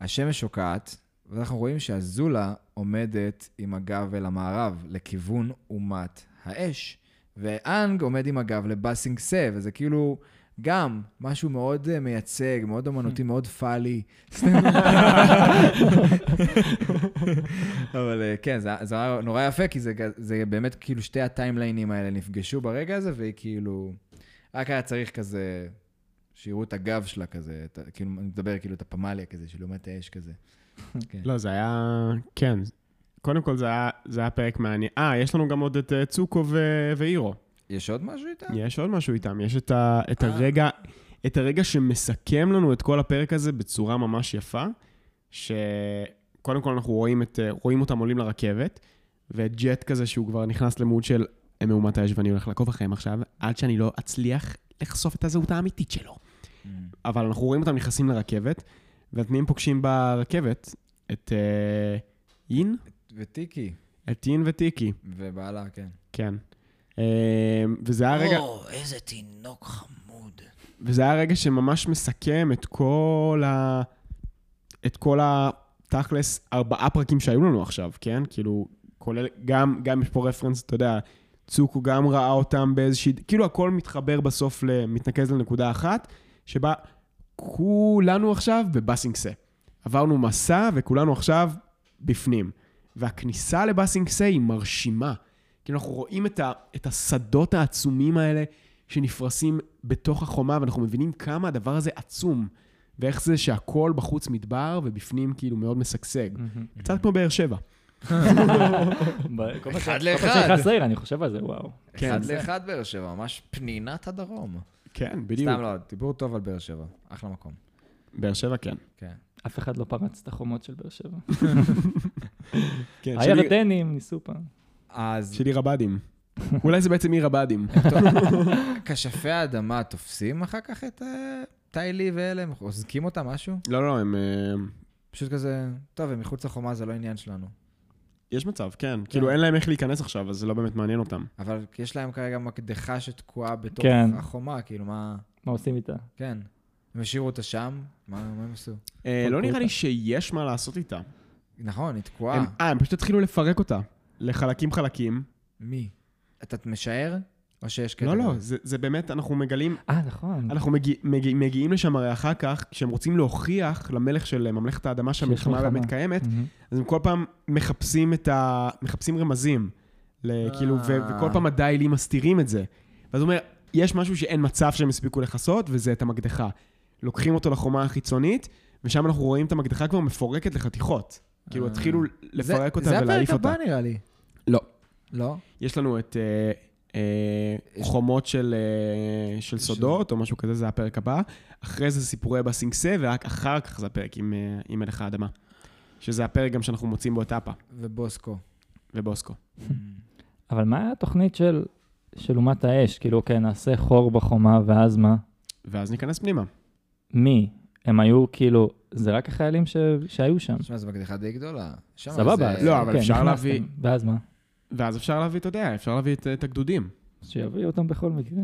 השמש שוקעת, ואנחנו רואים שאזולה עומדת עם הגב אל המערב, לכיוון אומת האש. ואנג עומד עם הגב לבאסינג סה, וזה כאילו גם משהו מאוד אה, מייצג, מאוד אומנותי, מאוד פאלי. אבל אה, כן, זה, זה היה נורא יפה, כי זה, ג- זה באמת כאילו שתי הטיימליינים האלה נפגשו ברגע הזה, והיא כאילו... רק היה צריך כזה, שיראו את הגב שלה כזה, את, ה- כאילו, אני מדבר כאילו את הפמליה כזה, של לעומת האש כזה. לא, זה היה... כן. קודם כל, זה היה- זה היה פרק מעניין. אה, יש לנו גם עוד את אה, צוקו ו- ואירו. יש עוד משהו איתם? יש עוד משהו איתם, יש את, ה, את, הרגע, את הרגע שמסכם לנו את כל הפרק הזה בצורה ממש יפה, שקודם כל אנחנו רואים, את, רואים אותם עולים לרכבת, ואת ג'ט כזה שהוא כבר נכנס למוד של הם מהומת האש ואני הולך לעקוב אחריהם עכשיו, עד שאני לא אצליח לחשוף את הזהות האמיתית שלו. Mm. אבל אנחנו רואים אותם נכנסים לרכבת, ואת מי הם פוגשים ברכבת? את אה, יין? וטיקי. את יין וטיקי, ובעלה, כן. כן. אה, וזה היה רגע... או, איזה תינוק חמוד. וזה היה רגע שממש מסכם את כל ה... את כל ה... תכלס, ארבעה פרקים שהיו לנו עכשיו, כן? כאילו, כולל, גם, גם יש פה רפרנס, אתה יודע, צוקו גם ראה אותם באיזושהי... כאילו, הכל מתחבר בסוף, ל- מתנקז לנקודה אחת, שבה כולנו עכשיו בבאסינגסה. עברנו מסע, וכולנו עכשיו בפנים. והכניסה לבאסינגסה היא מרשימה. כאילו, אנחנו רואים את, ה, את השדות העצומים האלה שנפרסים בתוך החומה, ואנחנו מבינים כמה הדבר הזה עצום, ואיך זה שהכל בחוץ מדבר ובפנים כאילו מאוד משגשג. קצת כמו באר שבע. ב- כל פעם ש- כל אחד פעם לאחד. שאני נכנס לעיר, אני חושב על זה, וואו. אחד לאחד באר שבע, ממש פנינת הדרום. כן, בדיוק. סתם לא, דיבור טוב על באר שבע. אחלה מקום. באר שבע, כן. כן. אף אחד לא פרץ את החומות של באר שבע. כן, שלי- הירדנים ניסו פעם. אז של עיר הבה"דים. אולי זה בעצם עיר הבה"דים. כשפי האדמה תופסים אחר כך את אה, טיילי ואלה? הם אוזקים אותם משהו? לא, לא, הם... אה, פשוט כזה, טוב, הם מחוץ לחומה, זה לא עניין שלנו. יש מצב, כן. כאילו, אין להם איך להיכנס עכשיו, אז זה לא באמת מעניין אותם. אבל יש להם כרגע מקדחה שתקועה בתוך כן. החומה, כאילו, מה... מה עושים איתה? כן. הם השאירו אותה שם, מה מה הם עשו? אה, לא פרקו נראה לי אותה. שיש מה לעשות איתה. נכון, היא תקועה. הם- אה, הם פשוט התחילו לפרק אותה. לחלקים חלקים. מי? אתה משער? או שיש קטע? לא, לא, כזה? זה זה באמת, אנחנו מגלים... אה, נכון. אנחנו מגיע, מגיע, מגיעים לשם הרי אחר כך, כשהם רוצים להוכיח למלך של ממלכת האדמה שהמלחמה מלחמה. באמת קיימת, מהמם. אז הם כל פעם מחפשים את ה... מחפשים רמזים. ל- כאילו, ו- אה. וכל פעם הדיילים מסתירים את זה. ואז הוא אומר, יש משהו שאין מצב שהם הספיקו לכסות, וזה את המקדחה. לוקחים אותו לחומה החיצונית, ושם אנחנו רואים את המקדחה כבר מפורקת לחתיכות. כאילו, התחילו לפרק אותה ולהעיף אותה. אה. זה הפרק הבא נראה לי. לא. לא? יש לנו את אה, אה, חומות של, אה, של סודות, או משהו כזה, זה הפרק הבא. אחרי זה סיפורי בסינגסה, ורק אחר כך זה הפרק עם, אה, עם מלך האדמה. שזה הפרק גם שאנחנו מוצאים בו את אפה ובוסקו. ובוסקו. אבל מה התוכנית של... של אומת האש, כאילו, כן, נעשה חור בחומה, ואז מה? ואז ניכנס פנימה. מי? הם היו, כאילו, זה רק החיילים ש... שהיו שם. תשמע, זו מקדחה די גדולה. שם סבבה. זה- אז לא, אבל אוקיי, אפשר נכנסתם. להביא- ואז מה? ואז אפשר להביא, אתה יודע, אפשר להביא את, את הגדודים. אז שיביאו אותם בכל מקרה.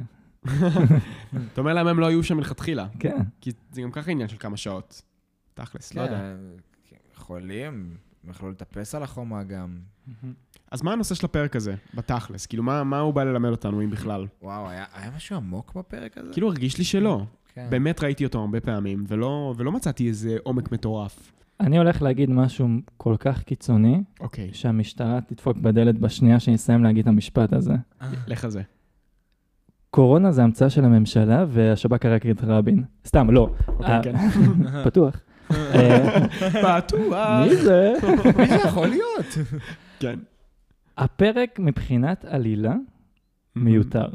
אתה אומר להם, הם לא היו שם מלכתחילה. כן. כי זה גם ככה עניין של כמה שעות. תכלס, כן, לא יודע. יכולים, הם יכלו לטפס על החומה גם. אז מה הנושא של הפרק הזה, בתכלס? כאילו, מה, מה הוא בא ללמד אותנו, אם בכלל? וואו, היה היה משהו עמוק בפרק הזה? כאילו, הרגיש לי שלא. כן. באמת ראיתי אותו הרבה פעמים, ולא, ולא מצאתי איזה עומק מטורף. אני הולך להגיד משהו כל כך קיצוני, אוקיי. שהמשטרה תדפוק בדלת בשנייה שאני אסיים להגיד את המשפט הזה. לך על זה. קורונה זה המצאה של הממשלה, והשב"כ הרג את רבין. סתם, לא. אוקיי, אה, כן. פתוח. אה, בטוח. מי זה? מי זה יכול להיות? כן. הפרק מבחינת עלילה מיותר.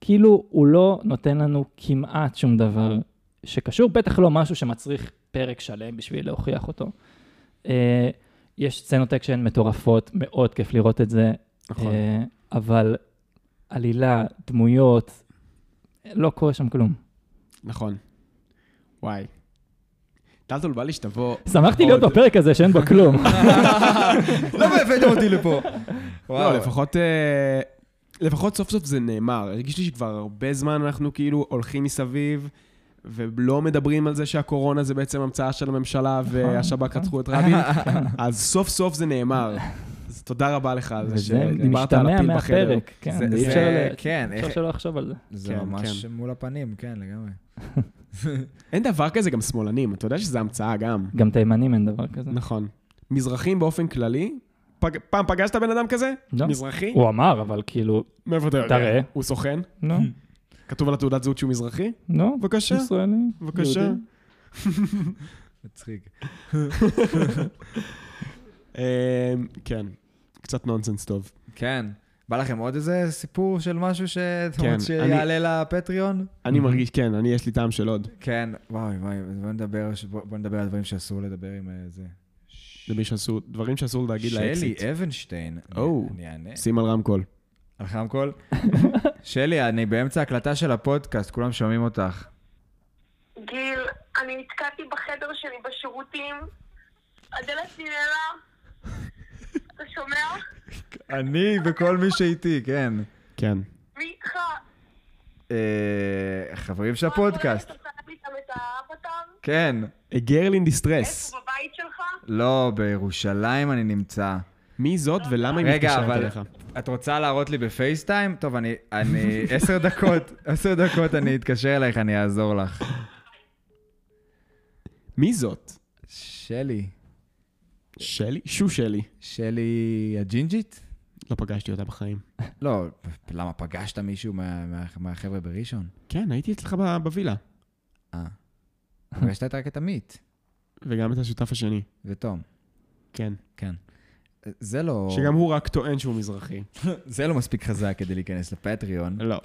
כאילו, הוא לא נותן לנו כמעט שום דבר שקשור, בטח לא משהו שמצריך פרק שלם בשביל להוכיח אותו. אה, יש סצנות אקשן מטורפות, מאוד כיף לראות את זה, נכון. אה, אבל עלילה, דמויות, לא קורה שם כלום. נכון. וואי. טלטול בא לי שתבוא... שמחתי להיות עוד- בפרק הזה שאין בו כלום. למה הבאתם אותי לפה? לא, לפחות... אה, לפחות סוף סוף זה נאמר. הרגיש לי שכבר הרבה זמן אנחנו כאילו הולכים מסביב. ולא מדברים על זה שהקורונה זה בעצם המצאה של הממשלה נכון, והשב"כ רצחו את רבין, כן. אז סוף סוף זה נאמר. אז תודה רבה לך על זה וזה שדיברת על משתמע הפיל בחדר. מהפרק, כן, זה- אי זה- אפשר ל- כן, אי אפשר איך- שלא לחשוב על זה. זה כן, ממש כן. מול הפנים, כן, לגמרי. אין דבר כזה גם שמאלנים, אתה יודע שזה המצאה גם. גם תימנים אין דבר כזה. נכון. מזרחים באופן כללי, פג... פעם פגשת בן אדם כזה? לא. מזרחי? הוא אמר, אבל כאילו, מאיפה אתה יודע? תראה. הוא סוכן? לא, כתוב על התעודת זהות שהוא מזרחי? לא, בבקשה, ישראלי. בבקשה. יהודי. מצחיק. אה, כן, קצת נונסנס טוב. כן. בא לכם עוד איזה סיפור של משהו שאתם כן, רוצים שיעלה לפטריון? אני מרגיש, כן, אני יש לי טעם של עוד. כן, וואי, וואי, אז בוא נדבר, בוא בוא נדבר על דברים שאסור לדבר עם אה, זה. למי שעשו, דברים שאסור להגיד שלי אה? לאקסיט. אבנשטיין. או. אני אענה. שים על רמקול. על רמקול? שלי, אני באמצע הקלטה של הפודקאסט, כולם שומעים אותך. גיל, אני נתקעתי בחדר שלי בשירותים, הדלת ננעלה, אתה שומע? אני וכל מי שאיתי, כן. כן. מי איתך? אה, חברים של הפודקאסט. אתה שם לי שם את האבטר? כן. A girl in distress. איפה בבית שלך? לא, בירושלים אני נמצא. מי זאת ולמה היא רגע, מתקשרת אבל אליך? את רוצה להראות לי בפייסטיים? טוב, אני... אני... עשר דקות, עשר דקות אני אתקשר אלייך, אני אעזור לך. מי זאת? שלי. שלי? שו שלי. שלי הג'ינג'ית? לא פגשתי אותה בחיים. לא, למה, פגשת מישהו מה- מה- מהחבר'ה בראשון? כן, הייתי אצלך ב- בווילה. פגשת רק את עמית וגם את השותף השני. ותום. כן. זה לא... שגם הוא רק טוען שהוא מזרחי. זה לא מספיק חזק כדי להיכנס לפטריון. לא.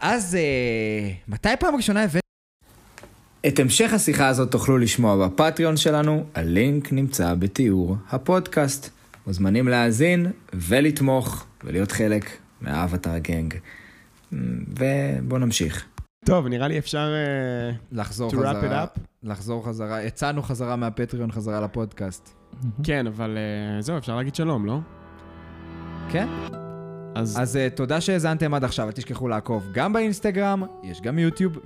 אז אה, מתי פעם ראשונה הבאת... את המשך השיחה הזאת תוכלו לשמוע בפטריון שלנו, הלינק נמצא בתיאור הפודקאסט. מוזמנים להאזין ולתמוך ולהיות חלק מהאבטר גנג. ובואו נמשיך. טוב, נראה לי אפשר... אה, לחזור To wrap חזרה, it up? לחזור חזרה, יצאנו חזרה מהפטריון חזרה לפודקאסט. כן, אבל אה, זהו, אפשר להגיד שלום, לא? כן. אז אז אה, תודה שהאזנתם עד עכשיו, אל תשכחו לעקוב גם באינסטגרם, יש גם יוטיוב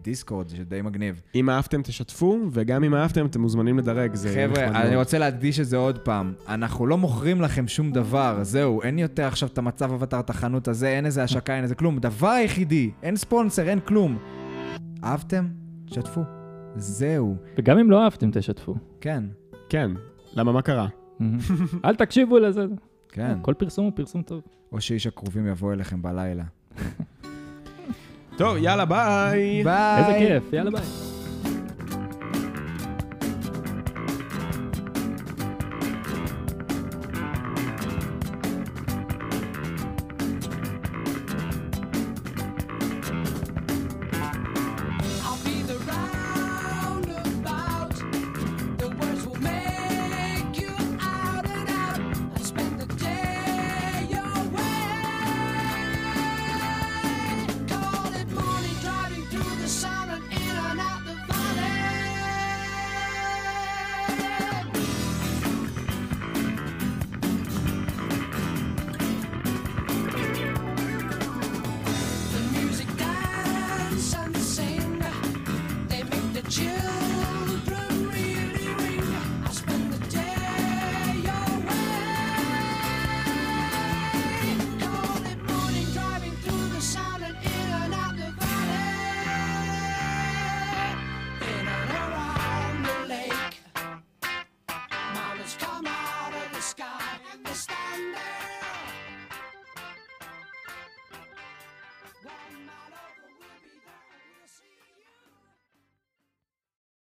ודיסקורד, זה די מגניב. אם אהבתם, תשתפו, וגם אם אהבתם, אתם מוזמנים לדרג. זה אה, נחמד חבר'ה, אני מאוד. רוצה להדגיש את זה עוד פעם. אנחנו לא מוכרים לכם שום דבר, זהו. אין יותר עכשיו את המצב אבטר, את החנות הזה, אין איזה השקה, אין איזה כלום. דבר היחידי, אין ספונסר, אין כלום. אהבתם? שתפו. זהו. וגם אם לא אהבתם, תשתפו. כן. כן. למה, מה קרה? אל תקשיבו לזה. כן. כל פרסום הוא פרסום טוב. או שאיש הקרובים יבוא אליכם בלילה. טוב, יאללה, ביי! ביי! איזה כיף, יאללה ביי.